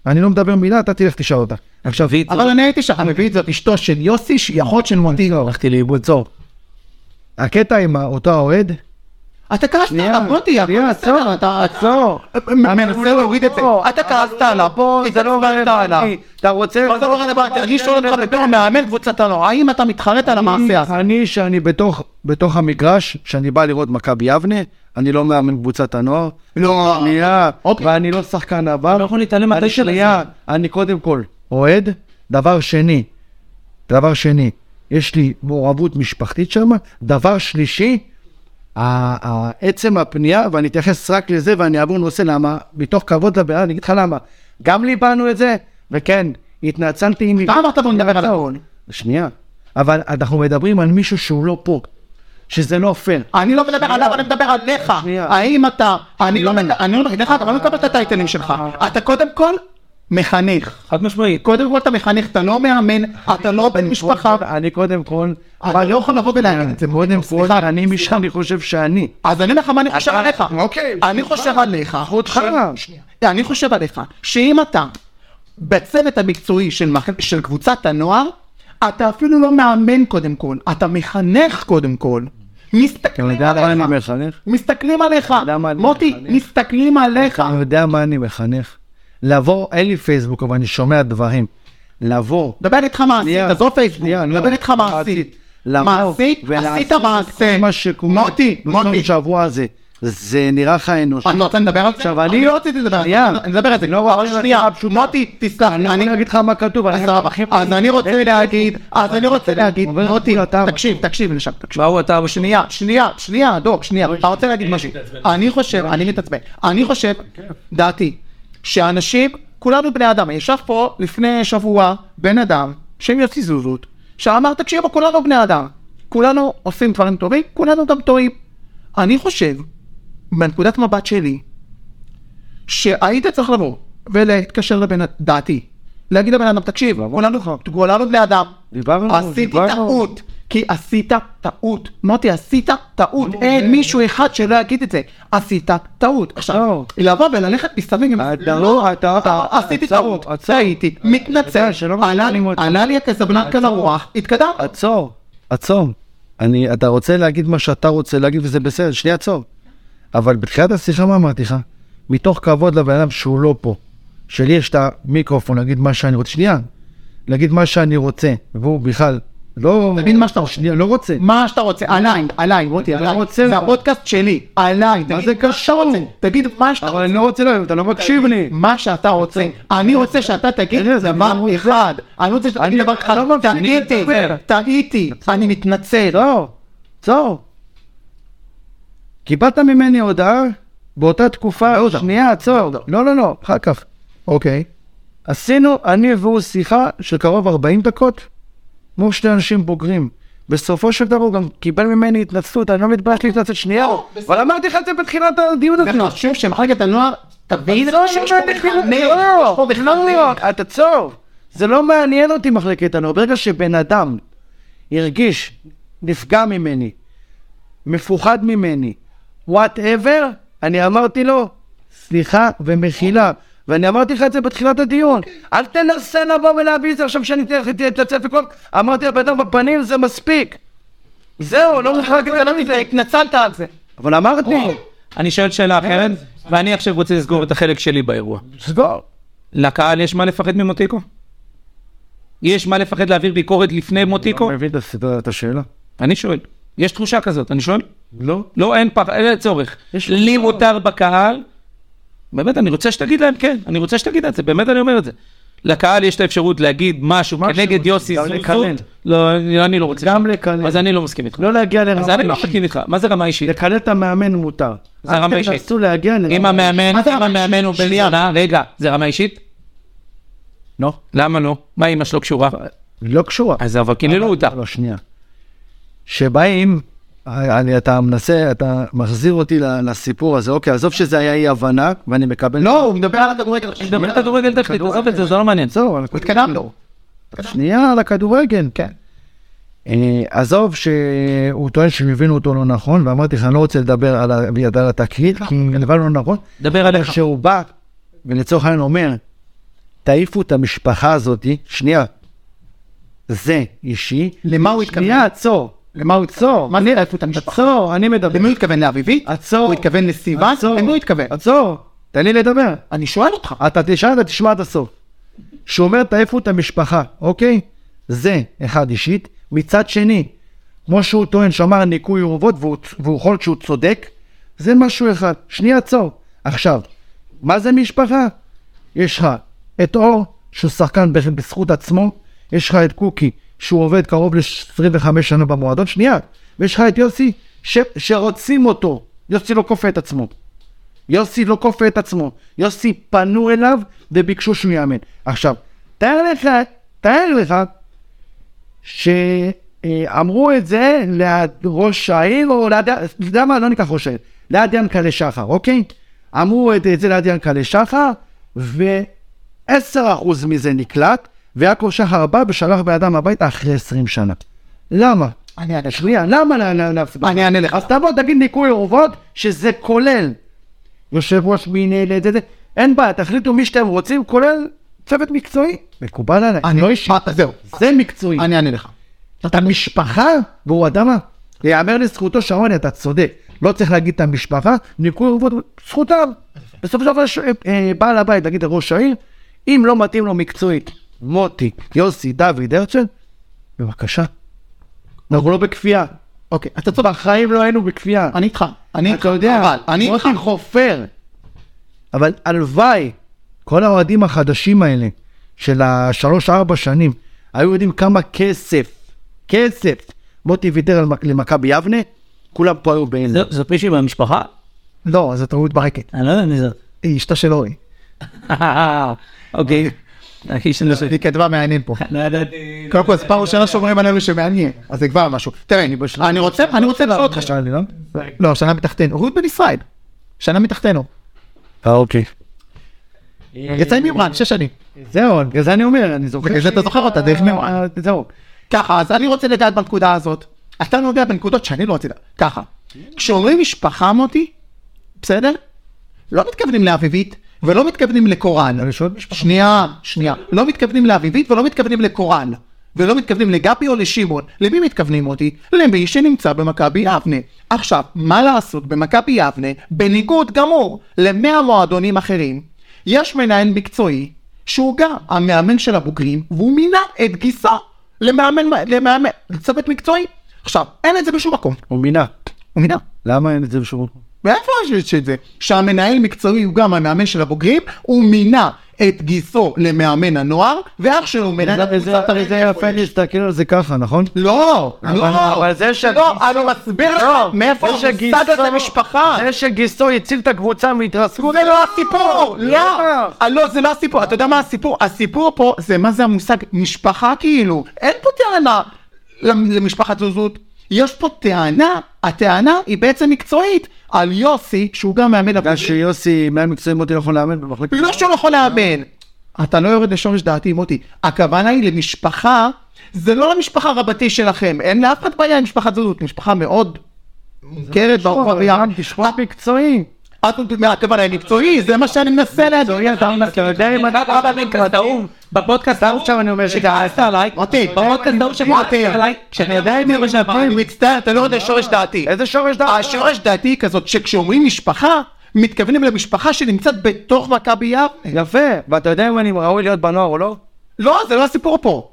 B: אני לא מדבר מילה, אתה תלך תשאל אותה. עכשיו,
C: ויצו,
A: אבל אני הייתי שם, אני מביא את זאת אשתו של יוסי, שהיא אחות של מונטיגו.
B: הלכתי לאיבוד, עצור. הקטע עם אותו האוהד,
A: אתה כעסת עליו, מוטי,
B: שנייה, עצור,
A: אתה
B: עצור.
A: מנסה להוריד את זה. אתה כעסת עליו, זה לא עליו.
B: אתה רוצה...
A: מה זה לא רלוונטי? אני שואל אותך בתור מאמן קבוצת הנוער, האם אתה מתחרט על המעשה הזה?
B: אני, שאני בתוך, בתוך המגרש, שאני בא לראות מכבי יבנה, אני לא מאמן קבוצת הנוער.
A: לא.
B: שנייה,
A: אוקיי.
B: ואני לא שחקן הבא.
C: לא יכול להתעלם
B: אני
C: מהטייטל
B: שנייה, אני קודם כל אוהד. דבר שני, דבר שני, יש לי מעורבות משפחתית שם. דבר שלישי, ה- ה- עצם הפנייה, ואני אתייחס רק לזה ואני אעבור נושא, למה? מתוך כבוד לבן אדם, אני אגיד לך למה. גם ליבנו את זה, וכן, התנצלתי עם...
A: אתה אמרת בוא נדבר על
B: ההון. שנייה, אבל אנחנו מדברים על מישהו שהוא לא פה, שזה לא פייר.
A: אני לא מדבר עליו, אני מדבר עליך.
B: שנייה.
A: האם אתה, אני לא מקבל, אני לא מקבל, דרך אגב, אני לא מקבל את הטייטלים שלך. אתה קודם כל מחנך.
C: חד משמעית.
A: קודם כל אתה מחנך, אתה לא מאמן, אתה לא בן משפחה,
B: אני קודם כל,
A: אתה לא יכול לבוא ולהגיד את זה.
B: קודם כל,
A: סליחה,
B: אני משם, אני חושב שאני.
A: אז אני אומר לך מה אני חושב עליך. אוקיי. אני חושב עליך.
B: אותך.
A: שנייה. אני חושב עליך, שאם אתה בצוות המקצועי של, מח... של קבוצת הנוער, אתה אפילו לא מאמן קודם כל, אתה מחנך קודם כל. מסתכלים
B: מה כן, אני
A: עליך.
B: מחנך?
A: מסתכלים עליך.
B: יודע מה אני
A: מוטי,
B: מחנך.
A: מסתכלים עליך.
B: אני יודע מה אני מחנך. לבוא, אין לי פייסבוק, אבל אני שומע דברים. לבוא,
A: דבר איתך מעשית,
B: שנייה,
A: עזוב פייסבוק,
B: שנייה, לא.
A: דבר איתך מעשית.
B: מעשית. לבוא
A: מעשית,
B: ולעשות
A: עשית מעשה.
B: מה שקורה, לא,
A: מוטי,
B: בסוף
A: מוטי. אה,
B: השבוע הזה, זה נראה לך אנושי.
A: אני רוצה לדבר על זה?
B: עכשיו, אני-
A: לא רציתי לדבר על זה.
B: שנייה. לא
A: אני מדבר על זה. אבל שנייה, מוטי, תסלח. אני
B: אני אגיד לך מה כתוב, אני-
A: סבבה. אז אני רוצה להגיד, אז אני רוצה להגיד,
B: עובר
A: מוטי,
B: לגבול הטעם.
A: תקשיב, תקשיב לשם, תקשיב.
C: באו אתה בשני.
A: שנייה, שנייה, שנייה, דוק, שנייה, אתה רוצה להגיד משהו. אני חושב, אני מתעצבן, אני חושב, דעתי, שאנשים, כולנו בני אדם, ישב פה לפני שבוע בן אדם, שם יוסי זוזות, שאמר, תקשיבו, כולנו בני אדם, כולנו עושים דברים טובים, כולנו גם טועים. אני חושב, מנקודת מבט שלי, שהיית צריך לבוא ולהתקשר לבן אדם, דעתי, להגיד לבן אדם, תקשיב, כולנו כולנו בני אדם,
B: דיברנו,
A: עשיתי
B: דיברנו.
A: טעות, כי עשית טעות, מוטי עשית טעות, אין מישהו אחד שלא יגיד את זה, עשית טעות, עכשיו,
B: לא.
A: לבוא וללכת מסביב, עם-
B: אתה לא, אתה,
A: אתה- עשיתי
B: עצור,
A: טעות,
B: עצור.
A: טעיתי, מתנצל,
B: יודע, שלא
A: עלה לי-
B: מפנים אותי.
A: עלה לי הקזבלנקה לרוח, התקדמת,
B: עצור, עצור. אני, אתה רוצה להגיד מה שאתה רוצה להגיד וזה בסדר, שנייה עצור. אבל בתחילת השיחה מה אמרתי לך? מתוך כבוד לבן אדם שהוא לא פה, שלי יש את המיקרופון להגיד מה שאני רוצה, שנייה, להגיד מה שאני רוצה, והוא בכלל לא...
A: תגיד מה שאתה רוצה.
B: שנייה, לא רוצה.
A: מה שאתה רוצה, עליי, עליי, מוטי, עליי,
B: לא רוצה
A: זה
B: אבל.
A: הפודקאסט שלי, עליי,
B: מה
A: תגיד
B: זה קשור?
A: תגיד מה שאתה
B: אבל
A: רוצה.
B: אני לא רוצה, לא, אתה לא מקשיב לי.
A: מה שאתה רוצה. אני רוצה שאתה תגיד
B: ארז, אני
A: דבר
B: לא רוצה.
A: אחד. אני רוצה שאתה תגיד דבר אחד. טעיתי, טעיתי, אני מתנצל.
B: לא, עצור. קיבלת ממני הודעה באותה תקופה, שנייה, עצור. לא, לא, לא, אחר כך.
A: אוקיי.
B: עשינו, אני והוא, שיחה של קרוב 40 דקות, כמו שני אנשים בוגרים. בסופו של דבר הוא גם קיבל ממני התנצלות, אני לא מתבייש להתנצל שנייה, אבל אמרתי לך את זה בתחילת הדיון הזה.
A: וחשוב שמחלקת הנוער תביא את
B: לא,
A: שיש
B: לא,
A: פה מחנך,
B: לא,
A: יש פה
B: לא,
A: מחנך.
B: לא, אתה צור. זה לא מעניין אותי מחלקת הנוער. ברגע שבן אדם הרגיש, נפגע ממני, מפוחד ממני, וואטאבר, אני אמרתי לו, סליחה ומחילה. ואני אמרתי לך את זה בתחילת הדיון. אל תנסה לבוא ולהביא את זה עכשיו שאני אתן לך להתנצל וכל... אמרתי לבן אדם בפנים, זה מספיק. זהו, לא מחלקת הנוער.
A: התנצלת על זה. אה,
B: אבל אמרתי,
C: אני שואל
B: אה.
C: שאלה אחרת, ואני עכשיו רוצה לסגור את החלק שלי באירוע.
B: סגור.
A: לא-
C: לקהל יש מה לפחד ממוטיקו? יש מה לפחד להעביר ביקורת לפני מוטיקו?
B: מבין את הסדרה, את השאלה?
C: אני שואל. יש תחושה כזאת, אני שואל?
B: לא.
C: לא, אין פח, אין צורך.
B: יש
C: לי מותר בקהל, באמת, אני רוצה שתגיד להם כן, אני רוצה שתגיד את זה, באמת אני אומר את זה. לקהל יש את האפשרות להגיד משהו כנגד יוסי
B: גם
C: זוזות.
B: לקלל.
C: לא, אני אני לא רוצה.
B: גם
C: ש-
B: לקלל.
C: אז אני לא מסכים איתך.
B: לא להגיע לרמה
C: אז אני לא
B: אישית.
C: מסכים איתך. מה זה רמה אישית?
B: לקלל את המאמן מותר.
C: זה רמה אישית.
B: אל תנסו להגיע לרמה
C: אם המאמן,
A: מה זה
C: אם
A: רמה
C: המאמן הוא בן זונה, רגע, זה רמה אישית?
B: לא.
C: למה לא? מה אמא שלו קשורה?
B: לא קשורה.
C: אז אבל קיללו אותה.
B: לא, שנייה. שבאים אני, אתה מנסה, אתה מחזיר אותי ל- לסיפור הזה, אוקיי, עזוב שזה היה אי הבנה, ואני מקבל...
A: לא, הוא מדבר על הכדורגל עכשיו.
C: דבר על כדורגל תחליט, עזוב את זה, זה לא מעניין.
B: זהו,
A: הוא התקדם
B: לא.
A: לו.
C: כן.
B: שנייה על הכדורגל.
A: כן.
B: אה, עזוב שהוא טוען שהם הבינו אותו לא נכון, ואמרתי לך, אני לא רוצה לדבר על ה- ביד על התקרית, כי הבנו לא נכון.
C: דבר עליך.
B: שהוא בא, ולצורך העניין אומר, תעיפו את המשפחה הזאתי, שנייה, זה אישי.
A: למה הוא התכוון?
B: שנייה, עצור,
A: למה הוא עצור? מה זה עייפות המשפחה?
B: עצור, אני מדבר.
A: למי הוא התכוון? לאביבית?
B: עצור.
A: הוא התכוון לסיוון?
B: עצור.
A: למי הוא התכוון?
B: עצור, תן לי לדבר.
A: אני שואל אותך.
B: אתה תשאל, אתה תשמע עד הסוף. שהוא אומר, תעיפו את המשפחה, אוקיי? זה, אחד אישית. מצד שני, כמו שהוא טוען, שאמר ניקוי אורוות, והוא- והוא יכול שהוא צודק, זה משהו אחד. שנייה, עצור. עכשיו, מה זה משפחה? יש לך את אור, שהוא שחקן ב- בזכות עצמו, יש לך את קוקי, שהוא עובד קרוב ל-25 שנה במועדון, שנייה, ויש לך את יוסי, ש- שרוצים אותו. יוסי לא כופה את עצמו. יוסי לא כופה את עצמו, יוסי פנו אליו וביקשו שהוא יאמן. עכשיו, תאר לך, תאר לך שאמרו את זה ליד ראש העיר, או ליד, אתה יודע מה, לא ניקח ראש העיר, ליד ינקלה שחר, אוקיי? אמרו את זה ליד ינקלה שחר, ו-10% מזה נקלט, ויעקב שחר בא ושלח בן אדם הביתה אחרי 20 שנה. למה?
A: אני אענה לך.
B: שנייה, למה לענף?
A: אני אענה לך.
B: אז תבוא תגיד ניקוי אורוות שזה כולל יושב ראש מינהלת, זה זה. אין בעיה, תחליטו מי שאתם רוצים, כולל צוות מקצועי. מקובל עליי.
A: אני לא אישי. זהו.
B: זה מקצועי.
A: אני אענה לך.
B: אתה משפחה, והוא אדם מה? יאמר לזכותו שרון, אתה צודק. לא צריך להגיד את המשפחה, ניקוי אורוות, זכותם. בסופו של דבר יש אה, אה, בעל הבית, נגיד ראש העיר, אם לא מתאים לו מקצועית, מוטי, יוסי, דוד, הרצל, בבקשה. אנחנו לא בכפייה.
A: אוקיי, אתה צודק.
B: בחיים לא היינו בכפייה.
A: אני איתך. אני איתך.
B: אתה יודע,
A: אבל אני איתך.
B: מוטי חופר. אבל הלוואי, כל האוהדים החדשים האלה, של השלוש-ארבע שנים, היו יודעים כמה כסף, כסף, מוטי ויתר על מק- למכבי יבנה, כולם פה היו בעין.
C: זאת מישהי מהמשפחה?
A: לא, זו טעות ברקת.
C: אני לא יודע מי זאת.
A: היא אשתו של אורי.
C: אוקיי. אחי של נוסף.
A: היא כתבה מעניין פה.
C: לא ידעתי.
A: קודם כל, אז פעם ראשונה שומרים עלינו שמעניין. אז זה כבר משהו. תראה, אני בשנה- אני רוצה אני רוצה לשאול אותך שאלה. לא, שנה מתחתנו. רות בן ישראל. שנה מתחתנו.
B: אה, אוקיי.
A: יצא עם מימרן, שש שנים.
B: זהו, בגלל זה אני אומר, אני זוכר.
A: בגלל זה אתה זוכר אותה, דרך מימרן.
B: זהו.
A: אה, ככה, אז אני רוצה לדעת בנקודה הזאת. אתה נוגע בנקודות שאני לא רוצה לדעת. ככה, כשאומרים משפחה מוטי, בסדר? לא מתכוונים לאביבית ולא מתכוונים לקורן.
B: אני שואל משפחה.
A: שנייה, שנייה. לא מתכוונים לאביבית ולא מתכוונים לקורן. ולא מתכוונים לגבי או לשמעון. למי מתכוונים אותי? למי שנמצא במכבי יבנה. עכשיו, מה לעשות במכבי יבנה, בניגוד גמור למאה מועדונים אחרים, יש מנהל מקצועי שהוא גם המאמן של הבוגרים, והוא מינה את גיסה למאמן, למאמן, לצוות מקצועי. עכשיו, אין את זה בשום מקום.
B: הוא מינה.
A: הוא מינה.
B: למה אין את זה בשירות?
A: מאיפה יש את זה? שהמנהל מקצועי הוא גם המאמן של הבוגרים, הוא מינה את גיסו למאמן הנוער, ואח שלו מנהל את קבוצת הרגע
B: יפה להסתכל על זה ככה, נכון?
A: לא, לא,
B: אבל זה לא,
A: לא, אני מסביר לך מאיפה
B: זה
A: המושג הזה משפחה.
B: זה שגיסו הציל את הקבוצה מהתרסקות.
A: זה לא הסיפור, לא, אה, לא, זה לא הסיפור, אתה יודע מה הסיפור? הסיפור פה זה מה זה המושג משפחה כאילו, אין פה טענה למ- למשפחת זוזות, יש פה טענה, הטענה היא בעצם מקצועית, על יוסי, שהוא גם מאמן
B: בגלל
A: הבוגרים,
B: שיוסי, מעל מקצועי מוטי לא יכול לאמן במחלקת...
A: לא שהוא לא יכול לאמן. אתה לא יורד לשורש דעתי, מוטי. הכוונה היא למשפחה, זה לא למשפחה רבתי שלכם. אין לאף אחד בעיה עם משפחת זוזות, משפחה מאוד מוכרת ברחוביה.
B: תשמע מקצועי.
A: את הכוונה היא מקצועי, זה מה שאני מנסה
B: כן,
A: להגיד.
C: אתה יודע אם אתה בפודקאסט ההוא, בפודקאסט ההוא
B: עכשיו אני אומר אה,
C: שכעסת עליי,
A: מוטי,
C: בפודקאסט ההוא שכעסת
A: מוטי.
C: עליי, כשאני יודע את זה בשעבר,
A: אני מצטער, אתה לא יורד לשורש דעתי.
B: איזה שורש דעת?
A: השורש דעתי היא כזאת, שכשאומרים משפחה, מתכוונים למשפחה שנמצאת בתוך מכבי יבנה.
B: יפה, ואתה יודע אם אני ראוי להיות בנוער או לא?
A: לא, זה לא הסיפור פה.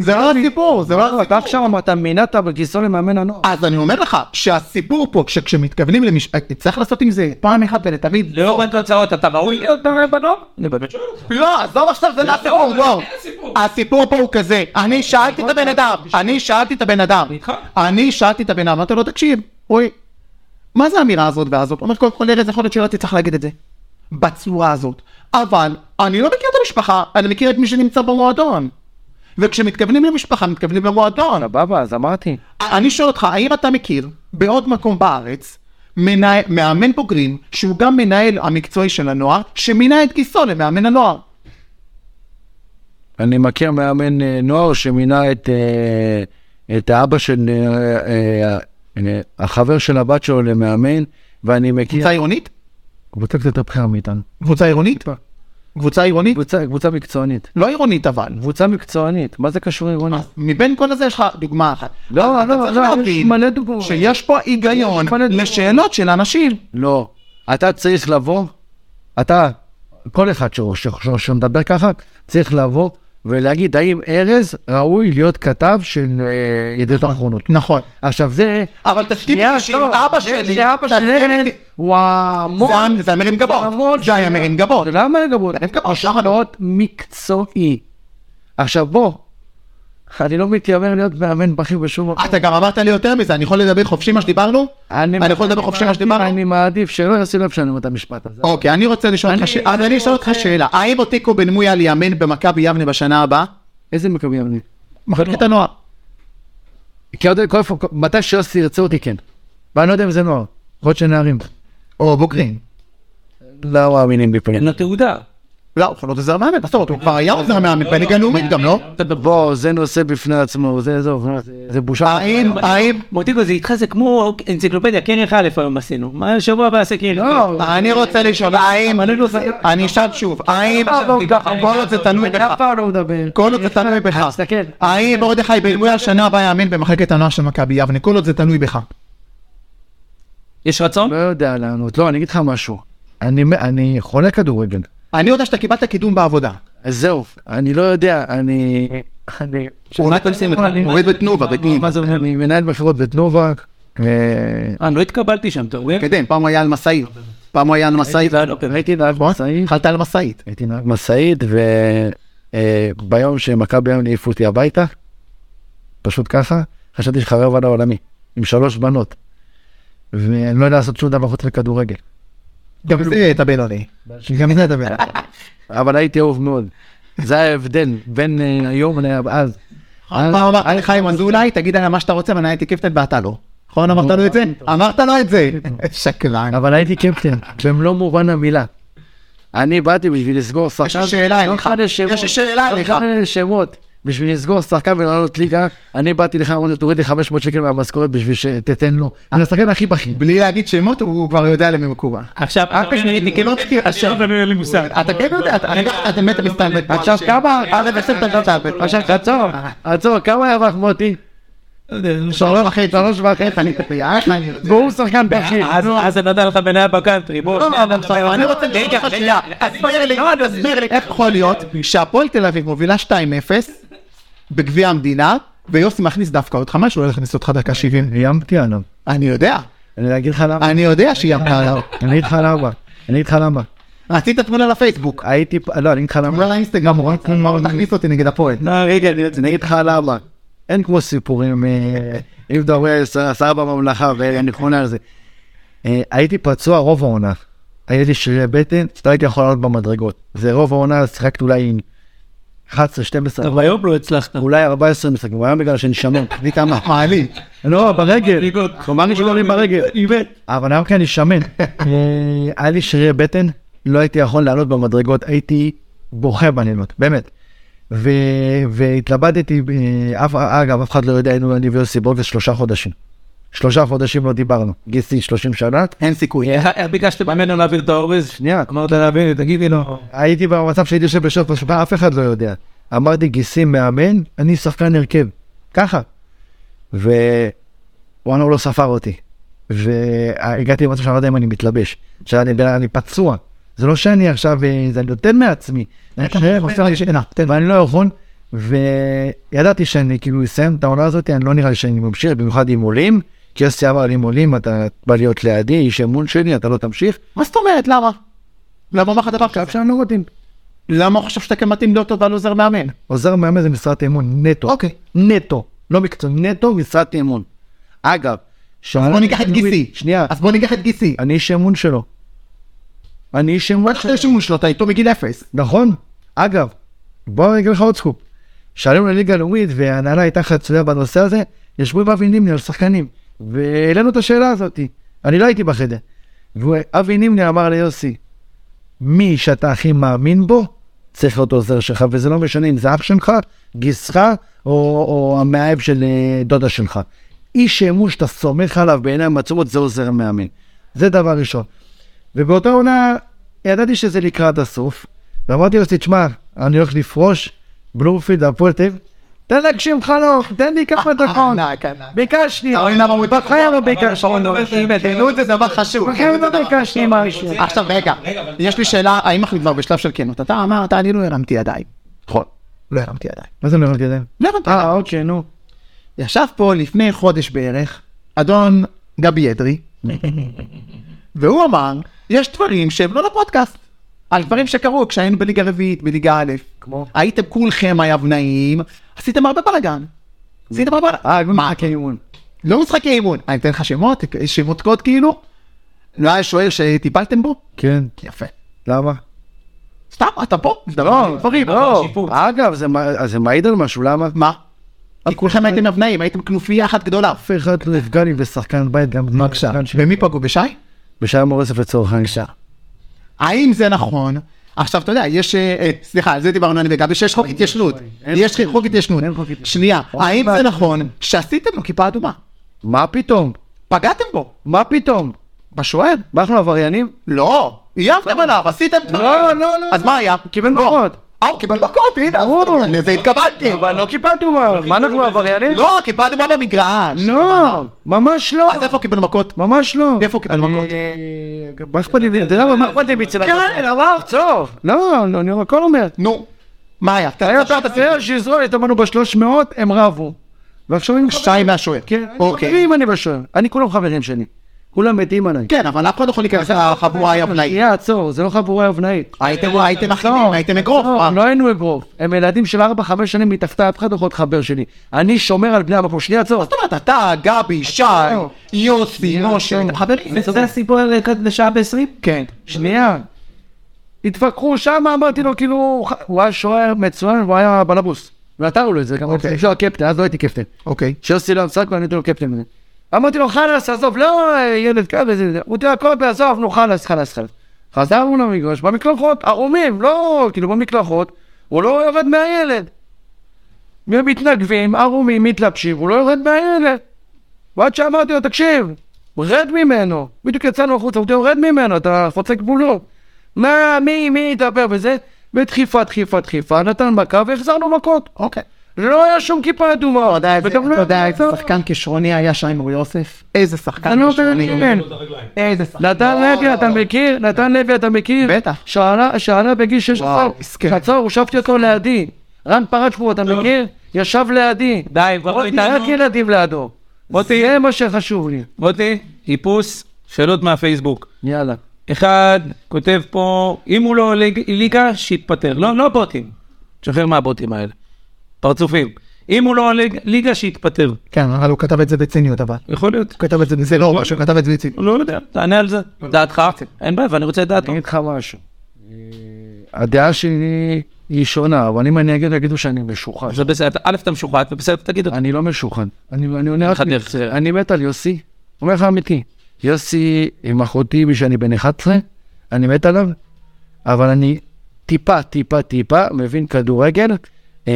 A: זה לא הסיפור, זה לא הסיפור.
B: אתה עכשיו אמרת מינעת בכיסו למאמן הנוער.
A: אז אני אומר לך שהסיפור פה כשמתכוונים למש... צריך לעשות עם זה פעם אחת ולתמיד.
C: לאור התוצאות אתה ראוי להיות בנוער? אני באמת שואל אותך.
A: לא, עזוב עכשיו זה לא הסיפור, לא.
C: אין סיפור.
A: הסיפור פה הוא כזה, אני שאלתי את הבן אדם, אני שאלתי את הבן אדם,
C: איתך.
A: אני שאלתי את הבן אדם, אמרתי לו תקשיב, אוי, מה זה האמירה הזאת והזאת? הוא אומר קודם כל ארז יכול להיות שלא הייתי צריך להגיד את זה. בצורה הזאת. אבל אני לא מכיר את המשפחה, אני מכיר את מי שנמצא במועדון. וכשמתכוונים למשפחה, מתכוונים למועדון.
E: סבבה, אז אמרתי.
A: אני שואל אותך, האם אתה מכיר בעוד מקום בארץ מנה... מאמן בוגרים, שהוא גם מנהל המקצועי של הנוער, שמינה את גיסו למאמן הנוער?
B: אני מכיר מאמן אה, נוער שמינה את, אה, את האבא של אה, אה, אה, החבר של הבת שלו למאמן, ואני מכיר...
A: קבוצה עירונית?
I: קבוצה קצת הבחירה מאיתנו.
A: קבוצה עירונית? קבוצה עירונית?
E: קבוצה, קבוצה מקצוענית.
A: לא עירונית אבל.
E: קבוצה מקצוענית, מה זה קשור
B: אה,
E: עירונית?
A: מבין כל הזה יש לך דוגמה אחת.
E: לא, לא,
A: אתה צריך
E: לא, יש
A: להבין
E: מלא דוגמאות.
A: שיש פה היגיון
E: יש מלא דוגמאות.
A: לשאלות של אנשים.
B: לא. אתה צריך לבוא, אתה, כל אחד ש- ש- ש- שמדבר ככה, צריך לבוא ולהגיד האם ארז ראוי להיות כתב של אה, ידיעות אחרונות.
A: נכון.
B: עכשיו זה, לא,
A: אבל תסכים איתי שאם אבא שלי...
E: לא, זה אבא
A: תסכים
E: שלי,
A: איתי-
E: הוא המון.
A: זה היה- זה המרים גבות. זה היה מרים גבות.
E: זה לא היה מלא גבות.
A: זה המרים גבות. שחר,
E: מאוד מקצועי.
B: עכשיו בוא,
E: אני לא מתיימר להיות מאמן בכיר בשום מקום.
A: אתה גם אמרת לי יותר מזה, אני יכול לדבר חופשי מה שדיברנו?
E: כן.
A: אה, אני יכול לדבר חופשי מה שדיברנו?
E: אני מעדיף שלא יעשו לב שאני אומר את המשפט הזה.
A: אוקיי, אני רוצה לשאול אותך שאלה, אז אני אשאל אותך שאלה, האם אותיקו בן מויאל יאמן במכבי יבנה בשנה הבאה?
E: איזה מקומי אני?
A: מחלקת הנוער.
B: כי עוד, כל, כל, מתי שיוסי ירצה אותי כן.
I: ואני לא יודע אם זה נוער, יכול להיות שנערים.
A: או בוגרים.
B: לא מאמינים בפנים.
C: אין לו תעודה.
A: לא, הוא כבר לא עוזר מאמן, עזוב, הוא כבר היה עוזר מאמן בליגה לאומית גם, לא?
C: אתה בב-
B: בוא, זה נושא בפני עצמו, זה, זה, זה, זה בושה.
A: האם, האם,
C: מוטיקו זה איתך זה כמו אנציקלופדיה, קרח א' היום עשינו. מה, שבוע הבא כן, עשה
B: לא.
C: קרח א'.
A: אני רוצה לשאול, האם, אני אשאל שוב, האם, כל עוד זה תלוי בך,
E: אף פעם לא מדבר.
A: כל עוד זה תלוי בך,
E: תסתכל.
A: האם מרדכי בן מויאל שנה הבאה יאמן במחלקת הנוער של מכבי יבנה, כל עוד זה תלוי בך.
C: יש רצון?
B: לא יודע לענות, לא, אני אגיד לך משהו.
I: אני, אני חולה כדורגל.
A: אני יודע שאתה קיבלת קידום בעבודה.
B: אז זהו, אני לא יודע, אני... אני...
A: הוא עובד בתנובה, בתנובה.
C: מה זה אומר?
I: אני מנהל מכירות בתנובה, אה,
C: אה, לא התקבלתי שם, אתה רואה?
B: כן.
A: קדם, פעם הוא היה על משאית. פעם הוא היה על משאית.
C: לא, לא, באמת.
B: הייתי נהג משאית,
A: התחלת על משאית.
I: הייתי נהג. אה,
B: משאית, וביום שמכבי היום העיפו אותי הביתה,
I: פשוט ככה, חשבתי שחרב על העולמי, עם שלוש בנות. ואני לא יודע לעשות שום דבר חוץ מכדורגל.
A: גם זה אתה בינוני.
I: גם זה דבר.
B: אבל הייתי אהוב מאוד. זה ההבדל בין אה, היום לאז.
A: פעם אמרתי לך עם אזולאי, תגיד עליה מה שאתה רוצה, ואני הייתי קפטן ואתה לא. נכון אמרת לו את זה?
C: לא,
A: אמרת לו את זה. שקרן.
I: אבל הייתי קפטן, במלוא מובן המילה.
B: אני באתי בשביל לסגור
A: יש
B: שחקן,
A: לי שאלה
I: לא
A: אליך.
B: אחד השמות.
A: יש לי שאלה אליך.
B: אה, שמות. בשביל לסגור שחקן ולעלות ליגה, אני באתי לך, אמרתי, תוריד לי 500 שקל מהמשכורת בשביל שתתן לו.
I: אני השחקן הכי בכיר.
A: בלי להגיד שמות, הוא כבר יודע למי הוא מקובה.
C: עכשיו, אתה אומר לי,
A: לא תכיר, עכשיו,
C: עכשיו, אין לי מושג.
A: אתה כן יודע,
C: לא.
A: אתה אתה- אתה מת המסתלבט. עכשיו כמה, אתה בסדר, אתה מסתלבט.
C: לא.
A: עכשיו
B: עצור, עצור, כמה ירח מוטי?
A: שלוש וחצי, שלוש וחצי, אני אה,
C: לא,
A: תפייה, אני רוצה.
B: והוא שחקן בכיר.
C: אז- אז אתה נתן לך בניה בקאנטרי, בוא.
A: לא, לא, לא, אני רוצה לשאול
C: רגע,
A: אותך
C: רגע.
A: שאלה.
C: לא,
A: תסביר לי, תסביר לי, איך יכול להיות שהפועל תל אביב מובילה 2-0 בגביע המדינה, ויוסי מכניס דווקא אותך, מה שהוא הולך להכניס אותך דקה 70?
I: איימתי עליו.
A: אני יודע,
I: אני אגיד לך למה.
A: אני יודע שהיא אמרה עליו.
I: אני אגיד לך למה. אני אגיד לך למה.
A: רצית תמונה לפייסבוק.
I: הייתי, פ- לא, אני אגיד לך למה.
A: אמרה לאינסטגרם, הוא רץ לומר, תכניס אותי נגד הפועל.
C: לא, רגע, אני רוצה...
B: אני אגיד לך למה. אין כמו סיפורים, אה, אם אתה רואה שר- שר בממלכה, ואני חונה על זה.
I: אה, הייתי פצוע רוב העונה. היה לי שרירי בטן, לא הייתי יכול לעלות במדרגות. זה רוב העונה, אז שיחקתי אולי 11, 12,
C: טוב, היום לא הצלחת.
B: אולי 14 משחקים, היום בגלל שאני שמן, תגיד כמה.
A: מעליב.
I: לא, ברגל.
C: מדרגות.
B: כלומר, יש לי ברגל.
C: איווט.
I: אבל היום כי אני שמן. אה, היה לי שרירי בטן, לא הייתי יכול לעלות במדרגות, הייתי בוכה בלילות, באמת. ו- והתלבטתי, אה, אף, אגב, אף אחד לא יודע, היינו אני ויוסי בוגס שלושה חודשים. שלושה חודשים לא דיברנו. גיסי 30 שנה,
A: אין סיכוי.
C: ביקשת אה, ממנו להעביר את האורז?
I: שנייה.
C: אמרת להעביר, תגידי לו.
I: הייתי במצב שהייתי יושב בשעות משפעה, אף אחד לא יודע. אמרתי גיסי מאמן, אני שחקן הרכב. ככה. ווואלה, הוא לא ספר אותי. והגעתי למצב שאני לא יודע אם אני מתלבש. עכשיו אני, אני פצוע. זה לא שאני עכשיו, אה, זה אני נותן מעצמי. אני חושב, עושה לי שינה, תן, ואני לא יכול. וידעתי שאני כאילו אסיים את העונה הזאת, אני לא נראה לי שאני ממשיך, במיוחד עם עולים. כי יוסי אמר לי עם עולים, אתה בא להיות לידי, איש אמון שלי, אתה לא תמשיך.
A: מה זאת אומרת, למה? למה אמר לך דבר כזה?
I: עכשיו לא מתאים.
A: למה הוא חושב שאתה כן מתאים להיות אבל עוזר מאמן?
I: עוזר מאמן זה משרת אמון נטו.
A: אוקיי.
I: נטו. לא מקצועי, נטו משרת אמון.
B: אגב,
A: אז בוא ניקח את גיסי.
I: שנייה,
A: אז בוא ניקח את גיסי.
I: אני איש אמון שלו. אני איש אמון
A: איך אתה
I: שלו.
A: יש שימוש לו, אתה איתו מגיל אפס.
I: נכון. אגב, בוא אני אגיד לך עוד סקופ.
B: שעלינו לליגה הלאומית וההנהלה הייתה חצויה בנושא הזה, ישבו עם אבי נימני על שחקנים, והעלינו את השאלה הזאת, אני לא הייתי בחדר. ואבי נימני אמר ליוסי, מי שאתה הכי מאמין בו, צריך להיות עוזר שלך, וזה לא משנה אם זה אח שלך, גיסך, או, או המאהב של אה, דודה שלך. איש אמון שאתה סומך עליו בעיניים עצומות, זה עוזר המאמן. זה דבר ראשון. ובאותה עונה ידעתי שזה לקראת הסוף, ואמרתי לו, תשמע, אני הולך לפרוש, בלומפילד, הפועל תל אביב, תן להגשים חלום, תן לי
A: אה,
B: כמה דקות.
A: ענק, ענק.
B: ביקשתי,
A: אה. אתה רואה למה הוא
B: בחיים לא ביקשתי,
A: כנות זה דבר חשוב.
B: בחיים לא ביקשתי משהו.
A: עכשיו רגע, יש לי שאלה, האם אנחנו כבר בשלב של כנות? אתה אמרת, אני לא הרמתי ידיים. נכון. לא הרמתי ידיים.
B: מה זה לא הבנתי את זה?
A: לא הרמתי ידיים.
B: אה, אוקיי, נו.
A: ישב פה לפני חודש בערך, אדון גבי אדרי, והוא אמר, יש דברים שהם לא לפודקאסט. על דברים שקרו כשהיינו בליגה רביעית, בליגה א', כמו? הייתם כולכם היבנאים, עשיתם הרבה בלאגן. עשיתם הרבה בלאגן. מה, כן?
B: אימון.
A: לא משחקי אימון. אני אתן לך שמות, שמות קוד כאילו. לא היה שוער שטיפלתם בו?
B: כן.
A: יפה.
B: למה?
A: סתם, אתה פה? לא, דברים. לא.
B: אגב, זה מע- זה מעיד על משהו, למה?
A: מה? כי כולכם הייתם אבנאים, הייתם כנופיה אחת גדולה.
B: אף אחד לא יפגע לי בשחקן בית גם
A: בבקשה. במי פגעו? בשי?
B: בשער מורסף לצורך העניין.
A: האם זה נכון? עכשיו אתה יודע, יש, אה, אה, סליחה, על זה דיברנו אני וגבי, שיש חוק התיישנות. יש חוק התיישנות. שנייה, האם זה נכון שעשיתם לו כיפה אדומה?
B: מה פתאום?
A: פגעתם בו.
B: מה פתאום?
A: בשוער?
B: מה אנחנו עבריינים?
A: לא. איימתם עליו, עשיתם דברים.
B: לא, לא, לא.
A: אז מה היה?
B: קיבל מכות.
A: אה, הוא קיבל מכות, הנה. ברור. לזה התכוונתי.
B: אבל לא קיבלנו מה, מה אנחנו עבריינים?
A: לא, קיפה אדומה במגרש.
B: לא, ממש לא,
A: אז איפה הוא קיבל מכות?
B: ממש לא.
A: איפה הוא קיבל מכות?
B: מה אכפת לי, אתה יודע מה, מה אכפת לי מצד כן, אמר, טוב. לא, לא, אני הכל אומר.
A: נו. מה היה?
B: היה פעם תראה שיזרול, התאמנו בשלוש מאות, הם רבו. ועכשיו הם
A: שתיים מהשוער.
B: כן,
A: אוקיי.
B: חברים אני בשוער. אני כולם חברים שלי. כולם מתים עליי.
A: כן, אבל אף אחד לא יכול להיכנס לחבורה היבנאית.
B: שנייה, עצור, זה לא חבורה יבנאית.
A: הייתם הייתם אחים, הייתם אגרוף.
B: לא,
A: אה?
B: לא היינו אגרוף. הם ילדים של 4-5 שנים מתחתיי, אף אחד לא יכול להיות חבר שלי. אני שומר על בני המקום. שנייה, עצור.
A: זאת אומרת, אתה, גבי, שי, יוסי, משה, אתם חברים.
C: זה הסיפור על
A: אה,
C: רקע לשעה בעשרים?
A: כן.
B: אה. שנייה. התווכחו שם, אמרתי לו, כאילו, הוא היה שוער מצוין, הוא היה בלבוס. ונתנו לו את זה, גם
A: אוקיי.
B: לפני שהוא הקפטן, אז לא הייתי קפטן.
A: אוקיי.
B: שיוסי לא המשחק ואני נותן לו קפטן. מזה. אמרתי לו, חלאס, עזוב, לא, ילד כאן וזה, וזה. הוא תראה, הכל בעזוב, נו, חלאס, חלאס, חלאס. חזרנו למגרש, במקלחות, ערומים, לא, כאילו, במקלחות, הוא לא יורד מהילד. מתנגבים, ערומים, מתלבשים, הוא לא יורד מהילד. ועד שאמרתי לו, תקשיב, רד ממנו. בדיוק יצאנו החוצה, אמרתי לו, רד ממנו, אתה חוצה גבולות. מה, מי, מי ידבר וזה? ודחיפה, דחיפה, דחיפה, נתן מכה והחזרנו מכות.
A: אוקיי.
B: לא היה שום כיפה אדומה. וגם לא
A: אתה יודע
B: היה
A: איזה
B: מצב.
A: שחקן כישרוני היה שי מור יוסף? איזה שחקן
B: אני לא
A: כישרוני.
B: מבין.
A: איזה שחקן.
B: נתן לוי, אתה מכיר? נתן לוי, אתה מכיר?
A: בטח.
B: שעלה, שעלה בגיל 16.
A: וואו, מסכן.
B: חצור, הושבתי אותו לידי. רן פרצ'פור, אתה מכיר? ישב לידי.
C: די, לא בוא
A: לא,
B: רק
A: כן.
C: תתערב.
B: ילדים לידו.
C: מוטי.
B: זה מה שחשוב לי.
C: מוטי, איפוס, שאלות מהפייסבוק.
B: יאללה.
C: אחד כותב פה, אם הוא לא ליג- ליגה, שיתפטר. לא, לא בוטים. תשחרר מהבוטים האלה. פרצופים. אם הוא לא ליג- ליגה, שיתפטר.
A: כן, אבל הוא כתב את זה בציניות אבל.
C: יכול להיות.
A: הוא כתב את זה, זה לא משהו, הוא כתב את זה בציניות.
C: לא יודע, תענה על זה. דעתך? אין בעיה, ואני רוצה את דעתו.
B: אני אגיד לך משהו. אה, הדעה שלי היא שונה, אבל אם אני אגיד, יגידו שאני משוחד.
C: זה בסדר, אתה- א' אתה משוחד, ובסדר תגיד אותה.
B: אני לא משוחד. אני אני עונה רק...
C: אחד דרך זה.
B: אני מת על יוסי. אומר לך אמיתי. יוסי עם אחותי משאני בן 11, אני מת עליו, אבל אני טיפה, טיפה, טיפה מבין כדורגל. אה,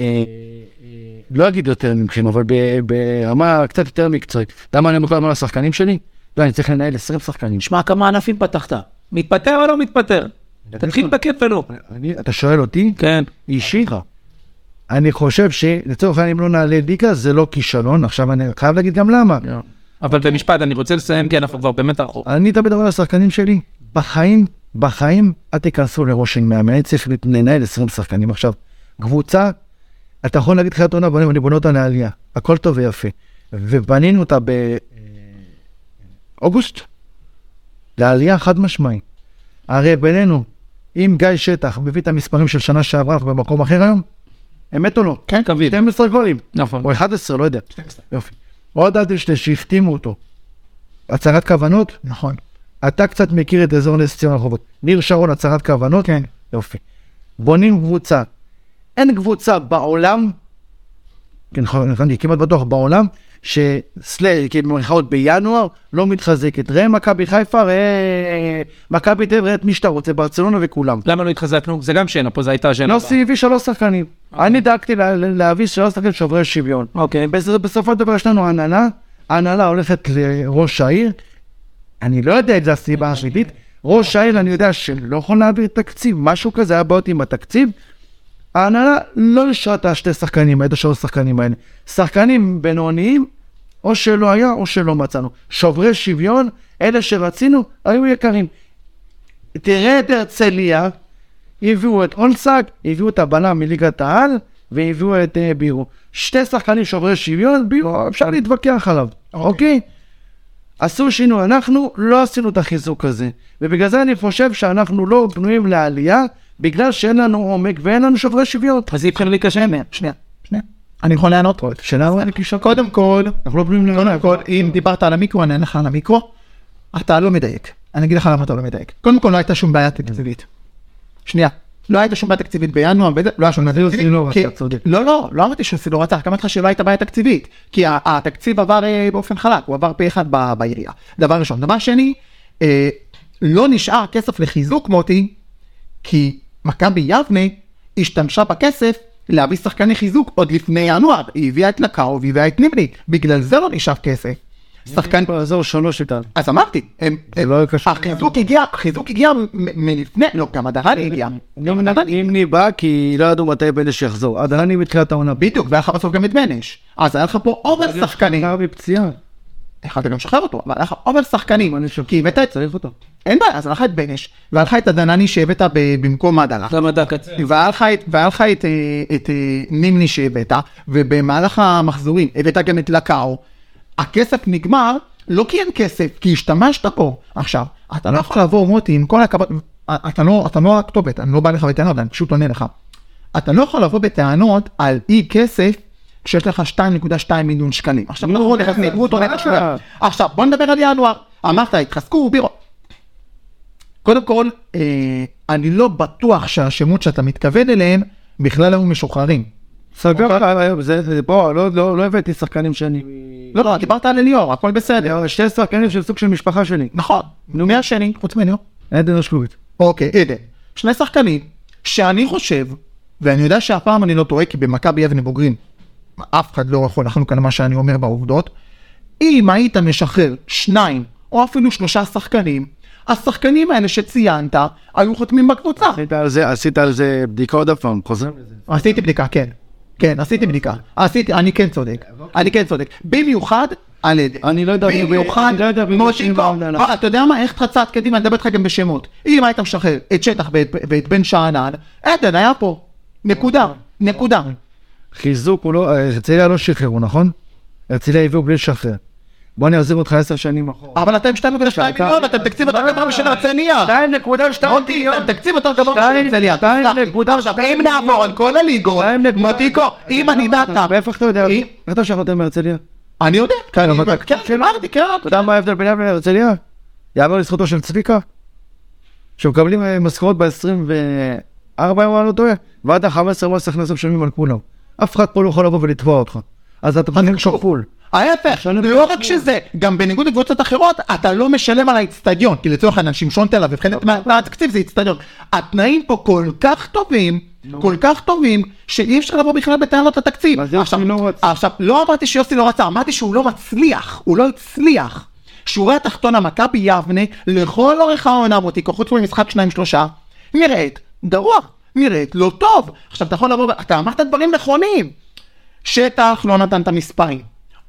B: אה, לא אגיד יותר ממכם, אבל ב- ברמה קצת יותר מקצועית. למה אני אומר כל הזמן לשחקנים שלי? לא, אני צריך לנהל 20 שחקנים.
C: שמע, כמה ענפים פתחת. מתפטר או לא מתפטר? תתחיל בכיף ולא.
B: אני, אתה שואל אותי?
C: כן.
B: אישית, אני חושב שלצורך העניין אם לא נעלה ליגה זה לא כישלון, עכשיו אני חייב להגיד גם למה.
C: אבל במשפט, אני רוצה לסיים, כי אנחנו כבר באמת אחור.
B: אני תמיד אומר לשחקנים שלי, בחיים, בחיים, אל תיכנסו לראש של מאמן, אני צריך לנהל 20 שחקנים. עכשיו, קבוצה, אתה יכול להגיד תחילת עונה, בונים, אני בונה אותה לעלייה, הכל טוב ויפה. ובנינו אותה באוגוסט, לעלייה חד משמעי. הרי בינינו, אם גיא שטח מביא את המספרים של שנה שעברה, אנחנו במקום אחר היום, אמת או לא?
C: כן, קביל.
B: 12 גולים.
C: נכון.
B: או 11, לא יודע. יופי. עוד אדלשטיין שהחתימו אותו. הצהרת כוונות?
A: נכון.
B: אתה קצת מכיר את אזור נס ציון רחובות. ניר שרון, הצהרת כוונות?
A: כן.
B: יופי. בונים קבוצה.
J: אין קבוצה בעולם,
B: כן, נכון, נכון, אני כמעט בטוח בעולם,
J: שסלאש, כאילו במרכאות בינואר, לא מתחזקת. ראה מכבי חיפה, ראה מכבי תל אביב, ראה את מי שאתה רוצה, ברצלונה וכולם.
C: למה לא התחזקנו? זה גם שאלה פה, זו הייתה השאלה.
B: יוסי הביא שלוש שחקנים. אני דאגתי לה- להביא שלוש שחקנים שוברי שוויון.
C: הבאה. אוקיי.
B: בסופו בסופו של דבר יש לנו הנהלה, ההנהלה הולכת לראש העיר, אני לא יודע אם זו הסיבה האמיתית, ראש העיר אני יודע שלא יכול להעביר תקציב, משהו כזה, היה בעיות עם התקציב, ההנהלה לא אישרה את השתי שחקנים, את השלוש שחקנים האלה, שחקנים בינוניים, או שלא היה או שלא מצאנו, שוברי שוויון, אלה שרצינו, היו יקרים. תראה את הרצליה, הביאו את אונסק, הביאו את הבלם מליגת העל, והביאו את אה, בירו. שתי שחקנים שוברי שוויון, בירו, אפשר להתווכח עליו, אוקיי? עשו שינוי, אנחנו לא עשינו את החיזוק הזה. ובגלל זה אני חושב שאנחנו לא בנויים לעלייה, בגלל שאין לנו עומק ואין לנו שוברי שוויון.
C: אז אי אפשר לי קשה.
A: שנייה, שנייה. אני יכול לענות?
B: שאלה
A: אז אני חושב, קודם כל,
B: אנחנו לא בנויים לעלייה.
A: קודם כל, אם דיברת על המיקרו, אני אענה לך על המיקרו. אתה לא מדייק. אני אגיד לך למה אתה לא מדייק. קודם כל, לא הייתה שום בעיה תקציבית. שנייה. לא הייתה שום בעיה תקציבית בינואר, וזה- לא היה שום בעיה
B: אפילו
A: תקציבית.
B: סילוב,
A: כי-
B: אתה צודק.
A: לא, לא, לא אמרתי שסילור רצח, גם אמרתי לך שלא הייתה בעיה תקציבית. כי ה- התקציב עבר אה, באופן חלק, הוא עבר פה אחד ב- בעירייה. דבר ראשון. דבר שני, אה, לא נשאר כסף לחיזוק מוטי, כי מכבי יבנה השתמשה בכסף להביא שחקני חיזוק עוד לפני ינואר, היא הביאה את לקאו והביאה את נימני, בגלל זה לא נשאר כסף. שחקן,
B: באזור שלוש איתנו.
A: אז אמרתי, הם- הם-
B: לא קשור.
A: החיזוק הגיע, החיזוק הגיע מ- מלפני, לא, גם הדהרני הגיע.
B: לא,
A: גם הדהרני
J: נימני בא כי לא ידעו מתי בנש יחזור. עד אני מתחילת העונה.
A: בדיוק, והיה לך בסוף גם את בנש. אז היה לך פה עומר שחקנים.
B: נער מפציעה.
A: יכלת גם לשחרר אותו, אבל היה לך עומר שחקנים.
B: אני שוב-
A: כי הבאת את...
B: צריך אותו.
A: אין בעיה, אז היה לך את בנש, והיה לך את הדנני שהבאת ב- במקום עדלה.
C: למה דקה? קצר.
A: כן. והיה לך את, והיה לך את, אה, את אה, נימני שהבאת, ובמהלך המחזורים הבאת גם את לקאו. הכסף נגמר, לא כי אין כסף, כי השתמשת פה. עכשיו, אתה לא יכול לעבור מוטי עם כל הכבוד, אתה לא, אתה לא הכתובת, אני לא בא לך בטענות, אני פשוט עונה לך. אתה לא יכול לבוא בטענות על אי כסף. כשיש לך 2.2 מיליון שקלים. עכשיו בואו נכנס להתמות עונה עכשיו בוא נדבר על ינואר. אמרת התחזקו בירו. קודם כל, אה, אני לא בטוח שהשמות שאתה מתכוון אליהם בכלל היו משוחררים.
B: סגר
C: אוקיי.
B: עליי היום, זה, זה- בוא, לא- לא לא הבאתי שחקנים שאני...
A: לא, לא, דיברת על אליאור, הכל בסדר.
B: שתי שחקנים של סוג של משפחה שלי.
A: נכון. נו, מי השני? חוץ מאליאור.
B: עדן אשקובית.
A: אוקיי, עדן. שני שחקנים שאני חושב, ואני יודע שהפעם אני לא טועה, כי במכבי אבן בוגרים, אף אחד לא יכול לחלוק על מה שאני אומר בעובדות. אם היית משחרר שניים, או אפילו שלושה שחקנים, השחקנים האלה שציינת, היו חותמים בקבוצה.
J: עשית על זה, עשית על זה בדיקה עוד פעם, חוזר לזה.
A: עשיתי בדיקה, כן. כן, עשיתי בדיקה. עשיתי, אני כן צודק. אני כן צודק. במיוחד על ידי.
B: אני לא יודע מי-
A: במיוחד,
B: אני לא יודע מי
A: מושיקו.
B: בשם העונה.
A: אה, אתה יודע מה, איך חצת קדימה, אני מדבר איתך גם בשמות. אם היית משחרר את שטח ואת- ואת בן שאנן, עדן היה פה. נקודה. נקודה.
B: חיזוק הוא לא, הרצליה לא שחררו, נכון? הרצליה הביאו בלי לשחרר. בוא אני אחזיר אותך עשר שנים אחורה.
A: אבל אתם 2.2 מיליון, אתם תקציב יותר גבוה משל הרצליה.
B: 2.2
A: מוטי, אתם תקציב יותר גבוה משל הרצליה. תסלח לי. עכשיו, אם נעבור על כל הליגות, מוטיקו, אם אני ואתה...
B: ואיך אתה יודע?
A: אם-
B: אה? איך אתה שחרר אותם מהרצליה?
A: אני יודע. כן,
B: אבל-
A: אמרתי, כן.
B: אתה יודע מה ההבדל בינם לבין הרצליה? יאמר לזכותו של צביקה, שמקבלים אה, משכורות ב-24 אם אני לא טועה, ועד ה-15 מס הכנסה משלמים על כולם. אף אחד פה לא יכול לבוא ולתבוע אותך. אז אתה מתחיל
A: שוב.
B: כפול.
A: ההפך, לא רק שזה, גם בניגוד לקבוצות אחרות, אתה לא משלם על האיצטדיון, כי לצורך העניין שמשון תל אביב,
B: אוקיי.
A: חלק מה- מהתקציב זה איצטדיון. התנאים פה כל כך טובים, כל כך טובים, שאי אפשר לבוא בכלל בטענות לתקציב.
B: אז יוסי
A: עכשיו-
B: לא רצה.
A: עכשיו, לא אמרתי שיוסי לא רצה, אמרתי שהוא לא מצליח, הוא לא הצליח. שורי התחתון המכבי יבנה, לכל אורך העונה מותיקו, חוץ ממשחק שניים שלושה, נראית גרוע, נראית לא טוב. עכשיו, אתה יכול לבוא, ו- אתה אמרת דברים נכונים. שטח לא נתן את המספרים.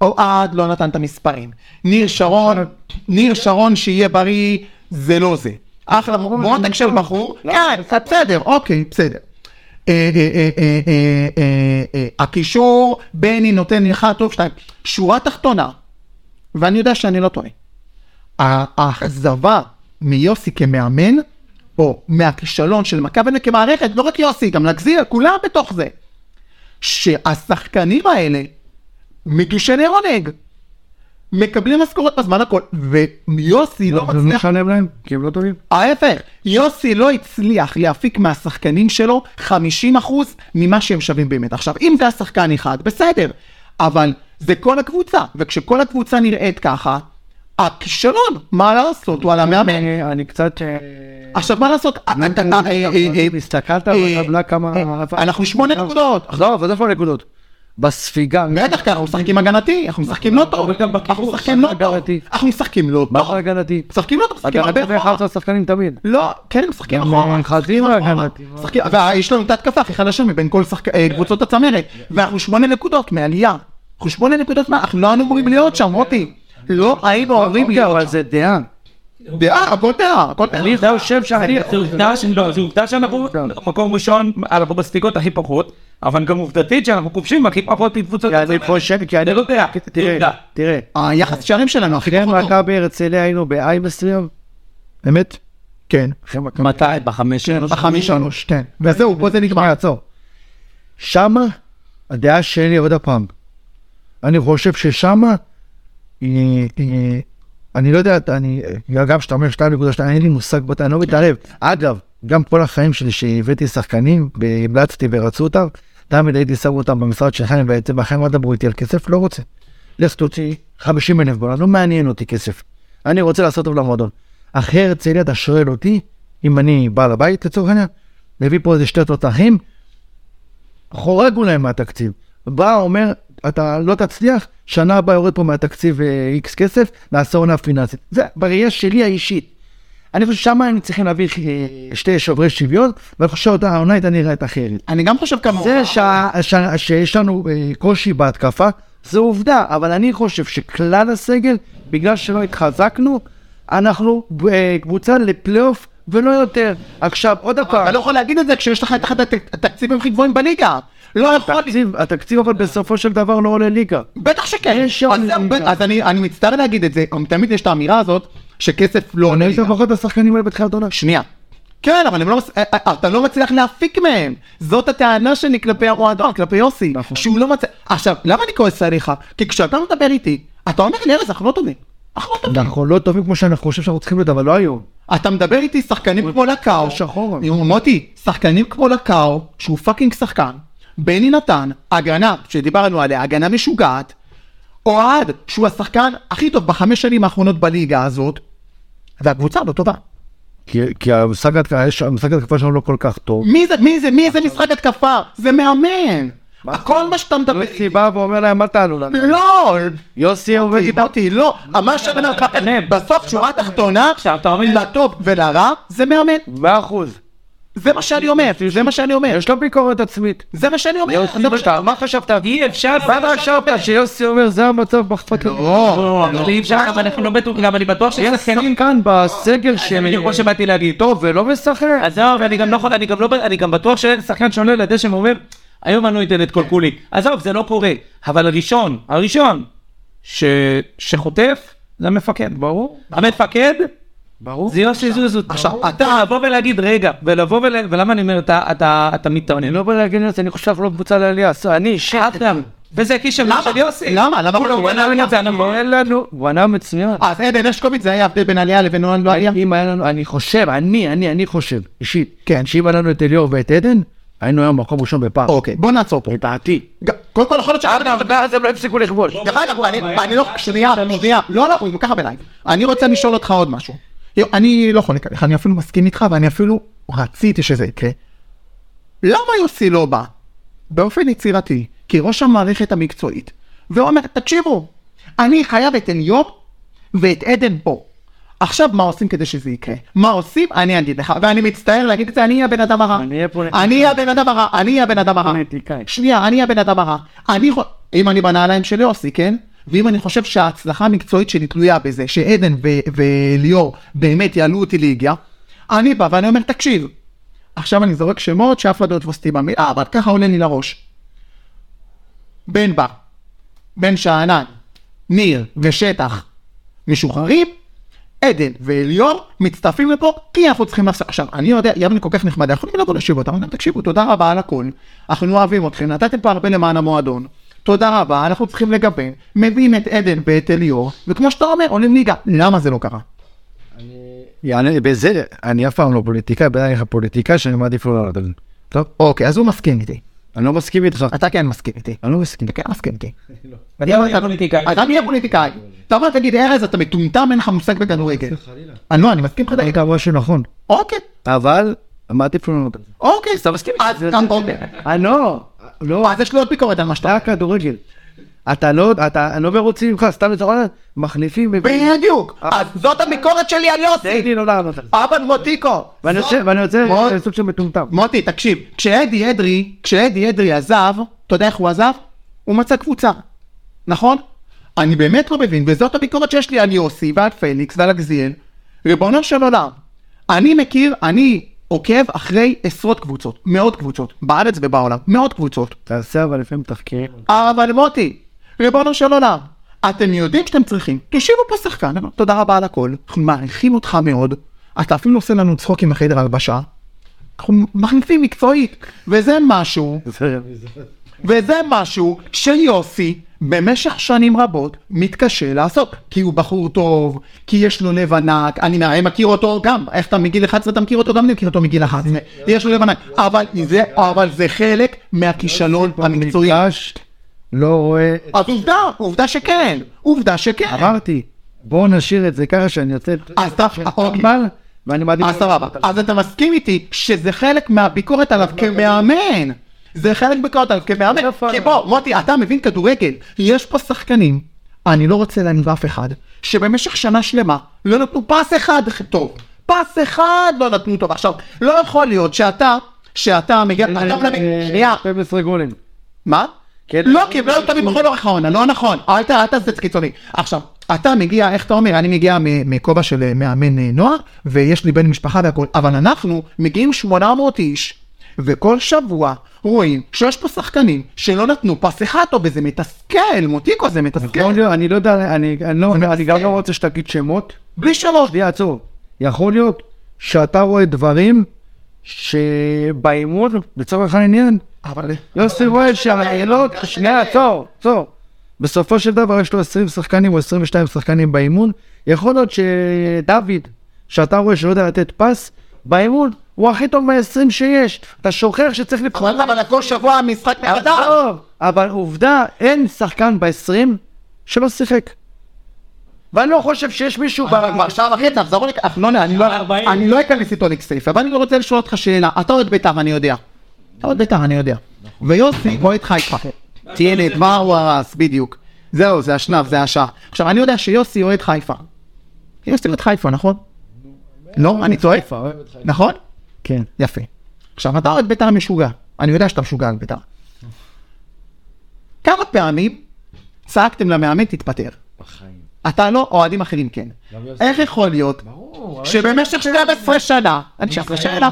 A: אוהד לא נתן את המספרים. ניר שרון, ניר שרון שיהיה בריא, זה לא זה. אחלה, בוא תקשיב בחור. כן, בסדר, אוקיי, בסדר. אה, אה, אה, אה, אה, אה, אה, הקישור, בני נותן לך טוב שתיים. שורה תחתונה, ואני יודע שאני לא טועה. האכזבה מיוסי כמאמן, או מהכישלון של מכבי נתניה כמערכת, לא רק יוסי, גם להגזיר, כולם בתוך זה. שהשחקנים האלה מגישי נרונג. מקבלים משכורת בזמן הכל, ויוסי לא
B: זה לא
A: מצליח,
B: משלם להם, כי הם לא טובים.
A: ההפך, יוסי לא הצליח להפיק מהשחקנים שלו 50% ממה שהם שווים באמת. עכשיו, אם זה השחקן אחד, בסדר, אבל זה כל הקבוצה, וכשכל הקבוצה נראית ככה, הכישלון, מה לעשות, הוא על המאמן.
B: אני אני קצת... אה,
A: עכשיו, מה לעשות? אה, אה, אה, אה, אה, אה,
B: הסתכלת
A: אה,
B: בטבלה כמה...
A: אה, אנחנו שמונה נקודות.
K: עזוב, עזוב איפה נקודות. בספיגה,
A: בטח כי אנחנו משחקים הגנתי, אנחנו משחקים לא טוב, אנחנו משחקים לא טוב,
B: הגנתי.
A: אנחנו משחקים לא
B: מה
A: טוב,
B: זה הגנתי?
A: משחקים לא טוב, משחקים
B: הגנתי
A: הרבה
B: זה
A: אחורה.
B: אחד השחקנים תמיד.
A: לא, כן, משחקים אחורה.
B: חזיר הגנתי.
A: משחקים- ויש לנו את ההתקפה הכי חדשה מבין כל שחק- אה, קבוצות הצמרת, ואנחנו שמונה נקודות מעלייה. אנחנו שמונה נקודות, מה, אנחנו לא היינו אמורים להיות שם, מוטי. לא היינו אמורים
B: אוקיי,
A: להיות
B: אבל זה דעה.
A: שם. דעה, הכל דעה, הכל דעה.
B: אתה יושב שם, אני...
C: זה עובדה ש- לא, זה עובדה שאנחנו מקום ראשון, אנחנו בספיקות הכי פחות, אבל גם עובדתית שאנחנו כובשים הכי פחות מקבוצות.
B: כי אני חושב, כי אני... כן,
C: אני לא יודע,
A: כן,
B: תראה,
C: תראה.
B: תראה.
A: היחס אה, שערים שלנו הכי
B: אחרי
A: פחות טוב.
B: מכבי הרצליה היינו באי מסוים.
A: אמת? כן.
B: אחרי מכבי.
C: מתי? בחמש?
A: בחמיש שלוש, כן. וזהו, פה זה נגמר.
B: תשמע, עצור. שמה, הדעה שלי עוד הפעם. אני חושב ששמה, אה, אה, אני לא יודע, אני, אה, גם כשאתה אומר 2.2, אין לי מושג בו, אני לא מתערב. אגב, גם כל החיים שלי שהבאתי שחקנים, והמלצתי ורצו אותם, תמיד הייתי שם אותם במשרד של חיים, ובעצם החיים לא דברו איתי על כסף, לא רוצה. לך תוציא 50 אלף דולר, לא מעניין אותי כסף. אני רוצה לעשות טוב למועדון. אחרי הרצליה אתה שואל אותי, אם אני בעל הבית לצורך העניין, מביא פה איזה שתי תותחים, חורג אולי מהתקציב. בא, אומר, אתה לא תצליח, שנה הבאה יורד פה מהתקציב איקס כסף, נעשה עונה פיננסית. זה בראייה שלי האישית. אני חושב ששם הם צריכים להביא אה, שתי שוברי שוויון, ואני חושב שאותה העונה הייתה נראית אחרת.
A: אני גם חושב כמוך.
B: זה שה- שה- שיש לנו אה, קושי בהתקפה, זו עובדה, אבל אני חושב שכלל הסגל, בגלל שלא התחזקנו, אנחנו אה, קבוצה לפלייאוף ולא יותר. עכשיו, עוד
A: אתה
B: פעם,
A: לא יכול להגיד את זה כשיש לך את אחד הת- התקציבים הכי גבוהים בליגה. לא יכול,
B: התקציב, התקציב אבל בסופו של דבר לא עולה ליגה.
A: בטח שכן.
B: יש שם
A: אז-
B: ליגה.
A: אז אני אני מצטער להגיד את זה, אבל תמיד יש את האמירה הזאת שכסף לא עונה
B: אני הייתי
A: ליגה.
B: לפחות השחקנים האלה בתחילת עונה.
A: שנייה. כן, אבל הם לא, מס- אה, אה, אתה לא מצליח להפיק מהם. זאת הטענה שלי כלפי המועדון, כלפי יוסי. שהוא לא מצליח... עכשיו, למה אני כועס עליך? כי כשאתה מדבר איתי, אתה אומר לי, ארז, אנחנו לא טובים. אנחנו לא טובים.
B: אנחנו לא טובים כמו שאנחנו חושבים שאנחנו צריכים להיות, אבל לא היום.
A: אתה מדבר איתי שחקנים כמו לקאו,
B: שחור.
A: נו, מוטי, שחקנים כמו לקאו, שהוא פאקינג שחקן, בני נתן, הגנה, שדיברנו עליה, הגנה משוגעת, אוהד, שהוא השחקן הכי טוב בחמש שנים האחרונות בליגה הזאת, והקבוצה לא טובה.
B: כי- כי המשחק התק- יש- המשחק התקפה שלנו לא כל כך טוב.
A: מי זה, מי זה, מי זה משחק התקפה? זה מאמן. כל מה שאתה מדבר איתי.
B: יוסי בא ואומר להם, אל תעלו לנו.
A: לא,
B: יוסי עובד איתנו.
A: דיברתי, לא, אמר שבן אדם, בסוף שורה תחתונה,
C: עכשיו, אתה מבין?
A: לטוב ולרע, זה מאמן.
B: מאה אחוז.
A: זה מה שאני אומר, זה מה שאני אומר.
B: יש לו ביקורת עצמית.
A: זה מה שאני אומר.
B: יוסי,
A: זה מה
B: אתה- מה חשבת?
C: אי אפשר,
B: מה חשבת שיוסי אומר, זה המצב בחפת?
C: לא, אבל אי אפשר, אבל אנחנו לא בטוחים, גם אני בטוח שיש
B: יש
C: שחקנים
B: שחקנים כאן בסגל שהם
C: בדיוק מה שבאתי להגיד.
B: טוב ולא משחק.
C: עזוב, אני גם לא יכול, אני גם לא, אני גם בטוח שאין שחקן שעולה לדשא ואומר, היום אני לא אתן את כל כולי. עזוב, זה לא קורה. אבל הראשון, הראשון, ש... שחוטף, זה המפקד.
B: ברור.
C: המפקד,
B: ברור.
C: זה יוסי זוזות.
A: עכשיו,
C: אתה לבוא ולהגיד, רגע, ולבוא ול... ולמה אני אומר, אתה, אתה, אתה מתאונן.
B: אני לא בא להגן על זה, אני חושב לא קבוצה לעלייה. עשו, אני אישית.
C: שאתם. וזה כישלון
A: למה?
C: של יוסי.
A: למה? למה
C: הוא
A: הוא
C: לא
A: לא
C: ענה את זה? אנחנו-
B: אין לנו, הוא ענה מצוין.
A: אז עדן הרשקוביץ זה היה ההבדל בין עלייה לבין נועל לא עלייה?
B: אם אה, היה לנו, אני חושב, אני, אני, אני חושב, אישית,
A: כן.
B: שאם היה לנו את אליאור ואת עדן, היינו היום מקום ראשון בפער.
A: אוקיי, בוא נעצור פה.
B: לדעתי.
A: ג- קודם כל יכול להיות ש...
B: ואז הם לא אה, הפסיקו לכבוש.
A: דרך אגב, אני- אני לא... שנייה, שנייה. לא, לא, הוא גם ככה בלייב. אני רוצה לשאול אותך עוד משהו. אני לא חונק עליך, אני אפילו מסכים איתך, ואני אפילו רציתי שזה יקרה. למה יוסי לא בא? באופן יצירתי, כראש המערכת המקצועית, ואומר, תקשיבו, אני חייב את אליום ואת עדן פה. עכשיו מה עושים כדי שזה יקרה? מה עושים? אני אגיד לך, ואני מצטער להגיד את זה, אני אהיה הבן אדם הרע.
B: אני אהיה פוליטיקאי.
A: אני אהיה הבן אדם הרע, אני אהיה הבן אדם הרע.
B: פוליטיקאי.
A: שנייה, אני אהיה הבן אדם הרע. אני, חו- אם אני בנעליים של יוסי, כן? ואם אני חושב שההצלחה המקצועית שלי תלויה בזה, שעדן ו- וליאור באמת יעלו אותי ליגיה, אני בא ואני אומר, תקשיב, עכשיו אני זורק שמות שאף אחד לא יתפוס אותי במילה, אבל ככה עולה לי לראש. בן בר, בן שאנן, ניר ושטח משוחררים, עדן ואליאור מצטרפים לפה, כי אנחנו צריכים לעשות... עכשיו, אני יודע, יבנה כל כך נחמדה, יכולים לבוא להשיב אותם, אבל תקשיבו, תודה רבה על הכל, אנחנו אוהבים אתכם, נתתם פה הרבה למען המועדון, תודה רבה, אנחנו צריכים לגוון, מביאים את עדן ואת אליאור, וכמו שאתה אומר, עולים ליגה. למה זה לא קרה?
B: יענה, בזה,
I: אני אף פעם לא פוליטיקאי, בטח לך פוליטיקאי שאני מעדיף לא לעלות על זה.
A: אוקיי, אז הוא מסכים איתי.
B: אני לא מסכים איתך.
A: אתה כן מסכים איתי.
B: אני לא מסכים.
A: אתה כן מסכים איתי. אתה לא פוליטיקאי. אתה תהיה פוליטיקאי. אתה אומר, תגיד, ארז, אתה מטומטם, אין לך מושג בכדורגל. אני לא, אני מסכים לך.
I: אתה אמר שנכון.
A: אוקיי,
B: אבל, מעדיף לא לעלות על זה.
A: אוקיי. אז אתה מסכים איתי. אז גם תומר.
B: אה, לא.
A: לא, אז יש לו עוד ביקורת על מה שאתה
B: זה
A: אומר.
B: הכדורגל. אתה לא, אתה, אני לא מרוצים ממך, סתם לצורך, מחליפים, מביאים.
A: בדיוק. אז זאת הביקורת שלי על
B: תן
A: יוסי.
B: לי לא לענות על זה.
A: אבל מוטיקו.
B: ואני יוצא, ואני
I: אה,
A: מאוד-
B: יוצא סוג של מטומטם.
A: מוטי, תקשיב, כשאדי אדרי, כשאדי אדרי עזב, אתה יודע איך הוא עזב? הוא מצא קבוצה, נכון? אני באמת לא מבין, וזאת הביקורת שיש לי על יוסי ועל פליקס ועל אגזיאל. ריבונו של עולם, אני מכיר, אני עוקב אחרי עשרות קבוצות, מאות קבוצות, בארץ ובעולם, מאות קבוצות.
B: תעשה אבל לפעמים תחקירים.
A: אבל מוטי, ריבונו של עולם, אתם יודעים שאתם צריכים, תושיבו פה שחקן, תודה רבה על הכל, אנחנו מעריכים אותך מאוד, אתה אפילו עושה לנו צחוק עם החדר הלבשה, אנחנו מחליפים מקצועית, וזה משהו, אה, וזה משהו שיוסי במשך שנים רבות מתקשה לעשות, כי הוא בחור טוב, כי יש לו לב ענק, אני מה- מכיר אותו גם, איך אתה מגיל 11 אתה מכיר אותו, גם אני מכיר אותו מגיל 11, יש לו לב ענק, אבל זה, אבל זה חלק מהכישלון המקצועי.
I: מפגש, לא רואה...
A: אז עובדה, עובדה שכן, עובדה שכן.
I: אמרתי, בואו נשאיר את זה ככה שאני יוצא...
A: אז אתה, אוקיי.
I: אבל, ואני מעדיף...
A: אז אה, סבבה, אז אתה מסכים איתי שזה חלק מהביקורת עליו כמאמן. זה חלק ביקורת עליו כמאמן. כי בוא, מוטי, אתה מבין כדורגל, יש פה שחקנים, אני לא רוצה להניב אף אחד, שבמשך שנה שלמה לא נתנו פס אחד טוב. פס אחד לא נתנו טוב. עכשיו, לא יכול להיות שאתה, שאתה מגיע,
B: אה,
A: אתה מלמד, שנייה,
I: 12 גולים.
A: מה?
I: כן.
A: לא, כי הם לא היו תמיד בכל אורך העונה, לא נכון. אל ת- אל תעשה את זה קיצוני. עכשיו, אתה מגיע, איך אתה אומר, אני מגיע מ- מכובע של אה, מאמן אה, נוער, ויש לי בן משפחה והכול, אבל אנחנו מגיעים 800 איש, וכל שבוע רואים שיש פה שחקנים שלא נתנו פס אחד טוב, וזה מתסכל, מוטיקו, זה
I: יכול
A: מתסכל.
I: להיות, אני לא יודע, אני אני לא- אני גם לא רוצה שתגיד שמות.
A: בלי שלוש.
I: שנייה, עצור. יכול להיות שאתה רואה דברים שבאימון, לצורך העניין,
A: אבל...
I: יוסי רואה שהרעילות, שנייה, עצור, עצור. בסופו של דבר יש לו 20 שחקנים או 22 שחקנים באימון. יכול להיות שדוד, שאתה רואה שלא יודע לתת פס, באימון הוא הכי טוב מה-20 שיש. אתה שוכח שצריך לבחור.
A: אבל לא. כל שבוע המשחק...
B: אה,
I: עזוב, אבל עובדה, אין שחקן ב-20 שלא שיחק. ואני לא חושב שיש מישהו
A: אבל כבר שעה וחצי, תחזור לי, אך לא, אני לא-
C: ארבעים.
A: אני לא אכנס איתו לכסייפה, אבל אני רוצה לשאול אותך שאלה, אתה אוהד בית"ר, אני יודע. אתה אוהד בית"ר, אני יודע. ויוסי, אוהד חיפה. תהיה מה הוא הרס, בדיוק. זהו, זה השנב, זה השעה. עכשיו, אני יודע שיוסי אוהד חיפה. יוסי אוהד חיפה, נכון? לא, אני טועה? נכון?
I: כן.
A: יפה. עכשיו, אתה אוהד בית"ר משוגע. אני יודע שאתה משוגע על בית"ר. כמה פעמים צעקתם למאמן תתפטר? אתה לא, אוהדים אחרים כן. איך יכול להיות שבמשך 12 שנה, אני שאלה שאלה,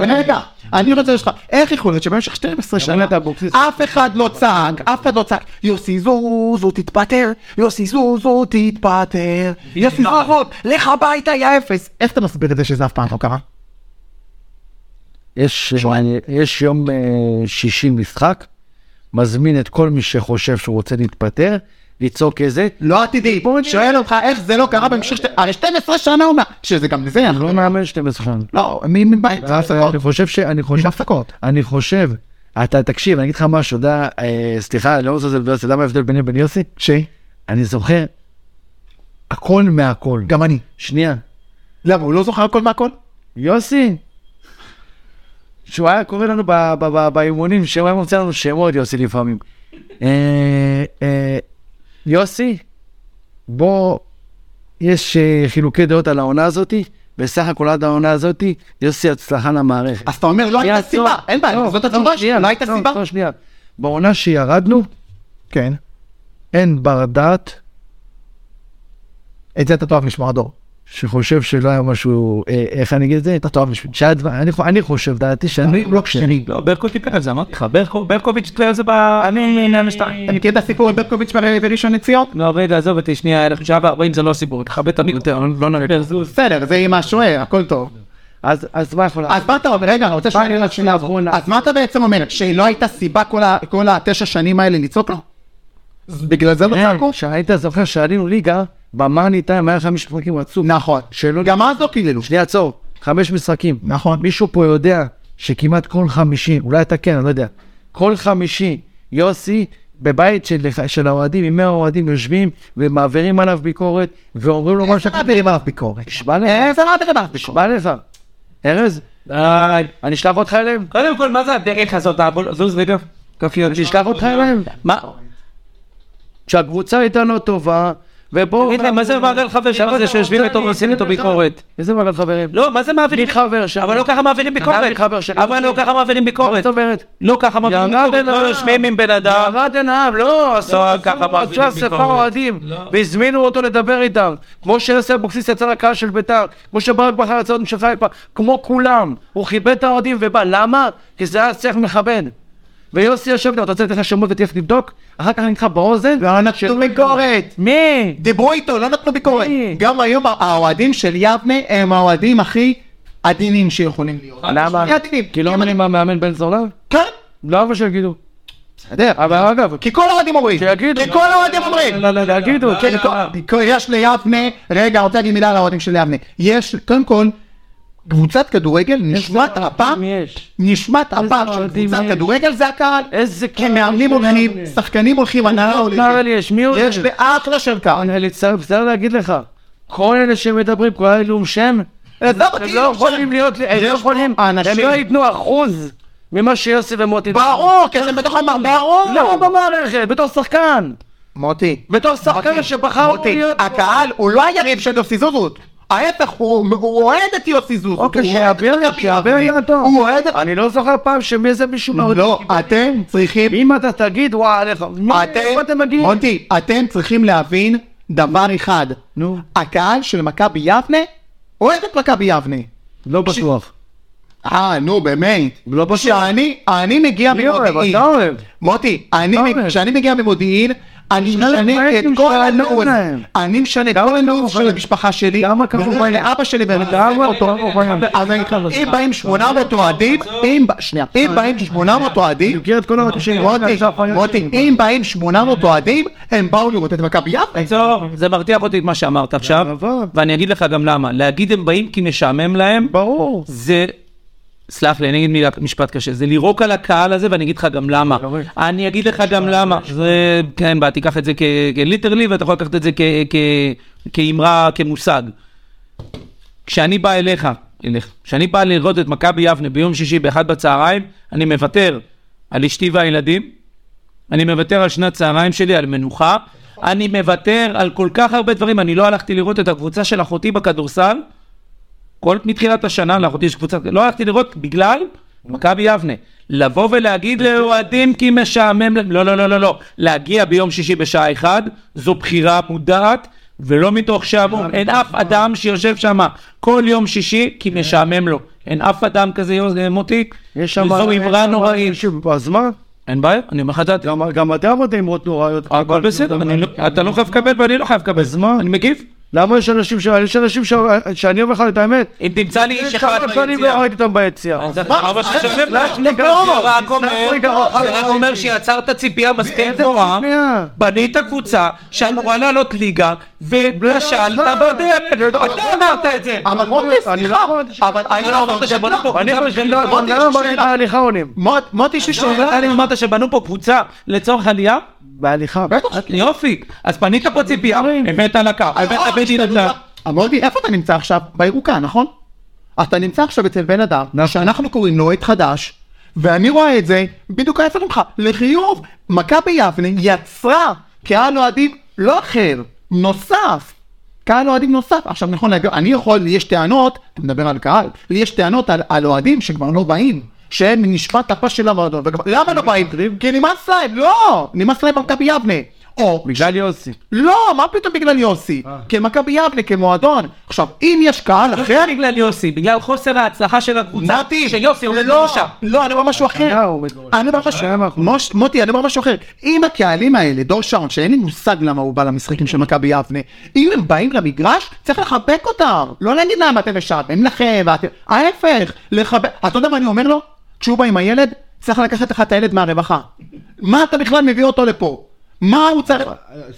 A: רגע, אני רוצה לשאול אותך, איך יכול להיות שבמשך 12 שנה, אף אחד לא צעק, אף אחד לא צעק, יוסי זוזו תתפטר, יוסי זוזו תתפטר, יוסי זוזו, לך הביתה יא אפס. איך אתה מסביר את זה שזה אף פעם לא קרה?
B: יש, יש יום אה, שישי משחק, מזמין את כל מי שחושב שהוא רוצה להתפטר, לצעוק איזה,
A: לא עתידי, שואל אותך איך זה לא קרה במשך, שת- הרי 12 שנה הוא מה, שזה גם זה, אנחנו
I: לא מאמן 12 שנה.
A: לא, מי מבית,
I: אני חושב ש... אני
A: עם
I: חושב...
A: הפסקות.
I: אני חושב...
B: אתה תקשיב, אני אגיד לך משהו, אתה יודע, אה, סליחה, אני לא רוצה לזלזל ביוסי, אתה יודע מה ההבדל ביני ובין יוסי?
A: שי,
B: אני זוכר הכל מהכל.
A: גם אני.
B: שנייה,
A: למה, הוא לא זוכר הכל מהכל?
B: יוסי, שהוא היה קורא לנו ב- ב- ב- באימונים, שהוא היה מוצא לנו שמות, יוסי לפעמים. אה, אה, יוסי, בוא, יש אה, חילוקי דעות על העונה הזאתי, בסך הכל עד העונה הזאתי, יוסי הצלחה למערכת.
A: אז אתה אומר, לא
B: שנייה,
A: הייתה סיבה,
B: עצור.
A: אין בעיה,
B: לא,
A: זאת
B: לא,
A: התשובה שלי,
B: שנייה,
A: לא הייתה
B: לא,
A: סיבה.
B: לא, שנייה.
I: בעונה שירדנו,
A: כן,
I: אין בר דעת
A: את זה אתה תאהב לשמוע דור.
I: שחושב שלא היה משהו... אה, איך אני אגיד את זה? אתה תאהב בשביל... שהדבר- אני חו- אני חושב, דעתי שאני...
A: בלוק שני.
C: לא, ברקו טיפל על זה, אמרתי לך, ברקו- ברקוביץ' טיפל על זה ב... אני
A: אתה מכיר את הסיפור עם ברקוביץ' בר- בראשון לציון?
C: לא, רגע, עזוב אותי, שנייה, אלף שעה וארבעים זה לא סיפור, תכבד אותי יותר, לא נראה.
A: בסדר, זה עם השוער, הכל טוב.
I: אז אז מה יכול...
A: אז מה אתה אומר, רגע, אני רוצה שאלה אז מה אתה בעצם אומר, שלא הייתה סיבה כל ה- כל התשע שנים האלה לצעוק לו? אז בגלל זה לא
I: אה,
A: צעקו?
B: שהיית זוכר שעלינו ליגה, במאני טיים היה חמישה משחקים רצוף.
A: נכון.
B: שלא...
A: גם אז לא קיללו.
B: שנייה, עצור. חמש משחקים.
A: נכון.
B: מישהו פה יודע שכמעט כל חמישי, אולי אתה כן, אני לא יודע, כל חמישי, יוסי, בבית של, של האוהדים, עם 100 אוהדים יושבים ומעבירים עליו ביקורת, ואומרים לו מה ש...
A: איזה מעבירים עליו ביקורת?
B: נשבע לך,
A: איזה מעבירים עליו ביקורת?
B: נשבע לך. ארז,
C: די.
B: אני אשלח אותך אליהם?
C: קודם כל, מה זה הדרך הזאת? הבול- זוז רגע. כפיות.
B: אני אשלח אותך אליהם?
C: מה?
B: שהקבוצה הייתה לא טובה, ובואו...
C: תגיד להם, מה זה מעגל חבר שלך זה שיושבים איתו ועושים איתו ביקורת?
B: איזה מעגל חברים?
C: לא, מה זה מעבירים?
B: מי חבר שם?
C: אבל לא ככה מעבירים
B: ירד
C: ביקורת.
B: חבר שלי.
C: אבל לא ככה מעבירים
B: מה
C: ביקורת.
B: זאת אומרת?
C: לא ככה מעבירים
B: ירד
C: ביקורת.
B: בן
C: לא
B: אדם.
C: יושבים עם בן אדם.
B: ירד עיניו, לא, עשו
C: ככה מעבירים
B: עשו אספה
C: ביקורת.
B: אוהדים,
C: לא.
B: והזמינו אותו לדבר איתם, כמו שיוסי אבוקסיס יצא לקהל של ביתר, כמו שברק בכר יצא של חיפה, כמו כולם, הוא כיבד את האוהדים ובא, למה? כי זה היה שיח מכבד. ויוסי יושב לי, אתה רוצה לתת לך שמות ותלך לבדוק? אחר כך אני איתך באוזן?
A: לא נתנו ביקורת.
B: מי?
A: דיברו איתו, לא נתנו ביקורת.
B: מי?
A: גם היום האוהדים של יבנה הם האוהדים הכי עדינים שיכולים להיות.
B: למה?
A: שני עדינים.
B: כי לא
A: אם אני-
B: אומרים מה מאמן בן זונה?
A: כן,
B: לא אבל שיגידו.
A: בסדר.
B: אבל אגב,
A: כי כל האוהדים אומרים.
B: שיגידו.
A: כי כל האוהדים אומרים.
B: לא, לא, לא, יגידו.
C: לא,
B: כן,
C: לא,
B: כל-
C: לא.
A: כי כל- יש ליבנה, רגע, אני רוצה להגיד מילה על האוהדים של יבנה. יש, קודם כל, קבוצת כדורגל, נשמת אפה,
B: יש.
A: נשמת אפה של
B: אוהדים
A: קבוצת
B: יש.
A: כדורגל זה הקהל.
B: איזה
A: הם מאמנים הולכים, שחקנים הולכים, הנהלה
B: קהל
A: הולכים.
B: יש, מי הוא?
A: יש לאחלה של קהל.
B: אני מצטער, בסדר להגיד לך, כל אלה שמדברים, כל אלה לאום שם,
A: עזוב אותי,
B: הם לא יכולים להיות, הם לא
A: יש
B: יכולים,
A: פה
B: הם
A: אנשים.
B: לא ייתנו אחוז ממה שיוסי ומוטי.
A: ברור, כי הם בתוך המערכת, ברור.
B: לא במערכת, בתור שחקן,
A: מוטי,
B: בתור שחקן
A: מוטי,
B: שבחר
A: מוטי,
B: להיות...
A: הקהל הוא לא היריב של יוסי זוזות. ההפך, הוא הוא אוהד את יוסי זוזות.
B: אוקיי,
A: הוא אוהד את
B: שיעביר,
A: מכבי
B: שיעביר
A: יבנה.
B: ידו.
A: הוא אוהד את...
B: אני לא זוכר פעם שמאיזה מישהו מאוד...
A: לא, אתם צריכים...
B: אם אתה תגיד, וואי, לא, עליך, מה איפה אתם
A: אתם...
B: מגיעים?
A: מוטי, אתם צריכים להבין דבר אחד.
B: נו,
A: הקהל של מכבי יבנה אוהד את מכבי יבנה.
B: לא בטוח.
A: אה, נו, באמת.
B: לא בטוח.
A: שאני, אני מגיע
B: מי אוהב?
A: ממודיעין.
B: אתה אוהב.
A: מוטי, אני,
B: אוהב.
A: כשאני מגיע ממודיעין, אני
B: שני
A: משנה את
B: פרויקטים
A: כל
B: שלנו
A: הנאום.
B: להם.
A: אני משנה את כל הנאום של המשפחה שלי.
B: כמה כמובן.
A: ואומר לאבא שלי ואני
B: גם
A: מחזק
B: אותו, כמובן.
A: אבל אם באים 800 אוהדים, אם ב- שנייה, אם באים 800 אוהדים,
B: מכיר את כל הרגישים.
A: מוטי, מוטי, אם באים 800 אוהדים, הם באו לראות את מכבי יפו.
C: עצור, זה מרתיח אותי את מה שאמרת עכשיו, ואני אגיד לך גם למה. להגיד הם באים כי משעמם להם,
B: ברור.
C: זה... סלח לי, אני אגיד מילה, משפט קשה, זה לירוק על הקהל הזה ואני אגיד לך גם למה. אני אגיד לך גם למה. זה, כן, בא, תיקח את זה כליטרלי ואתה יכול לקחת את זה כ- כ- כאמרה, כמושג. כשאני בא אליך, אליך, כשאני בא לראות את מכבי יבנה ביום שישי באחד בצהריים, אני מוותר על אשתי והילדים, אני מוותר על שנת צהריים שלי, על מנוחה, אני מוותר על כל כך הרבה דברים, אני לא הלכתי לראות את הקבוצה של אחותי בכדורסל, כל מתחילת השנה לאחותי יש קבוצה, לא הלכתי לראות בגלל מכבי יבנה. לבוא ולהגיד לאוהדים כי משעמם, להם- לא לא לא לא לא, להגיע ביום שישי בשעה 1 זו בחירה מודעת ולא מתוך
B: אה,
C: שעמום, אין אף אדם שיושב שם כל יום שישי כי משעמם לו, אין אף אדם כזה יוז- מוטי,
B: אה. יש שם...
C: וזו אמרה נוראית,
B: אז מה?
C: אין בעיה, אני אומר לך את דעתי,
B: גם- גם אתם אמרתם אמרות נוראיות.
C: הכל בסדר, אני לא- אתה לא חייב לקבל ואני לא חייב לקבל,
B: אז מה?
C: אני מגיב,
B: למה יש אנשים ש... יש אנשים ש... שאני אומר לך את האמת?
C: אם תמצא לי איש אחד
B: כמה שנים לא
C: ביציאה.
B: ראיתי אותם ביציאה.
C: אז אתה אומר ששווה לך,
B: רגע,
C: זה
B: רגע,
C: רק אומר-
B: רגע,
C: זה רק אומר שיצרת ציפייה מספיק גבוהה,
B: שנייה.
C: בנית קבוצה שאמורה לעלות ליגה, וכשלת בדרך, אתה אמרת את זה.
A: אבל מוטי,
B: אני
A: סליחה,
B: לא-
A: אבל
C: אני לא אמרת שבנו פה
B: אני חושב
C: קבוצה,
B: שלא,
A: בוא
B: אני לא
A: תשאל
B: אמרתי
A: שאלה.
B: בהליכה עונים.
A: מוט- מוטי ששומע,
C: אתה אמרת שבנו פה קבוצה לצורך עלייה?
B: בהליכה.
C: יופי, אז פנית פה ציפייה,
B: דברים.
C: הבאת על הקו, הבאת הבאת ילדה.
A: אה, אמרתי, איפה אתה נמצא עכשיו? בירוקה, נכון? אתה נמצא עכשיו אצל בן אדם, שאנחנו קוראים לו אוהד חדש, ואני רואה את זה בדיוק ההפך ממך, לחיוב. מכבי יבנה יצרה קהל אוהדים לא אחר, נוסף. קהל אוהדים נוסף. עכשיו נכון, להגיד, אני יכול, לי יש טענות, אתה מדבר על קהל, לי יש טענות על- על אוהדים שכבר לא באים. שהם נשמת הפה של המועדון, וכבר- למה לא באים? כי נמאס להם, לא! נמאס להם במכבי יבנה. או
B: בגלל יוסי.
A: לא, מה פתאום בגלל יוסי? כמכבי יבנה, כמועדון. עכשיו, אם יש קהל אחר...
C: לא בגלל יוסי, בגלל חוסר ההצלחה של הקבוצה,
A: נתי,
C: שיוסי עומד
A: לא,
C: בראשה.
A: לא, אני אומר משהו אחר.
B: השנה הוא עומד בראשה.
A: אני אומר משהו,
B: השנה האחרונה.
A: מוש- מוטי, אני אומר משהו אחר. אם הקהלים האלה, דור שעון, שאין לי מושג למה הוא בא למשחקים של מכבי יבנה, אם הם באים למגרש, צריך לחבק אותם. לא להגיד להם, אתם משעמם לכם, ואתם... ההפך, לחבק... אתה יודע מה אני אומר לו? כשהוא בא עם הילד, צריך לקחת לך את הילד מהרווחה. מה אתה בכלל מביא אותו לפה? מה הוא צריך?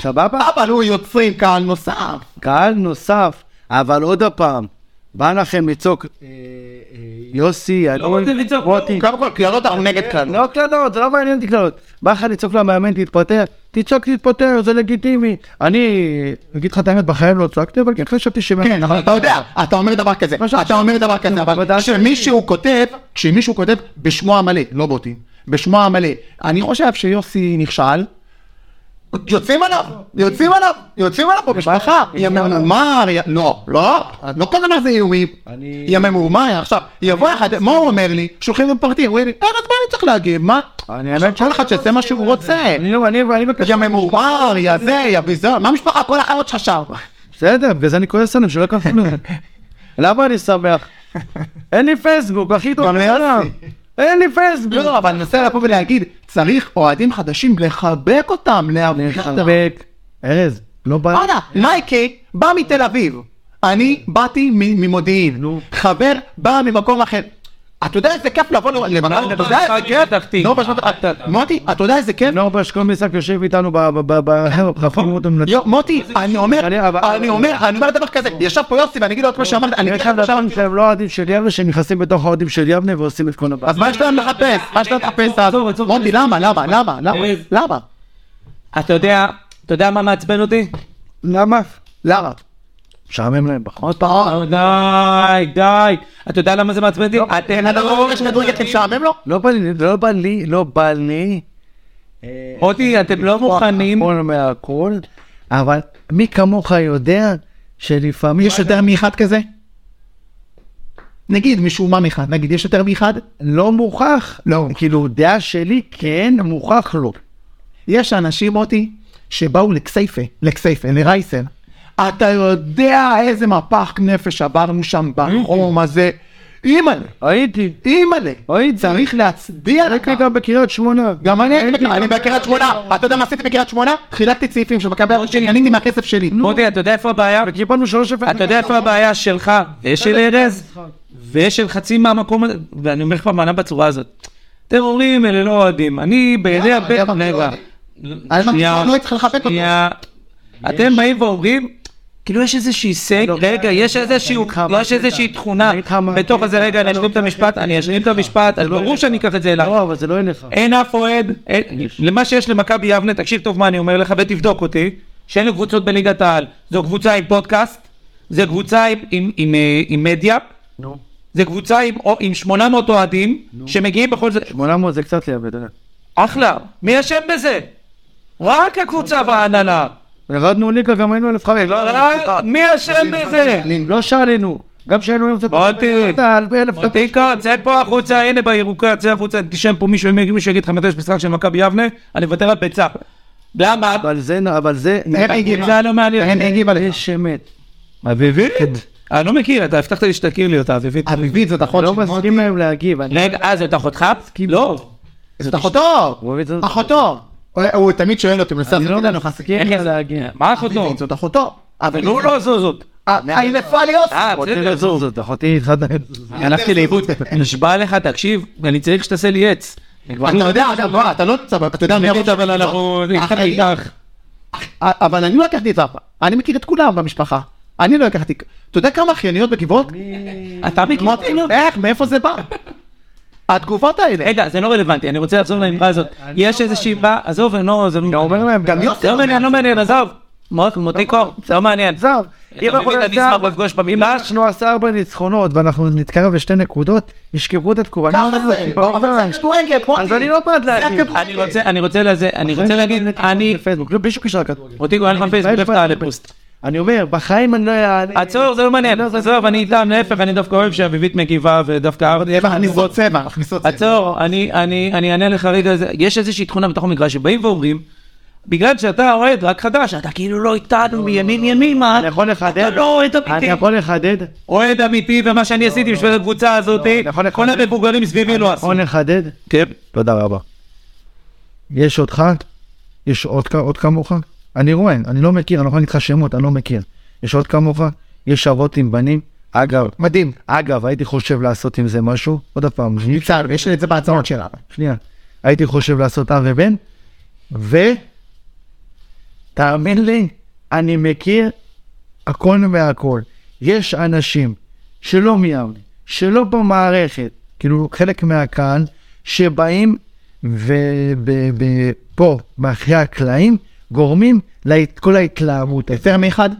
B: סבבה?
A: אבל הוא יוצרים קהל נוסף.
B: קהל נוסף, אבל עוד הפעם, בא לכם לצעוק, אה, אה, יוסי,
C: לא
B: אלון,
C: רוצה לצעוק,
B: מוטי,
A: קודם כל, קללות אנחנו נגד קללות.
B: לא קללות, זה לא מעניין אותי קללות. בא לך לצעוק למאמן, תתפטר, תצעוק, תתפטר, זה לגיטימי. אני אגיד לך את האמת, בחיים לא צעקתי, אבל כן חשבתי ש...
A: כן, אבל אתה יודע, אתה אומר דבר כזה, אתה אומר דבר כזה, אבל כשמישהו כותב, כשמישהו כותב בשמו המלא, לא בוטי, בשמו המלא, אני חושב שיוסי נכשל, יוצאים עליו, יוצאים עליו, יוצאים עליו פה בשבחה, יממומר, לא, לא, לא כל דבר זה איומים, יממומר, עכשיו, יבוא אחד, מה הוא אומר לי? שולחים לפרטי, הוא אומר לי, אה, אז מה אני צריך להגיב, מה? כל אחד שיעשה מה שהוא רוצה,
B: אני לא, אני, אני מבקש...
A: יממומר, יא זה, יא ביזיון, מה המשפחה, כל החיות שלך שם.
B: בסדר, בגלל זה אני כועס עליהם, שלא יקחו לי. למה אני שמח? אין לי פייסבוק, הכי טוב.
A: גם ליוסי.
B: אין לי פייסבוק.
A: לא, אבל אני מנסה לבוא ולהגיד, צריך אוהדים חדשים לחבק אותם, לא. לחבק.
I: ארז, לא בא...
A: וואלה, מייקי בא מתל אביב, אני באתי מ- ממודיעין, חבר בא ממקום אחר. אתה יודע איזה כיף לבוא לבנאדם, אתה יודע איזה
C: באשדוד
A: כיף?
C: מפתח תקווה.
A: נור באשדוד- מוטי, אתה יודע איזה כיף?
I: נור באשכול משחק יושב איתנו ב- ב- ב- ב- חפרו אותו מנצח.
A: יו, מוטי, אני אומר,
I: אני- אבל-
A: אני אומר, אני אומר דבר כזה, ישב פה יוסי ואני אגיד לו את מה שאמרת, אני
I: אני
A: אגיד
I: חייב
A: לך עכשיו,
I: להבין שהם לא אוהדים של יבנה, שהם נכנסים בתוך האוהדים של יבנה ועושים את כל הבעיה.
A: אז מה יש להם לחפש? מה יש להם לחפש? אז?
C: עצור, עצור.
A: מוטי, למה, למה, למה, למה,
C: ארז.
A: למה,
C: אתה יודע, אתה יודע מה מעצבן אותי?
I: למה?
A: למה?
I: משעמם להם בחור.
A: עוד פעם.
C: אה, די, די. אתה יודע למה זה מעצבן אותי?
A: אתם לא יש כדורגל אתם משעמם לו?
I: לא בא לי, לא בא לי, לא בא לי.
C: מוטי, אתם לא מוכנים.
I: הכל מהכל, אבל מי כמוך יודע שלפעמים...
A: יש יותר מאחד כזה? נגיד משועמם אחד, נגיד יש יותר מאחד?
I: לא מוכח.
A: לא.
I: כאילו, דעה שלי כן, מוכח לא.
A: יש אנשים מוטי שבאו לכסייפה, לכסייפה, לרייסן. אתה יודע איזה מפח נפש עברנו שם בחום הזה. אימא'לה,
I: הייתי.
A: אימא'לה.
I: הייתי.
A: צריך להצדיע לך.
I: הייתי גם בקריית שמונה.
A: גם אני הייתי בקריית- אני בקריית שמונה. אתה יודע מה עשיתי בקריית שמונה? חילקתי צעיפים של מכבי אבו שלי, עניתי מהכסף שלי.
C: מוטי, אתה יודע איפה הבעיה?
I: קיבלנו שלוש אפס.
C: אתה יודע איפה הבעיה שלך ושל ארז ושל חצי מהמקום הזה, ואני אומר לך במענה בצורה הזאת. אתם אומרים, אלה לא אוהדים. אני בעיני
A: למה?
C: הבן...
A: למה?
C: רגע.
A: אני
C: שנייה.
A: לא הייתי צריך לחבק אותו.
C: שנייה. אתם באים ואומרים, כאילו יש איזושהי סג, רגע, יש איזשהו, לא יש איזושהי תכונה בתוך הזה, רגע, אני אשלים את המשפט, אני אשלים את המשפט, אז ברור שאני אקח את זה אליו.
I: לא, אבל זה לא אליך.
C: אין אף אוהד, אין- למה שיש למכבי יבנה, תקשיב טוב מה אני אומר לך ותבדוק אותי, שאין לי קבוצות בליגת העל, זו קבוצה עם פודקאסט, זו קבוצה עם- עם- עם אה, עם מדיה, זו קבוצה עם- או- עם 800 אוהדים, שמגיעים בכל זה,
I: 800 זה קצת אה, ליד, אתה יודע.
C: אחלה, מי אשם בזה? רק הקבוצה וההנהלה,
I: ירדנו ליגה, גם היינו אלף חמש. לא,
C: רק- מי אשם בזה?
I: לא שעלינו. גם שהיינו עם זה...
C: מוטי,
I: אלף
C: תיקו, צא פה החוצה, הנה בירוקה, צא החוצה, תשב פה מישהו, אם מישהו יגיד לך מתי יש משחק של מכבי יבנה, אני מוותר על ביצה. למה?
I: אבל זה, אבל זה...
A: איך הגיב?
C: זה היה לא מעניין.
A: אין הגיב עליך.
I: יש אמת.
C: אביבית? אני לא מכיר, אתה הבטחת לי שתכיר לי אותה, אביבית.
A: אביבית זאת אחות
I: לא
A: של מוטי.
I: מסכים להם להגיב. אני-
C: רגע, אה, זאת אחותך? לא.
A: זאת אחותו!
I: הוא מביא את זה-
A: אחותו! לא הוא- אה, הוא תמיד שואל אותי, הוא מנסה לעשות לנו חסקים.
I: מסכים להם להגיב.
C: מה אחותו?
A: זאת אחותו. אבל אה,
C: נו, לא זו זאת.
A: היא נפלה לי עוד.
C: אה,
I: רוצה
C: בסדר.
I: לזוז זאת, אחותי התחתנת.
A: הלכתי לאיבוד.
C: נשבע לך, תקשיב, אני צריך שתעשה לי עץ. אני כבר-
A: אתה יודע, אתה לא- אתה לא נמצא, בה, אתה יודע מי הראש
C: נגיד, אבל
A: שלי,
C: אנחנו...
A: לא?
C: נתחתן
A: אחי,
C: איתך.
A: אה, אבל אני לא לקחתי את זה אף פעם. אני מכיר את כולם במשפחה. אני לא לקחתי. אתה יודע כמה אחייניות בגבעות?
C: אתה מכיר
A: אמרתי, איך? מאיפה זה בא? התגובות האלה.
C: רגע, זה לא רלוונטי, אני רוצה לחזור לאמרה הזאת. יש איזושהי אמרה, עזוב, אני לא... זה לא
I: אומר להם, גם
A: יוסי
C: זה לא
A: אומר,
C: מעניין, לא מעניין, עזוב. מוטי מוטי קור, זה לא מעניין.
I: זר.
C: אם אנחנו אני אשמח לפגוש במילה.
I: אנחנו עשה ארבע ניצחונות ואנחנו נתקרב לשתי נקודות, ישכחו את התקופה.
A: ככה זה. אבל זה כדורגל, מוטי.
I: אז אני לא בעד להגיב.
C: אני רוצה, אני רוצה לזה, אני רוצה להגיד, אני...
I: בפייסבוק, לא, בלי שום קשר לכדורגל.
C: מוטי קור, אין לך פייסבוק, איפה אתה לפוסט?
I: אני אומר, בחיים אני לא אעלה.
C: עצור, זה לא מעניין, עזוב, אני איתם, להפך, אני דווקא אוהב שאביבית מגיבה ודווקא ארדי.
A: צבע, אני זאת צבע, מכניסות צבע.
C: עצור, אני- אני אני אענה לך רגע, זה- יש איזושהי תכונה בתוך המגרש שבאים ואומרים, בגלל שאתה אוהד רק חדש, אתה כאילו לא איתנו מימין ימימה,
I: אני יכול
C: אתה
I: לחדד,
C: לא אוהד
I: אני
C: אמיתי.
I: יכול לחדד,
C: אוהד אמיתי, ומה שאני עשיתי בשביל הקבוצה הזאת,
I: נכון, נכון.
C: כל המבוגרים סביבי לא
B: נכון.
C: עשו.
I: יכול לחדד.
C: כן.
I: תודה רבה. יש אותך? יש עוד, כ- עוד כמוך? אני רואה, אני לא מכיר, אני לא יכול להגיד לך שמות, אני לא מכיר. יש עוד כמוך? יש אבות עם בנים? אגב,
A: מדהים.
I: אגב, הייתי חושב לעשות עם זה משהו, עוד פעם,
A: ניצן, יש לי את זה בהצעות שלנו.
I: שנייה, הייתי חושב לעשות אב ובן, ו...
B: תאמין לי, אני מכיר הכל מהכל. יש אנשים שלא מיאמני, שלא במערכת, כאילו חלק מהקהל, שבאים ופה, מאחורי הקלעים, גורמים לכל ההתלהמות. הזאת.
A: יותר מאחד?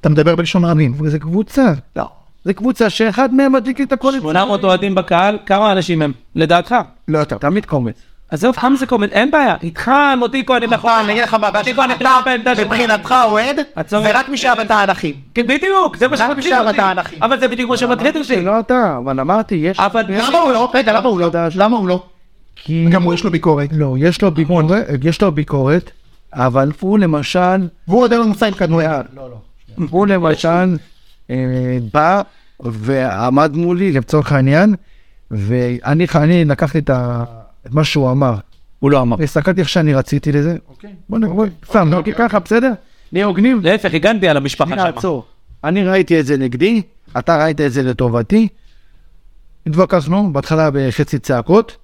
A: אתה מדבר בלשון רבים.
B: וזה קבוצה,
A: לא.
B: זה קבוצה שאחד מהם מדליק לי את הכל.
C: 800 אוהדים בקהל, כמה אנשים הם, לדעתך?
A: לא יותר.
B: תמיד קומץ.
C: עזוב, חמזה קומד, אין בעיה, איתך מוטי כהן, נכון,
A: אני אגיד לך מה הבעיה שלך,
C: נפלה בעמדה שלך.
A: מבחינתך אוהד,
C: הצורך.
A: זה רק מי שאהב את האנכים.
C: כן, בדיוק, זה מה
A: למה
C: שמטריד
A: נשאר
C: אותי.
A: אתה האנכי?
C: אבל זה בדיוק מה שמטריד אותי.
B: לא אתה, אבל אמרתי, יש...
C: אבל
A: למה הוא לא? רגע, למה הוא לא? למה הוא לא?
B: כי...
A: גם הוא יש לו ביקורת. נכון.
B: לא, יש לו ביקורת, יש לו ביקורת, אבל הוא למשל,
A: והוא עוד אין לו מושג כדוריד. לא, לא.
B: הוא למשל אה, בא ועמד מולי לצורך העניין, ואני אני לקחתי את, ה, את מה שהוא אמר,
A: אוקיי.
C: הוא לא אמר.
B: הסתכלתי איך שאני רציתי לזה, אוקיי, בוא נראה, בוא, סתם,
A: אוקיי,
B: נגיד ככה, בסדר? נהיה הוגנים,
C: להפך, הגנתי על המשפחה
B: שנייה,
C: שלך.
B: עצור. אני ראיתי את זה נגדי, אתה ראית את זה לטובתי. התווכחנו, בהתחלה בחצי צעקות,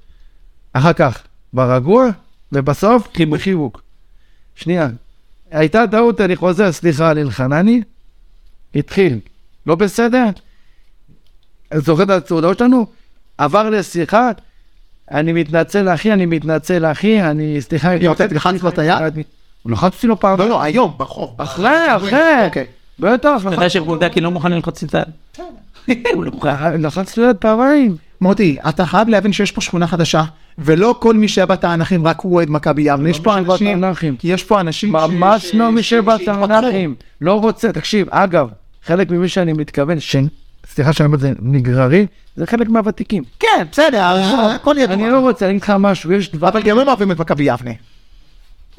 B: אחר כך ברגוע, ובסוף
C: חיבוק.
B: בחיבוק. שנייה, הייתה טעות, אני חוזר, סליחה על אלחנני. התחיל, לא בסדר? זוכר את הצעודות שלנו? עבר לשיחה, אני מתנצל אחי, אני מתנצל אחי, אני סליחה,
A: היא יוצאת לחץ לו את היד?
B: לחצתי לו פעם,
A: לא, לא, היום, ברחוב.
B: אחרי, אחרי, לא
A: אוקיי.
B: בטח,
C: אתה
B: לחצתי
C: יודע שבולדקי לא מוכן ללחוץ את ה... הוא לא מוכן.
B: לחצתי לו יד פעמיים.
A: מוטי, אתה חייב להבין שיש פה שכונה חדשה, ולא כל מי שהיה בתענכים רק הוא אוהד מכבי יבנה. יש פה אנשים,
B: בתענכים.
A: כי יש פה אנשים... ש-
B: לא ממש
A: ש-
B: לא מי
A: ש- שהתפתחו.
B: שבתנ"כים. לא רוצה, תקשיב, אגב, חלק ממי שאני מתכוון, ש... סליחה שאני אומר את זה נגררי, זה חלק מהוותיקים.
A: כן, בסדר, הכל ידוע.
B: אני לא רוצה, אני אגיד לך משהו, יש דבר...
A: אבל גם הם אוהבים את מכבי יבנה.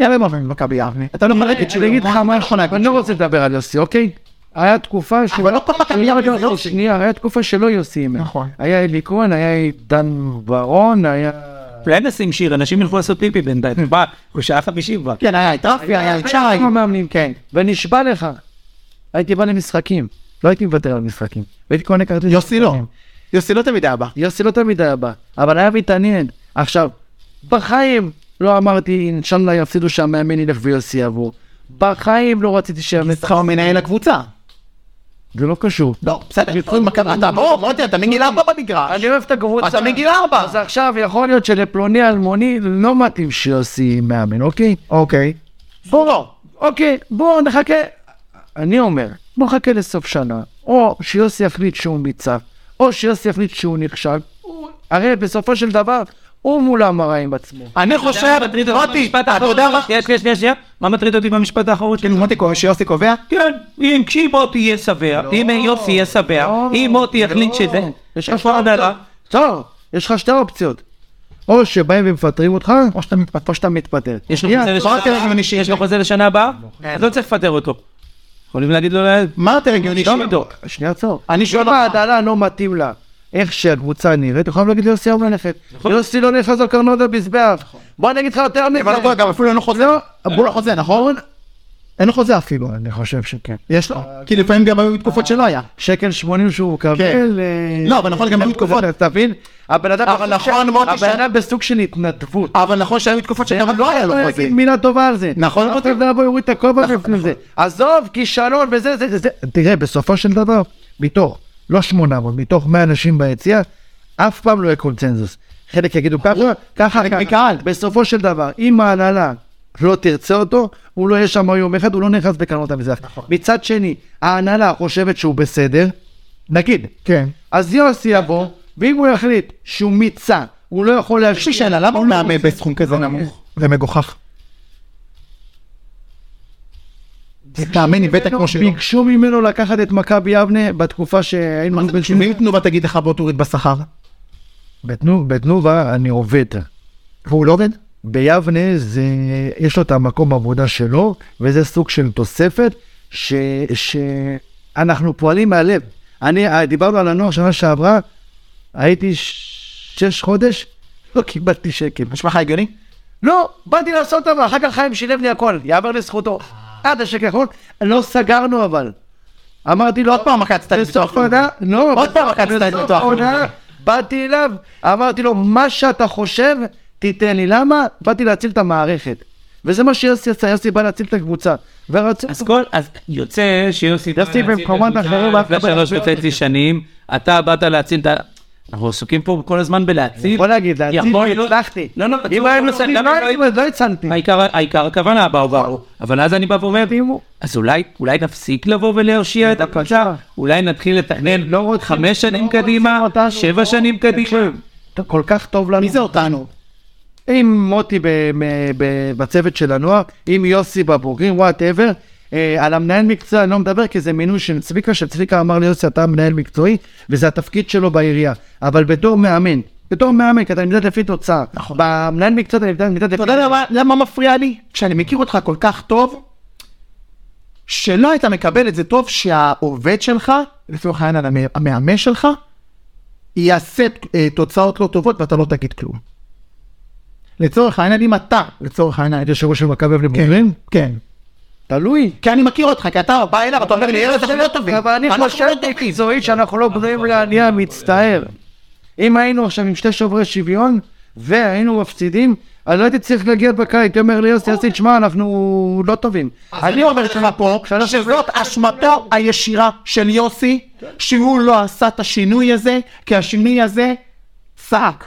A: גם הם אוהבים את מכבי יבנה. אתה לא יכול להגיד
B: אני אגיד לך משהו, אני לא רוצה לדבר על יוסי, אוקיי? היה תקופה ש...
A: אבל לא כל מכבי יבנה זה יוסי.
B: שנייה, היה תקופה שלא יוסי אימן.
A: נכון.
B: היה אלי כהן, היה דן ברון, היה...
C: אין לשים שיר, אנשים ילכו לעשות פיפי בינתיים. בא, הוא שעה חמישי כבר.
A: כן, היה את רפי, היה את שי.
B: היה כמה מאמנים, כן. ונשבע לך, הייתי בא למשחקים, לא הייתי מוותר על משחקים. והייתי קונה כרטיס.
A: יוסי לא. יוסי לא תמיד היה בא.
B: יוסי לא תמיד היה בא, אבל היה מתעניין. עכשיו, בחיים לא אמרתי, אינשאללה יפסידו שהמאמן ילך ויוסי יעבור. בחיים לא רציתי שיאמן.
A: אצלך הוא מנהל הקבוצה.
B: זה לא קשור.
A: לא, בסדר. אתה בוא, מוטי, אתה מגיל ארבע במגרש.
B: אני אוהב את הקבוצה.
A: אתה מגיל ארבע.
B: אז עכשיו יכול להיות שלפלוני אלמוני לא מתאים שיוסי מאמן, אוקיי?
A: אוקיי. בוא לא.
B: אוקיי, בואו נחכה. אני אומר, בואו נחכה לסוף שנה. או שיוסי יחליט שהוא מיצה, או שיוסי יחליט שהוא נכשל. הוא- הרי בסופו של דבר, הוא מול המראה עם עצמו.
A: אני חושב,
C: מטריד אותי
A: מוטי,
C: במשפט
A: אתה
C: האחרון.
A: יודע מה?
C: שנייה, שנייה, שנייה, שנייה. מה מטריד אותי במשפט האחרון שלי?
A: כן, מוטי קובע, שיוסי קובע?
C: כן, אם כשאם מוטי יהיה שבע,
B: לא.
C: אם יוסי יהיה שבע, אם מוטי יחליט שזה, יש לך הנהלה.
B: טוב, יש לך שתי אופציות. או שבאים ומפטרים אותך, או שאתה מתפטר. או שאתה מתפטר.
C: יש לו
A: שנייה,
C: חוזה
A: אמרתי
C: לשנה
A: לך,
C: הבאה?
A: אני
C: יש לו חוזה לשנה הבאה? אז לא צריך לפטר אותו. יכולים להגיד לו, ל-
A: מה יותר הגיוני?
C: שלום עידו.
B: שנייה, עצור.
A: אני שואל
B: אם
A: אותך.
B: ההדלה לא מתאים לה, איך שהקבוצה נראית, יכולים להגיד ליוסי יום ללכת. יוסי לא נכנס על קרנות המזבח. בוא אני אגיד לך יותר מזה.
A: נכון. אבל לא, גם אפילו אין לו חוזה. בוא לחוזה, נכון? אין לו חוזה אפילו.
B: אני חושב שכן.
A: יש לו. לא. כי לפעמים גם היו תקופות שלא היה.
B: שקל שמונים שהוא מקבל. אה,
A: לא, אבל נכון, גם היו תקופות.
B: אתה מבין? הבן אדם
A: אבל
B: בסוג
A: נכון,
B: של-
A: מוטי, ש-
B: הבן אדם בסוג של התנדבות.
A: אבל נכון שהיו תקופות שגם לא היה לו
B: לא
A: חוזה.
B: יגיד מילה טובה על זה.
A: נכון,
B: אף
A: מוטי?
B: אחד לא יבוא יוריד את הכובע בפני זה. עזוב, כישלון וזה, זה, זה, זה. תראה, בסופו של דבר, מתוך, לא 800, מתוך 100 אנשים ביציאה, אף פעם לא יהיה קונצנזוס. חלק יגידו ככה, ככה,
A: נכון. חלק
B: ככה.
A: מקהל.
B: בסופו של דבר, אם ההנהלה לא תרצה אותו, הוא לא יהיה שם יום אחד, הוא לא נכנס בקרנות המזרח.
A: נכון.
B: מצד שני, ההנהלה חושבת שהוא בסדר, נגיד.
A: כן.
B: אז יוסי יבוא, ואם הוא יחליט שהוא מיצה, הוא לא יכול
A: יש לי
B: להשקיע...
A: שאלה, למה הוא מאמן בסכום כזה נמוך? זה מגוחך. תאמין לי, בטח כמו שלא.
B: ביקשו ממנו לקחת את מכבי יבנה בתקופה שהיינו...
A: ואם תנובה תגיד לך בוא תוריד בשכר?
B: בתנו- בתנובה אני עובד.
A: והוא לא עובד?
B: ביבנה זה, יש לו את המקום עבודה שלו, וזה סוג של תוספת ש, שאנחנו פועלים מהלב. אני, אה, דיברנו על הנוער שנה שעברה, הייתי ש- שש חודש, לא קיבלתי שקל.
A: נשמע לך הגיוני?
B: לא, באתי לעשות אבל, אחר כך חיים שילם לי הכל, יאמר לזכותו.
A: אה.
B: עד השקל האחרון, לא סגרנו אבל. אמרתי לו,
A: עוד פעם עקצת את
B: בסוף העונה, לא,
A: עוד פעם עקצת את
B: בסוף
A: ביטוח לאומי.
B: העונה, באתי אליו, אמרתי לו, מה שאתה חושב, תיתן לי. למה? באתי להציל את המערכת. וזה מה שיוסי עשה, יוסי בא להציל את הקבוצה. והרצון...
C: אז כל, אז יוצא שיוסי...
B: יוסי במקומות אחרים,
C: לפני שלוש וחצי שנים, אתה באת להציל את ה... אנחנו עסוקים פה כל הזמן בלהציל.
B: בוא נגיד, להציל,
C: יכול להיות-
B: הצלחתי.
C: לא, לא,
B: אם היינו
C: לא,
B: עושים,
C: לא,
B: לא
C: לא,
B: הייתי- לא הצלתי.
C: העיקר, העיקר הכוונה באו באו, אבל אז אני בא ואומר, אז אולי, אולי נפסיק לבוא ולהרשיע את הקבוצה, אולי נתחיל לתכנן כן, לא
B: לא
C: חמש
A: לא
C: שנים קדימה, שבע שנים
B: כן,
C: קדימה.
B: אתה כל כך טוב לנו.
A: מי זה אותנו?
B: עם מוטי ב- מ- ב- בצוות של הנוער, עם יוסי בבוגרים, וואטאבר. על המנהל מקצוע אני לא מדבר כי זה מינוי של צביקה, שצביקה אמר לי יוסי אתה מנהל מקצועי וזה התפקיד שלו בעירייה. אבל בתור מאמן, בתור מאמן כי אתה נמדד לפי תוצאה.
A: נכון.
B: במנהל מקצוע אתה נמדד- נמדד
A: אתה
B: לפי...
A: יודע למה- למה מפריע לי? כשאני מכיר אותך כל כך טוב, שלא היית מקבל את זה טוב שהעובד שלך, לצורך העניין המ- המאמן שלך, יעשה אה, תוצאות לא טובות ואתה לא תגיד כלום. לצורך העניין, אם אתה, לצורך העניין, היית יושב ראש של מכבי אבני בוגרים? כן.
B: תלוי.
A: כי אני מכיר אותך, כי אתה בא אליו, אתה אומר לי, ארז, אתם לא טובים.
B: אבל אני
A: אנחנו לא
B: חושב
A: טובים."
B: מקצועית שאנחנו לא בריאים לעלייה, מצטער. אם היינו עכשיו עם שתי שוברי שוויון והיינו מפסידים, אני לא הייתי צריך להגיע בקיץ, הייתי אומר ליוסי, יוסי, תשמע, אנחנו לא טובים.
A: אז אני אומר לך פה, שזאת אשמתו הישירה של יוסי, שהוא לא עשה את השינוי הזה, כי השינוי הזה צעק,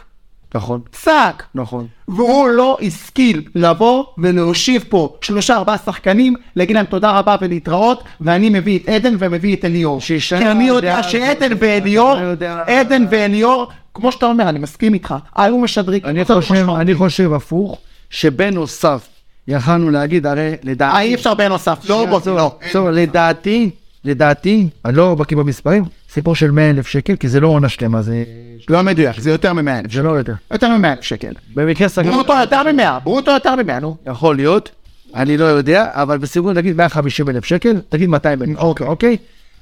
B: נכון,
A: צעק.
B: נכון.
A: והוא לא השכיל לבוא ולהושיב פה שלושה ארבעה שחקנים, להגיד להם תודה רבה ולהתראות, ואני מביא את עדן ומביא את אליאור.
B: שישנה
A: כי אני יודע
B: הדעה
A: שעדן
B: הזאת.
A: ואליאור,
B: אני יודע.
A: עדן ואליאור, כמו שאתה אומר, אני מסכים איתך, היו משדרים.
B: אני
A: קבוצה
B: חושב,
A: משמעותית.
B: אני חושב הפוך, שבנוסף, יכלנו להגיד, הרי
A: אה,
B: לדעתי...
A: אי אפשר בנוסף, לא רובוט, לא.
B: טוב, לדעתי, לדעתי,
L: אני לא בקיא במספרים, סיפור של 100 אלף שקל, כי זה לא עונה שלמה, זה...
A: לא מדויק, זה יותר מ-100 אלף
L: זה לא יותר.
A: יותר מ-100 אלף שקל. לא,
B: במקרה סגרנו...
A: ברוטו יותר מ-100, ברוטו יותר מ-100, נו.
B: יכול להיות, אני לא יודע, אבל בסיכום נגיד 150 אלף שקל, תגיד 200 אלף,
A: אוקיי.
B: אוקיי?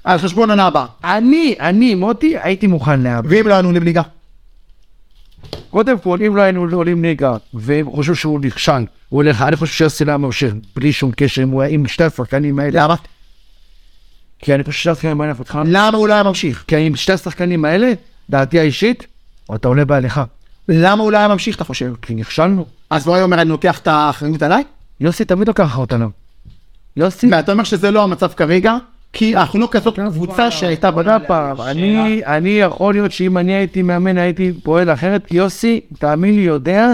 A: על חשבון עונה הבאה.
B: אני, אני, מוטי, הייתי מוכן להאבק.
A: ואם לא ענו לבליגה?
B: קודם כל, אם לא היינו עולים ליגה, והם חושבים שהוא נכשן, הוא הולך, אני חושב שיוסי למה ממשיך בלי שום קשר, אם הוא היה עם שתי השחקנים האלה,
A: למה?
B: כי אני חושב שהשחקנים האלה פותחם,
A: למה הוא לא היה ממשיך?
B: כי עם שתי השחקנים האלה, דעתי האישית,
L: אתה עולה בהליכה.
A: למה הוא לא היה ממשיך, אתה חושב?
B: כי נכשלנו.
A: אז הוא היה אומר, אני לוקח את האחריות עליי?
B: יוסי תמיד לוקח אותנו. יוסי,
A: ואתה אומר שזה לא המצב כרגע? כי אנחנו לא כזאת קבוצה שהייתה
B: עוד
A: בנה
B: פעם, אני, אני יכול להיות שאם אני הייתי מאמן הייתי פועל אחרת, כי יוסי, תאמין לי, יודע,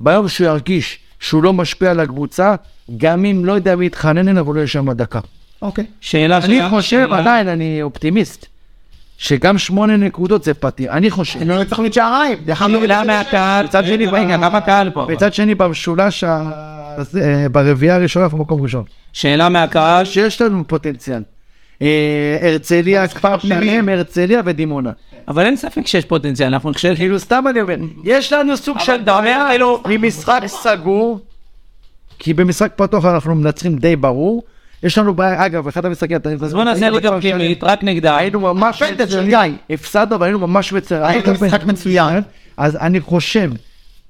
B: ביום שהוא ירגיש שהוא לא משפיע על הקבוצה, גם אם לא יודע מי יתחנן אליו, הוא לא ישם הדקה.
A: אוקיי.
C: שאלה
B: אני
C: שנייה.
B: חושב,
C: שאלה-
B: עדיין, אני אופטימיסט, שגם שמונה נקודות זה פתיר, אני חושב.
A: הם לא ניצחנו את שעריים. דרך אגב,
C: למה הקהל, מצד שני, רגע, למה הקהל פה?
B: לא מצד שני, במשולש, ה-
L: אז אה, ברביעייה הראשונה אנחנו במקום ראשון.
C: שאלה מהקהל,
B: שיש לנו פוטנציאל. אה, הרצליה, כפר שלם, הרצליה ודימונה.
C: אבל אין ספק שיש פוטנציאל, אנחנו חושבים,
B: כאילו, סתם אני אומר, יש לנו סוג של דבר, ממשחק סגור,
L: כאילו, כי במשחק פתוח אנחנו מנצחים די ברור. יש לנו בעיה, אגב, אחד המשחקים, אתה
C: אז בוא נעשה ליגה פנימית, רק נגדה.
B: היינו ממש
A: פנדל של
B: מצוינים, הפסדנו אבל היינו ממש
A: היה
B: מצוינים,
A: משחק מצוין.
L: אז אני חושב,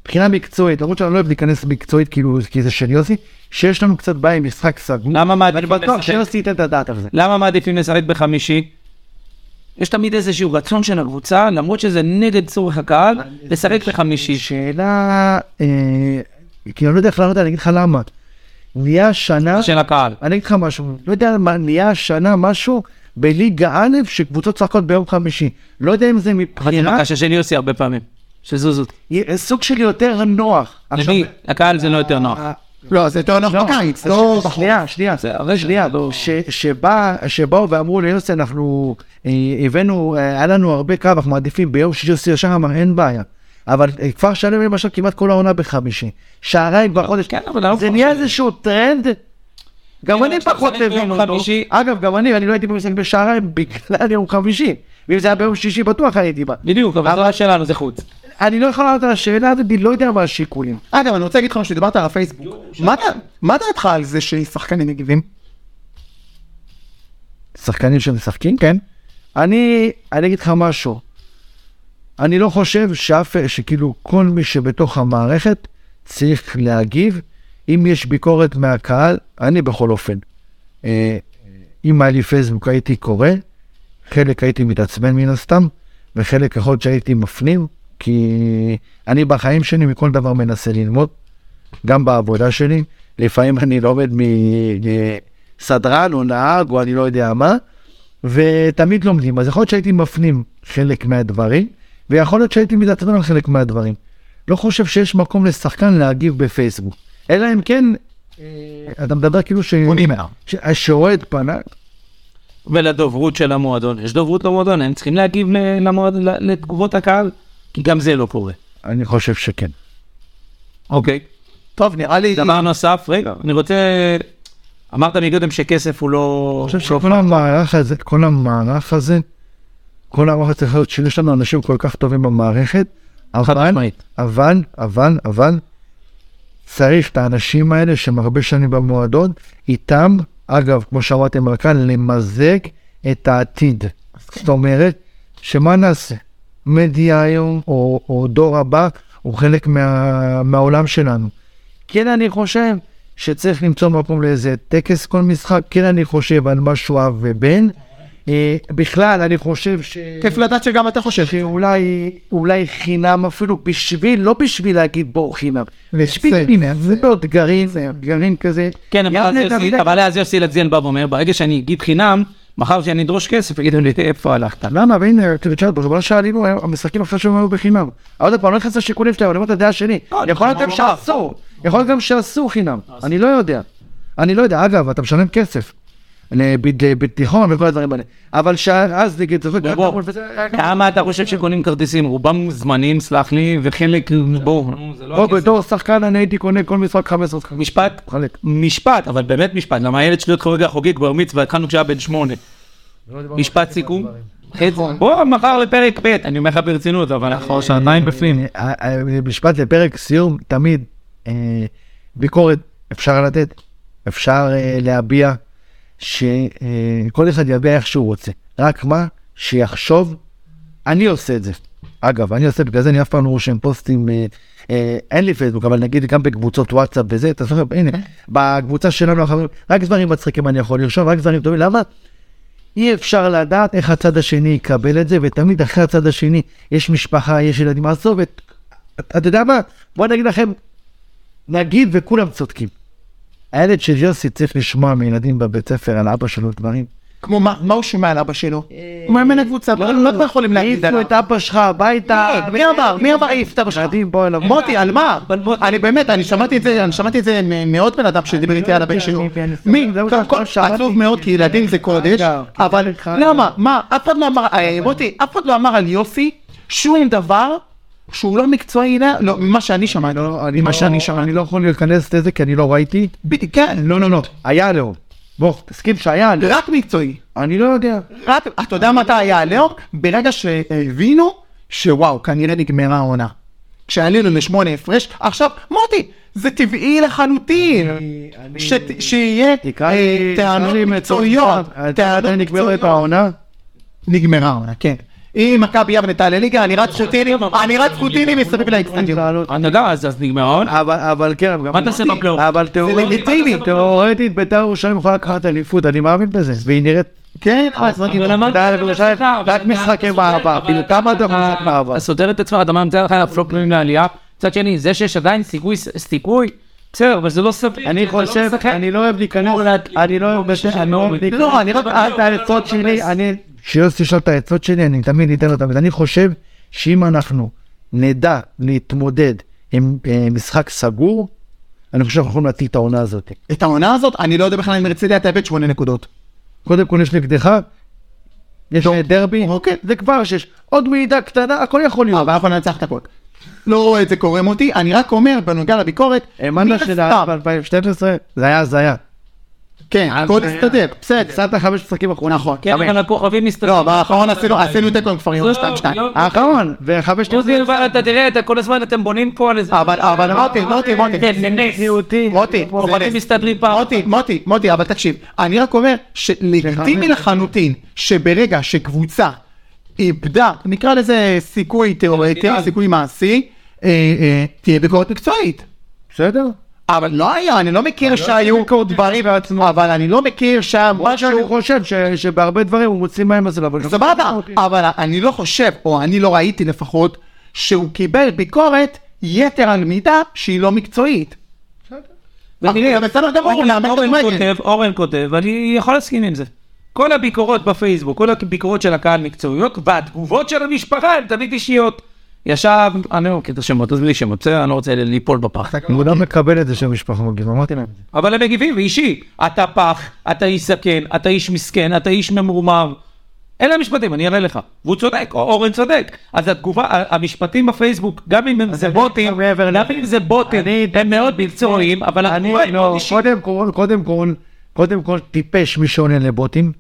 L: מבחינה מקצועית, למרות שאני לא אוהב להיכנס מקצועית, כאילו, כי זה של יוסי, שיש לנו קצת בעיה עם משחק סגור.
C: למה
B: אני
C: מעדיפים
B: בטוח
C: לשחק-
B: שיוסי ייתן את הדעת על זה.
C: למה מעדיפים לשחק בחמישי? יש תמיד איזשהו רצון של הקבוצה, למרות שזה נגד צורך הקהל, לשחק בחמישי.
L: שאלה, אה, כי אני לא יודע איך לענות, אני אגיד לך למה. נהיה שנה,
C: של הקהל.
L: אני אגיד לך משהו, לא יודע מה, נהיה השנה משהו בליגה א' שקבוצות צחקות ביום חמישי. לא יודע אם זה
C: אבל זה
L: מבחינה,
C: בקשה שלי עושה הרבה פעמים, של זוזות.
B: סוג של יותר נוח. עכשיו, אה,
C: למי? לקהל זה לא יותר נוח.
A: לא, זה יותר נוח בקיץ, לא בחור.
B: שנייה, שנייה, שנייה, לא, ש- שבא- שבאו ואמרו ליוסי אנחנו אה, הבאנו, אה, היה לנו הרבה קרב, אנחנו מעדיפים ביום שישי יוסי ישר אמר אין בעיה. אבל אה, כפר שלם למשל כמעט כל העונה בחמישי. שעריים כבר חודש.
C: כן, אבל לא
B: זה
C: כפר
B: נהיה
C: שלם.
B: איזשהו טרנד. גם
C: כן,
B: אני
C: אבל כשאתה
B: פחות
C: משחק ביום
B: מבין אותו.
C: חמישי-
B: אגב, גם אני, אני לא הייתי במשחק בשעריים בגלל יום חמישי. ואם זה היה ביום שישי בטוח הייתי בא.
C: בדיוק, אבל זה לא שלנו, זה חוץ.
B: אני לא יכול לענות על השאלה הזאת, אני לא יודע מה השיקולים.
A: אגב, אני רוצה להגיד לך משהו, דיברת על הפייסבוק. מה דע- מה דעתך על זה ששחקנים מגיבים?
B: שחקנים שמשחקים?
A: כן.
B: אני, אני אגיד לך משהו. אני לא חושב שאף, שכאילו כל מי שבתוך המערכת צריך להגיב. אם יש ביקורת מהקהל, אני בכל אופן. אה, אם היה לי פייסבוק הייתי קורא, חלק הייתי מתעצבן מן הסתם, וחלק יכול להיות שהייתי מפנים, כי אני בחיים שלי מכל דבר מנסה ללמוד, גם בעבודה שלי,
M: לפעמים אני לומד מסדרן או נהג או אני לא יודע מה,
B: ותמיד לומדים, אז יכול להיות שהייתי מפנים חלק מהדברים, ויכול להיות שהייתי מתעצבן על חלק מהדברים. לא חושב שיש מקום לשחקן להגיב בפייסבוק, אלא אם כן, אה, אתה מדבר כאילו ש...
A: בונים אליו.
B: ש- השועד פנה,
C: ולדוברות של המועדון, יש דוברות למועדון, הם צריכים להגיב ל- למועד- ל- לתגובות הקהל, כי גם זה לא קורה.
B: אני חושב שכן.
C: אוקיי.
A: טוב, נראה לי...
C: דבר נוסף, רגע,
B: כן.
C: אני רוצה... אמרת מקודם שכסף הוא לא...
B: אני חושב שכל המערך הזה, כל המערך הזה, כל המערך הזה צריך להיות שיש לנו אנשים כל כך טובים במערכת, אבל,
C: משמעית.
B: אבל, אבל, אבל, צריך את האנשים האלה שהם הרבה שנים במועדון, איתם, אגב, כמו שאמרתם רק כאן, למזג את העתיד. זאת אומרת, שמה נעשה? מדיה היום, או, או דור הבא, הוא חלק מה, מהעולם שלנו. כן, אני חושב שצריך למצוא מקום לאיזה טקס כל משחק, כן, אני חושב על משהו אב ובן. אה, בכלל, אני חושב ש...
A: כיף לדעת שגם אתה חושב.
B: שאולי אולי חינם אפילו בשביל, לא בשביל להגיד בואו חינם. בשביל
A: זה-
B: חינם, זה מאוד גרעין, גרעין כזה.
C: כן, אבל אז
B: יבנה,
C: יוסי-
B: דוד,
C: אבל אז יוסי לציין בא ואומר, ברגע שאני אגיד חינם, מחר שאני אדרוש כסף, יגידו לי, איפה הלכת?
B: למה, והנה, תשאל, בזמן שעלינו, אה, המשחקים עכשיו שהם היו בחינם. עוד פעם, אני לא נכנס לשיקולים שלהם, אני אומר את הדעה שלי.
C: לא,
B: יכול להיות
C: אני
B: גם
C: אומר,
B: שאסור, יכול להיות גם שאסור חינם, אני לא יודע. אני לא יודע, אגב, אתה משלם כסף. לביד- בתיכון וכל הדברים האלה. אבל שאז נגיד, זוכר,
C: בוא, בוא. כמה אתה חושב שקונים כרטיסים? רובם מוזמנים, סלח לי, וחלק, בואו, נו, זה לא
B: בוא,
C: הכסף.
B: בתור שחקן אני הייתי קונה כל משחק 15 שקלים.
C: משפט,
B: חלק.
C: משפט, אבל באמת משפט, למה הילד שלי עוד חוגג חוגג בר מצווה, התחלנו כשהיה בן שמונה. משפט סיכום?
B: נכון.
C: חצי. בוא, מחר לפרק ב', אני אומר לך ברצינות, אבל אנחנו שעתיים בפנים.
B: אה, אה, משפט לפרק סיום, תמיד אה, ביקורת אפשר לתת, אפשר אה, להביע, שכל אחד יביע איך שהוא רוצה, רק מה, שיחשוב, אני עושה את זה. אגב, אני עושה, בגלל זה אני אף פעם לא רושם פוסטים, אה, אה, אין לי פייסבוק, אבל נגיד גם בקבוצות וואטסאפ וזה, אתה זוכר, הנה, בקבוצה שלנו, החברים, רק דברים מצחיקים אני יכול לרשום, רק דברים טובים, למה? אי אפשר לדעת איך הצד השני יקבל את זה, ותמיד אחרי הצד השני יש משפחה, יש ילדים, עזוב את... אתה את יודע מה? בוא נגיד לכם, נגיד וכולם צודקים. הילד של יוסי צריך לשמוע מילדים בבית ספר על אבא שלו דברים.
A: כמו מה מה הוא שומע על אבא שלו? הוא מאמן הקבוצה, אה, לא יכולים להגיד
B: העיפו
A: עליו. לא,
B: את אבא שלך הביתה.
A: מי אמר? מי אמר העיף את אבא שלך?
B: ילדים, בוא אליו.
A: מוטי, על מה? אני באמת, אני שמעתי את זה, אני שמעתי את זה מעוד בן אדם שדיבר איתי על הבן שלו.
B: אני- אני-
A: מי?
B: זהו,
A: קודם כל,
B: לא שמעתי.
A: עצוב מאוד, כי ילדים זה קודש,
B: אגב,
A: אבל
B: כן,
A: למה? מה? אף אחד לא אמר, אה, מוטי, אף אחד לא אמר על יוסי שום דבר שהוא לא מקצועי, לא, לא, ממה שאני שמעתי. ממה שאני
B: אני
A: שמעתי.
B: לא יכול להיכנס לזה כי אני לא ראיתי.
A: בדיוק, כן, לא, לא, לא.
B: היה עליהום. בוא, תסכים שהיה עליהום.
A: רק מקצועי.
B: אני לא יודע.
A: רק, אתה יודע מתי היה הלאום? ברגע שהבינו שוואו, כנראה נגמרה העונה. כשעלינו לשמונה הפרש, עכשיו, מוטי, זה טבעי לחלוטין. שת- שיהיה
B: תקרא
A: אה,
B: לי-
A: טענות
B: תקרא לי
A: מקצועיות.
B: מצוין.
A: טענות
B: אה, נגמרת
A: מקצועיות.
B: העונה.
A: נגמרה העונה, כן. אם מכבי יבנה תעלה ליגה, אני רץ חוטיני, אני רץ חוטיני מסביב לאקסטנדיום.
C: אני יודע, אז אז נגמר העונה.
B: אבל, אבל כן, אבל גם...
C: מה תעשה בפלייאוף?
B: אבל
A: לגיטימי.
B: תיאורטית, תיאורטית בית"ר ירושלים יכולה לקחת אליפות, אני מאמין בזה, והיא נראית...
A: כן, אז רק
C: אבל אמרת-
B: בית"ר ירושלים,
C: אבל
B: רק
C: אתה-
B: משחקי
C: אתה
B: מעבר,
C: צודק,
B: כאילו
C: אבל
B: כמה אתה
C: אתה-
B: חוזק מעבר?
C: אתה סותר את עצמך, אתה ממצא לך אף לא פנים לעלייה. מצד שני, זה שיש עדיין סיכוי, סיכוי, בסדר, אבל זה לא סביר.
B: אני חושב, אני לא אוהב להיכנס, אני לא אוהב להיכנס, אני לא אוהב להיכנס,
A: לא, אני רק-
B: אל תעצות שלי, אני... שיוסי ישאל את העצות שלי, אני תמיד אתן אותן, ואני חושב שאם אנחנו נדע להתמודד עם אה, משחק סגור, אני חושב שאנחנו יכולים להטיל את העונה הזאת.
A: את העונה הזאת, אני לא יודע בכלל אם רציתי תאבד שמונה נקודות.
B: קודם כל יש נגדך, יש אה, דרבי,
A: אוקיי.
B: זה כבר שיש. עוד מעידה קטנה, הכל יכול להיות.
A: אבל אנחנו ננצח את הכל. לא רואה את זה קורם אותי, אני רק אומר, בנוגע לביקורת, אה, מן
B: האמנת שנהרג
A: הסתם.
B: ב-2012? זה היה הזיה.
A: כן,
B: אה,
A: הכל הסתדר, בסדר.
B: הפסדת חמש משחקים אחרונים.
A: נכון.
C: כן, אבל הכוכבים מסתכלים.
A: לא, אבל האחרון עשינו עשינו תיקו עם כפר
B: לא,
A: יונה 2-2. נכון.
B: האחרון, וחמש
C: עוזי,
A: אוקיי.
C: אבל אתה תראה, אתה כל הזמן אתם בונים פה על איזה...
A: אבל אבל מוטי, מוטי, מוטי,
C: כן, זה נס.
A: מוטי,
C: הכוכבים
A: מוטי,
C: מסתדרים פעם.
A: מוטי, מוטי, מוטי, אבל תקשיב, אני רק אומר שלגיטימי לחלוטין שברגע שקבוצה איבדה, נקרא לזה סיכוי תיאורטי, סיכוי מעשי, אה, אה, תהיה ביקורת מקצועית.
B: בסדר?
A: אבל לא היה, אני לא מכיר שהיו דברים, אבל אני לא מכיר שהיה
B: מה שאני
A: משהו
B: חושב ש- שבהרבה דברים הוא מוציא מים בסדר, אבל...
A: סבבה, אבל אני לא חושב, או אני לא ראיתי לפחות, שהוא קיבל ביקורת יתר על מידה שהיא לא מקצועית. אוקיי, בסדר גמור,
C: אה, אורן-
A: נאמן
C: אורן
A: כדורגל.
C: כותב, אורן כותב, ואני יכול להסכים עם זה. כל הביקורות בפייסבוק, כל הביקורות של הקהל מקצועיות, והתגובות של המשפחה הן תמיד אישיות. ישב, אני לא מכיר את השמות, אז בלי שמות, בסדר? אני לא רוצה ליפול בפח.
B: הוא לא מקבל את זה שהמשפחה מגיבה, אמרתי להם את זה.
C: אבל הם מגיבים, אישי. אתה פח, אתה איש זקן, אתה איש מסכן, אתה איש ממורמר. אלה המשפטים, אני אראה לך. והוא צודק, או- אורן צודק. אז התגובה, ה- המשפטים בפייסבוק, גם אם הם זה בוטים,
B: מעבר
C: גם אם זה בוטים, הם מאוד מקצועיים, אבל
B: אני,
C: התגובה היא מאוד
B: לא,
C: אישית.
B: קודם כל, קודם כל, קודם כל, טיפש מי שעונה לבוטים,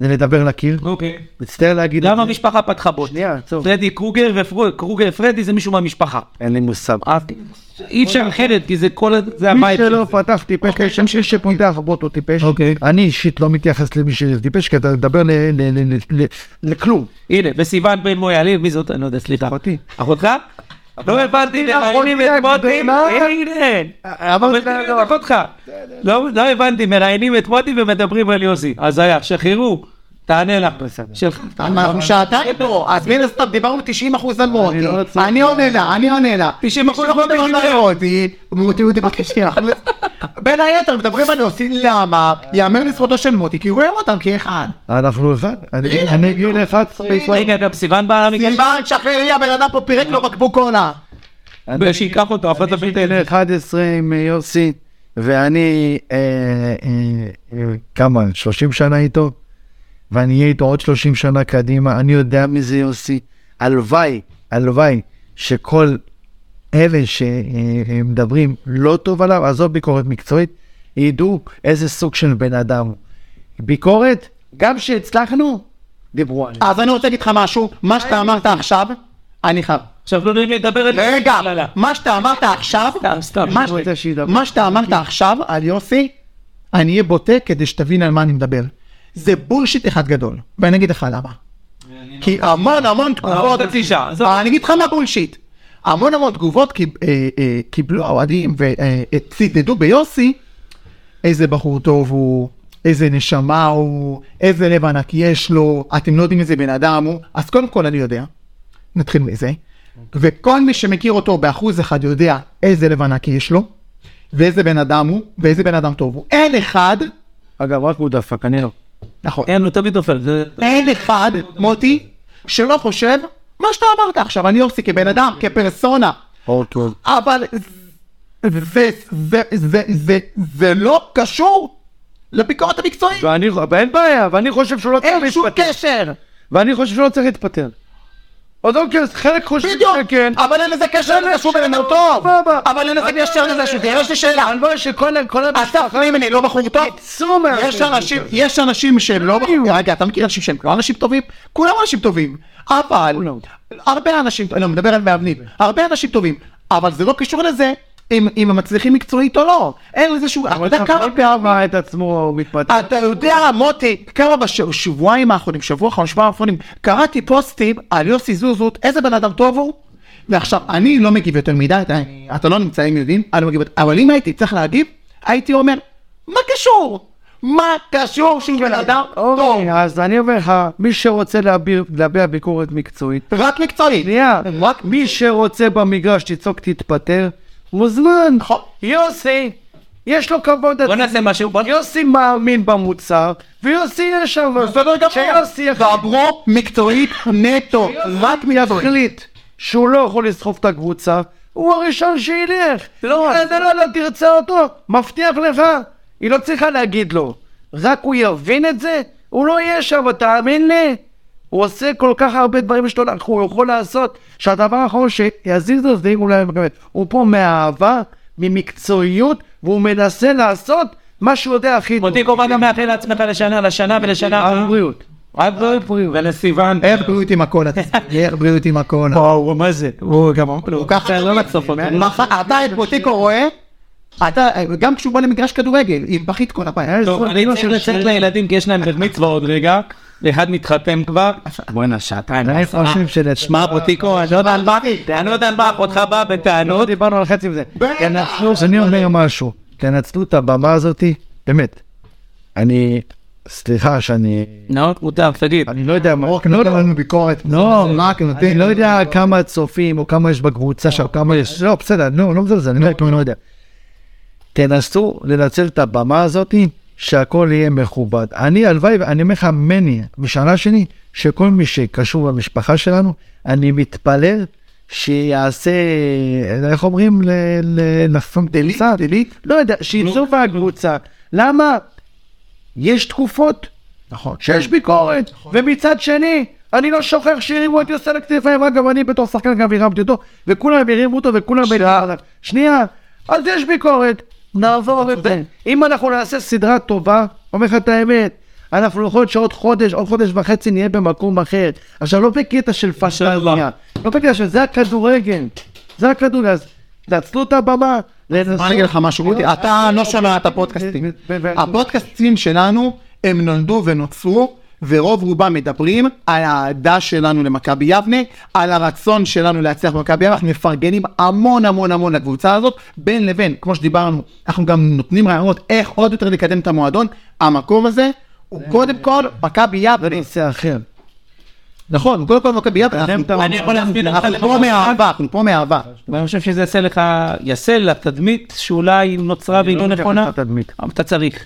B: זה לדבר לקיר.
C: אוקיי.
B: מצטער להגיד את
C: גם
B: זה.
C: המשפחה פתחה בוט.
B: שנייה, עצור.
C: פרדי קרוגר וקרוגר פרדי זה מישהו מהמשפחה.
N: אין לי מושג.
C: אהבתי. אי אפשר אחרת כי זה כל ה- זה
B: מי
C: הבית. של
B: שלא
C: זה.
B: פתח טיפש, יש שם שיש שפותח בוט הוא טיפש.
C: אוקיי.
B: אני אישית לא מתייחס למי שטיפש, כי אתה מדבר ל- ל- ל- ל- ל- לכלום.
C: הנה וסיוון בן מויאליב מי זאת אני לא יודע סליחה.
B: אחותי.
C: אחותך? לא הבנתי מראיינים את
B: אחותי
C: מוטי.
B: הגדולה.
C: הנה.
B: אמרתי
C: אבל תראה את אחותך. לא לא הבנתי מראיינים את מוטי ומדברים על יוסי. הזיה שחררו. תענה לך. שלך.
A: אנחנו שעתיים פה, אז מן הסתם דיברנו 90 אחוז על מוטי, אני עונה לה, אני עונה לה,
C: 90% מוטי
A: על
C: קיבל.
A: מוטי, מוטי הוא דיבר כשנייה, בין היתר מדברים על יוסי למה, יאמר לזכותו של מוטי, כי הוא רואה אותם כאחד,
B: אנחנו אחד, אני אני גיל 11 בישראל.
C: רגע גם סיוון בא למגרש.
A: סילבן שחרר לי הבן אדם פה פירק לו בקבוק קולה,
C: שייקח אותו. אף אחד לא מבין את
B: גיל
C: העניין.
B: 11 כן, עם אה, יוסי, ואני אה, אה, אה, כמה, 30 שנה איתו, ואני אהיה איתו עוד 30 שנה קדימה, אני יודע מי זה יוסי. הלוואי, הלוואי שכל אלה שמדברים לא טוב עליו, עזוב ביקורת מקצועית, ידעו איזה סוג של בן אדם הוא. ביקורת, גם שהצלחנו, דיברו עלינו.
A: אז אני רוצה להגיד לך משהו, מה שאתה אמרת עכשיו, אני חייב,
C: עכשיו לא נעים לי לדבר על זה.
A: רגע,
C: לא, לא.
A: מה שאתה אמרת עכשיו,
C: סתם, סתם.
A: מה-
B: אני רוצה שידבר.
A: מה שאתה אמרת עכשיו על יוסי, אני אהיה בוטה כדי שתבין על מה אני מדבר. זה בולשיט אחד גדול, ואני אגיד לך למה. כי המון המון תגובות,
C: אה, חצי שעה, עזוב.
A: אני אגיד לך מה בולשיט. המון המון תגובות קיב- אה, אה, קיבלו האוהדים וצידדו ביוסי, איזה בחור טוב הוא, איזה נשמה הוא, איזה לב ענק יש לו, אתם לא יודעים איזה בן אדם הוא, אז קודם כל אני יודע, נתחיל מזה,
C: אוקיי.
A: וכל מי שמכיר אותו באחוז אחד יודע איזה לב ענק יש לו, ואיזה בן אדם הוא, ואיזה בן אדם טוב הוא. אין אחד,
N: אגב, רק הוא דפק, אני לא.
A: נכון,
C: אין, הוא תמיד נופל. זה-
A: אין אחד, מוטי, שלא חושב מה שאתה אמרת עכשיו, אני יוסי כבן אדם, כפרסונה,
N: אורטון.
A: אבל זה, זה, זה, זה, זה, זה לא קשור לביקורת
C: לא,
A: המקצועית,
B: ואני, ואין בעיה, ואני חושב שהוא לא צריך
A: אין שום
B: להתפטר.
A: קשר.
B: ואני חושב שהוא לא צריך להתפטר. עוד אוקיי, אז חלק חושבים
A: בדיוק,
B: שכן.
A: אבל אין לזה קשר לזה שהוא בן אדם טוב, אבל אין לזה קשר לזה שהוא טוב. יש לי שאלה,
B: הלוואי שכל כל
A: אסף מימני לא בחור טוב?
B: יצאו מה...
A: יש אנשים, יש אנשים שהם לא בחורים, רגע, אתה מכיר אנשים שהם לא אנשים טובים? כולם אנשים טובים, אבל הרבה אנשים, לא, אני מדבר על מאמנים, הרבה אנשים טובים, אבל זה לא קשור לזה אם אם הם מצליחים מקצועית או לא, אין לזה שהוא, אתה יודע כמה
B: כל פעם ראה את עצמו הוא מתפטר.
A: אתה יודע, מוטי, כמה בשבועיים האחרונים, שבוע האחרון, שבועיים האחרונים, קראתי פוסטים על יוסי זוזות, איזה בן אדם טוב הוא. ועכשיו, אני לא מגיב יותר מדי, אתה, אתה לא נמצא, הם יודעים, אני לא מגיב, יותר- אבל אם הייתי צריך להגיב, הייתי אומר, מה קשור? מה קשור שהוא בן אדם טוב?
B: אוקיי, אז אני אומר לך, מי שרוצה להביע- להביע ביקורת מקצועית,
A: רק מקצועי.
B: שנייה,
A: רק
B: מי שרוצה במגרש תצעוק תתפטר, מוזמן.
A: נכון.
B: יוסי, יש לו כבוד
C: בוא
B: עצמי.
C: נעשה משהו, בוא
B: יוסי מאמין במוצר, ויוסי יש שם.
A: בסדר גמור.
B: שיוסי יחליט.
A: דברו מקצועית נטו, רק מילה זו.
B: החליט שהוא לא יכול לסחוב את הקבוצה, הוא הראשון שילך. לא, לא, לא, לא, תרצה אותו, מבטיח לך. היא לא צריכה להגיד לו. רק הוא יבין את זה, הוא לא יהיה שם, תאמין לי. הוא עושה כל כך הרבה דברים שלא הוא יכול לעשות, שהדבר האחרון שיזיז לו זה אם הוא לא היה מקבל. הוא פה מאהבה, ממקצועיות, והוא מנסה לעשות מה שהוא יודע הכי טוב.
C: מוטי קורבנה מאחל לעצמך לשנה, לשנה ולשנה.
B: אהב בריאות.
C: רק בריאות. ולסיוון.
A: ערב בריאות עם הכל, אתה- ערב בריאות עם הכל.
C: וואו, מה זה? הוא גם הוא ככה לא מצוף אותו.
A: מח- אתה את בוטיקו רואה, אתה, גם כשהוא בא למגרש כדורגל, עם פחית כל אה, הפעם.
C: טוב, אני
B: לא
C: צריך לצאת לילדים כי יש להם בר מצווה עוד רגע. ואחד מתחתן כבר. בואנה, שעתיים.
B: אה.
C: שמע, בוטיקו, אני לא יודע על מה, אני לא יודע על מה אחותך באה בטענות.
B: לא דיברנו על חצי מזה. תנצלו, אני אומר משהו, תנצלו את הבמה הזאתי, באמת. אני, סליחה שאני,
C: נאות מותר, תגיד.
B: אני לא יודע מה,
A: לא נותן לנו ביקורת.
B: לא,
A: מה, כאילו,
B: אני לא יודע אה, אוקיי. כמה צופים או כמה יש בקבוצה שם, כמה יש, לא, בסדר, נו, לא מזלזל, אני באמת לא יודע. תנסו לנצל את הבמה הזאת, שהכל יהיה מכובד. אני, הלוואי, אני אומר לך, מני, משנה שני, שכל מי שקשור למשפחה שלנו, אני מתפלל שיעשה, איך אומרים, לפעמים דליק, דליק, לא יודע, שיצאו מהקבוצה. למה? יש תקופות
A: נכון.
B: שיש ביקורת, ומצד שני, אני לא שוכח שהרימו את יוסי על הכתפיים, אגב, אני בתור שחקן גם הרמתי אותו, וכולם הרימו אותו וכולם... שנייה. שנייה, אז יש ביקורת, נעבור, ו- אם אנחנו נעשה סדרה טובה, אומר לך את האמת, אנחנו יכול להיות שעוד חודש, עוד חודש וחצי נהיה במקום אחר. עכשיו, לא בקטע של פשטניה, לא בקטע של זה הכדורגל, זה הכדורגל, אז תנצלו את הבמה,
A: מה אני אגיד לך משהו, רותי, אתה לא שומע את הפודקאסטים. הפודקאסטים שלנו, הם נולדו ונוצרו, ורוב רובם מדברים על האהדה שלנו למכבי יבנה, על הרצון שלנו להצליח במכבי יבנה, אנחנו מפרגנים המון המון המון לקבוצה הזאת, בין לבין, כמו שדיברנו, אנחנו גם נותנים רעיונות איך עוד יותר לקדם את המועדון, המקום הזה, הוא קודם כל מכבי יבנה.
B: נושא אחר.
A: נכון, הוא קודם כל מכבי יבנה, אנחנו-
C: אני יכול להסביר לך
A: אנחנו פה מאהבה, אנחנו פה מאהבה.
C: ואני חושב שזה יעשה לך, יעשה לתדמית שאולי נוצרה והיא לא נכונה, אבל אתה צריך.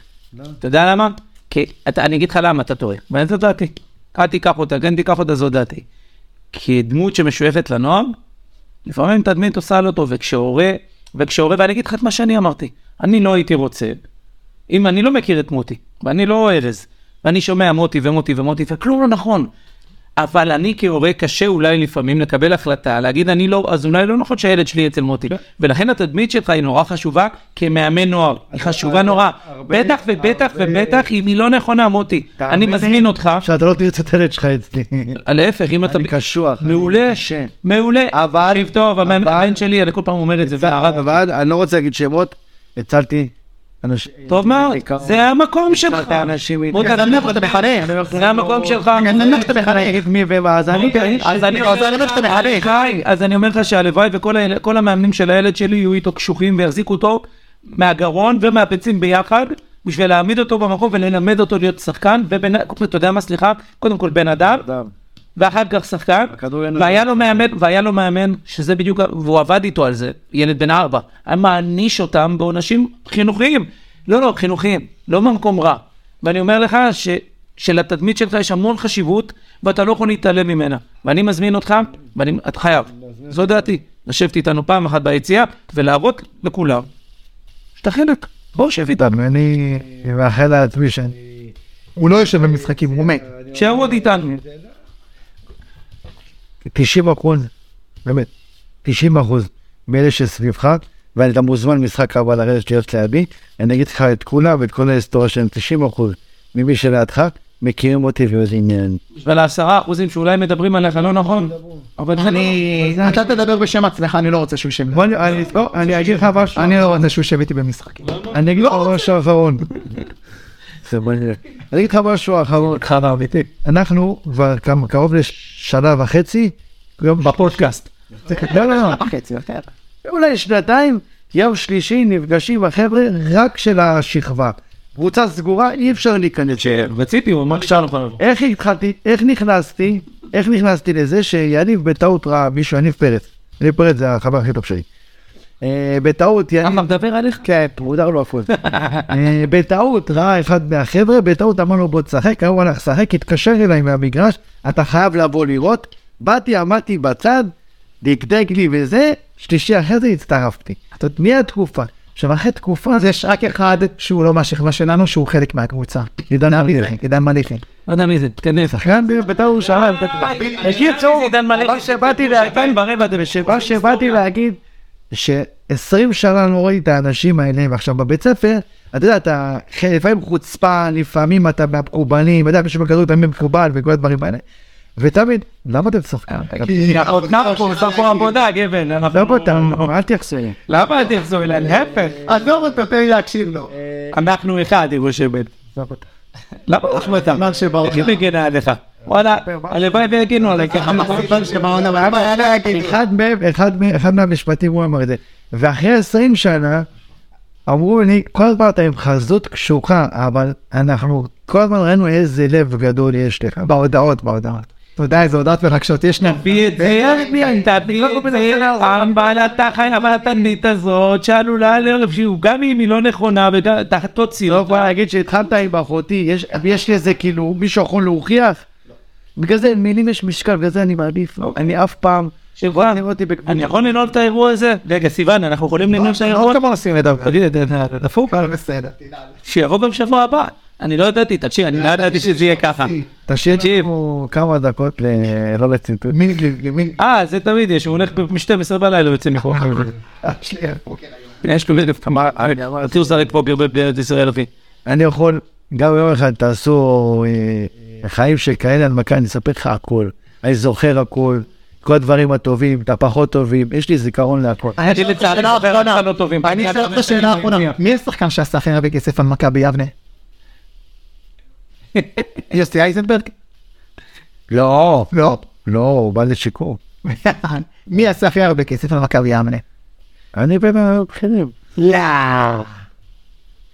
C: אתה יודע למה? כי אתה- אני אגיד לך למה אתה טועה, ואני זאת דעתי. אל תיקח אותה, כן תיקח אותה, זו דעתי. כדמות שמשויפת לנוער, לפעמים תדמית עושה לא טוב, וכשהורה, וכשהורה, ואני אגיד לך את מה שאני אמרתי, אני לא הייתי רוצה, אם אני לא מכיר את מוטי, ואני לא ארז, ואני שומע מוטי ומוטי ומוטי, וכלום לא נכון. אבל אני כהורה קשה אולי לפעמים לקבל החלטה, להגיד אני לא, אז אולי לא נכון שהילד שלי אצל מוטי. ולכן התדמית שלך היא נורא חשובה כמאמן נוער, היא חשובה נורא. בטח ובטח ובטח אם היא לא נכונה מוטי. אני מזמין אותך,
B: שאתה לא תרצה את הילד שלך אצלי.
C: להפך אם אתה...
B: אני קשוח.
C: מעולה,
B: קשה.
C: מעולה.
B: אבל-
C: תקשיב טוב, המאמן הבן שלי, אני כל פעם אומר את זה, והרב,
B: אבל אני לא רוצה להגיד שמות, הצלתי אנשים.
C: טוב מאוד, זה המקום שלך.
B: האנשים איתי.
C: מוטי,
A: גנב את המחנך.
C: זה המקום שלך.
A: גנב את המחנך.
B: תגיד מי ומה, אז אני...
C: אז אני
A: אז אני אומר שאתה מחנך.
C: חי, אז אני אומר לך שהלוואי וכל הילד- כל המאמנים של הילד שלי יהיו איתו קשוחים ויחזיקו אותו מהגרון ומהביצים ביחד בשביל להעמיד אותו במקום וללמד אותו להיות שחקן ובן אתה יודע מה סליחה קודם כל בן אדם ואחר כך שחקן
B: הכדורגל-
C: והיה לו מאמן והיה לו מאמן שזה בדיוק ה- והוא עבד איתו על זה ילד בן ארבע היה מעניש אותם בעונשים חינוכיים לא לא חינוכיים לא במקום רע ואני אומר לך ש... שלתדמית שלך יש המון חשיבות ואתה לא יכול להתעלם ממנה ואני מזמין אותך ואני את חייב זו דעתי לשבת איתנו פעם אחת ביציאה ולהראות לכולם שאתה חלק בוא שב איתנו
B: איתנו, אני מאחל לעצמי שאני...
A: הוא לא יושב במשחקים, הוא מת.
C: שיעבוד איתנו
B: 90 אחוז, באמת, 90 אחוז מאלה שסביבך, ואני גם מוזמן משחק הבא לרדת להיות לידי, אני אגיד לך את כולם ואת כל ההיסטוריה שלהם, 90 אחוז ממי שלידך, מכירים אותי ויודעים מי אני.
C: ולעשרה אחוזים שאולי מדברים עליך לא נכון אבל זה
A: אני... אתה תדבר בשם עצמך, אני לא רוצה שהוא יושב.
B: בוא, אני- בוא, אני אגיד לך משהו,
A: אני לא רוצה שהוא יושב איתי במשחקים.
B: אני אגיד לך משהו אחרון. זה מעניין. אני אגיד לך משהו אחרון. אנחנו כבר כמה- קרוב לשנה וחצי, יום
C: בפודקאסט.
B: לא, לא, לא.
A: חצי יותר.
B: אולי שנתיים, יום שלישי נפגשים החבר'ה רק של השכבה. קבוצה סגורה, אי אפשר להיכנס.
C: וציפי הוא אמר שאל נכון לבוא.
B: איך התחלתי, איך נכנסתי, איך נכנסתי לזה שיניב בטעות ראה מישהו, יניב פרץ. יניב פרץ זה החבר הכי טוב שלי. אה, בטעות, יניב...
C: למה מדבר עליך?
B: כן, מודר לו הפועל. אה, בטעות ראה אחד מהחבר'ה, בטעות אמר לו בוא תשחק, היום הלך לשחק, התקשר אליי מהמגרש, אתה חייב לבוא לראות. באתי, עמדתי בצד, דקדק לי וזה, שלישי אחרי זה הצטרפתי. זאת אומרת, מהתקופה. עכשיו אחרי תקופה
A: אז
B: זה
A: יש רק אחד שהוא לא מהשכבה שלנו, שהוא חלק מהקבוצה.
B: עידן מליחי.
A: עידן מליחי.
C: לא יודע מי זה, תכנס.
B: שחקן בית"ר ירושלים. כן. בקיצור,
C: עידן מלא.
B: מה שבאתי לה-
C: שעתיים ברבע אתם יושבים.
B: מה שבאתי להגיד, ש-20 שנה לא ראיתי את האנשים האלה, ועכשיו בבית ספר, אתה יודע, אתה לפעמים חוצפה, לפעמים אתה מהמקובלים, אתה יודע, מישהו בכדור אתה מקובל וכל הדברים האלה. ותמיד, למה אתם צוחקים?
C: עוד נרקו, עושה פה עבודה, גבר. אנחנו-
A: לא
B: למה אתם, אל תחסו לי.
C: למה אל תחזור אליי? להפך. אה,
A: עזוב אותו, לא תן לי להקשיב לו.
C: אנחנו אחד, יגו שבן. למה הוא
A: אחמד אמר שבעונה...
C: איך מגן עליך? וואלה, הלוואי ויגינו עליי ככה.
A: שבעונה... אבל למה היה להגיד?
B: אחד מהם, אחד מהם- אחד מהמשפטים הוא אמר את זה. ואחרי 20 שנה, אמרו לי, כל הזמן אתה עם חזות קשוחה, אבל אנחנו כל הזמן ראינו איזה לב גדול יש לך. בהודעות, בהודעות.
A: אתה יודע איזה הודעת מרגשות יש להם.
C: תביא את זה, תביא את זה, המבלת החייבת הנית הזאת שעלולה לערב שהוא גם אם היא לא נכונה וגם תחת תוציא
O: לא
C: אותה.
O: יכול להגיד שהתחלת עם אחותי, יש- יש לזה כאילו מישהו יכול להוכיח? בגלל זה מילים יש משקל, בגלל זה אני מעדיף, אני אף פעם,
C: שבא,
O: אני רואה אותי בקבוצה.
C: לא. אני יכול לנעול את האירוע הזה? רגע סיוון אנחנו יכולים לנעול את האירוע?
B: לא
A: עוד כמה נושאים לדבר.
C: תגיד, אתה- אתה- אתה דפוק?
A: אבל בסדר.
C: שיבוא גם שבוע הבא. אני לא ידעתי, תקשיב, אני לא ידעתי שזה יהיה ככה.
B: תשאיר
C: תקשיב.
B: לנו כמה דקות ל- לא לצנתור.
A: מי- מי- מי-
C: אה, זה תמיד יש, הוא הולך מ-12 בלילה ויוצא מפה.
A: אח שלי,
C: יש לו אלף כמה, אמרתי הוא זרק פוקר בארץ ישראל אחי.
B: אני יכול, גם יום אחד תעשו אה, אה, חיים שכאלה הנמקה, אני אספר לך הכל. אני זוכר הכל, כל הדברים הטובים, את הפחות טובים, יש לי זיכרון להכל.
C: אני לצערי חבר אחד לא טובים.
A: אני אשאל אותך שאלה אחרונה, מי השחקן שעשה הכי הרבה כסף על מכבי יבנה? יוסי אייזנברג?
B: לא,
A: לא.
B: לא, הוא בא לשיקום.
A: מי עשה הכי הרבה כסף על מכבי יבנה?
B: אני בין הבכירים.
A: לא.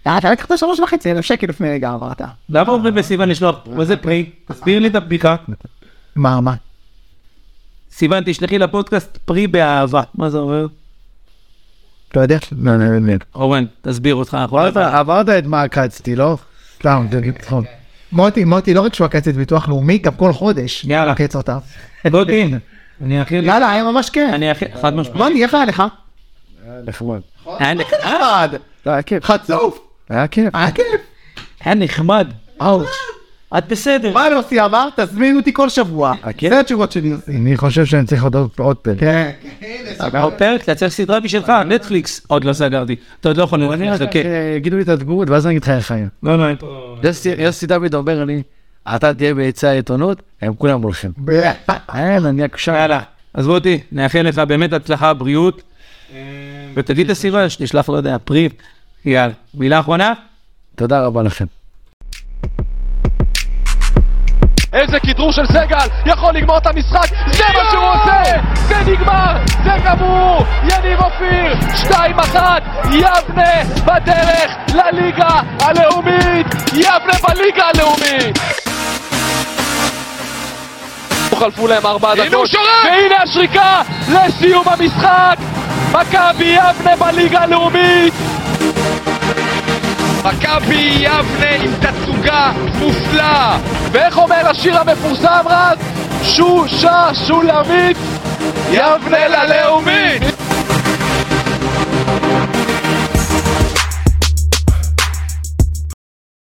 A: אתה לקחת שלוש וחצי אלף שקל לפני רגע עברת.
C: למה אומרים לסיוון לשלוח? מה זה פרי? תסביר לי את הבדיחה.
A: מה, מה?
C: סיוון, תשלחי לפודקאסט פרי באהבה. מה זה אומר?
B: אתה יודע? לא, לא, לא.
C: אורן, תסביר אותך. אנחנו לא
B: עברת- עברת את מה עקצתי, לא? סתם, זה נכון.
A: אוקיי, מוטי, מוטי, לא רק שהוא עקץ את ביטוח לאומי, גם כל חודש.
C: יאללה.
A: עקץ אותה.
C: לא דין. אני הכי...
A: יאללה, היה ממש כן.
C: אני הכי... חד משמעית.
A: מוני, איך היה לך?
B: נחמד.
C: היה נחמד.
A: אה,
P: לא,
B: היה כיף.
A: חצוף.
B: היה כיף.
A: היה כיף.
C: היה נחמד.
A: אאוש.
C: את בסדר.
A: מה יוסי אמר? תזמין אותי כל שבוע. זה התשובות של יוסי.
B: אני חושב שאני צריך עוד עוד פרק.
A: כן.
C: עוד פרק, אתה צריך סדרה בשבילך, נטפליקס. עוד לא סגרתי. אתה עוד לא יכול
B: אני
C: לנצח.
B: רק יגידו לי את התגובות ואז אני אגיד לך איך היה.
C: לא, לא, אין פה...
P: יוסי- יוסי דוד אומר לי, אתה תהיה בעצי העיתונות, הם כולם הולכים.
B: אין, אני עקשן.
C: יאללה. אז מוטי, נאחל לך באמת הצלחה, בריאות. ותגיד לסיוון שתשלח, לא יודע, פרי. יאללה. מילה אחרונה?
P: תודה רבה לכם.
D: איזה כדרור של סגל, יכול לגמור את המשחק, זה מה שהוא עושה! זה נגמר, זה גמור! יניב אופיר, 2-1, יבנה בדרך לליגה הלאומית! יבנה בליגה הלאומית! חלפו להם ארבע דקות, והנה השריקה לסיום המשחק! מכבי יבנה בליגה הלאומית! מכבי יבנה עם תצוגה מופלאה! ואיך אומר השיר המפורסם רז? שושה שולמית יבנה ללאומית!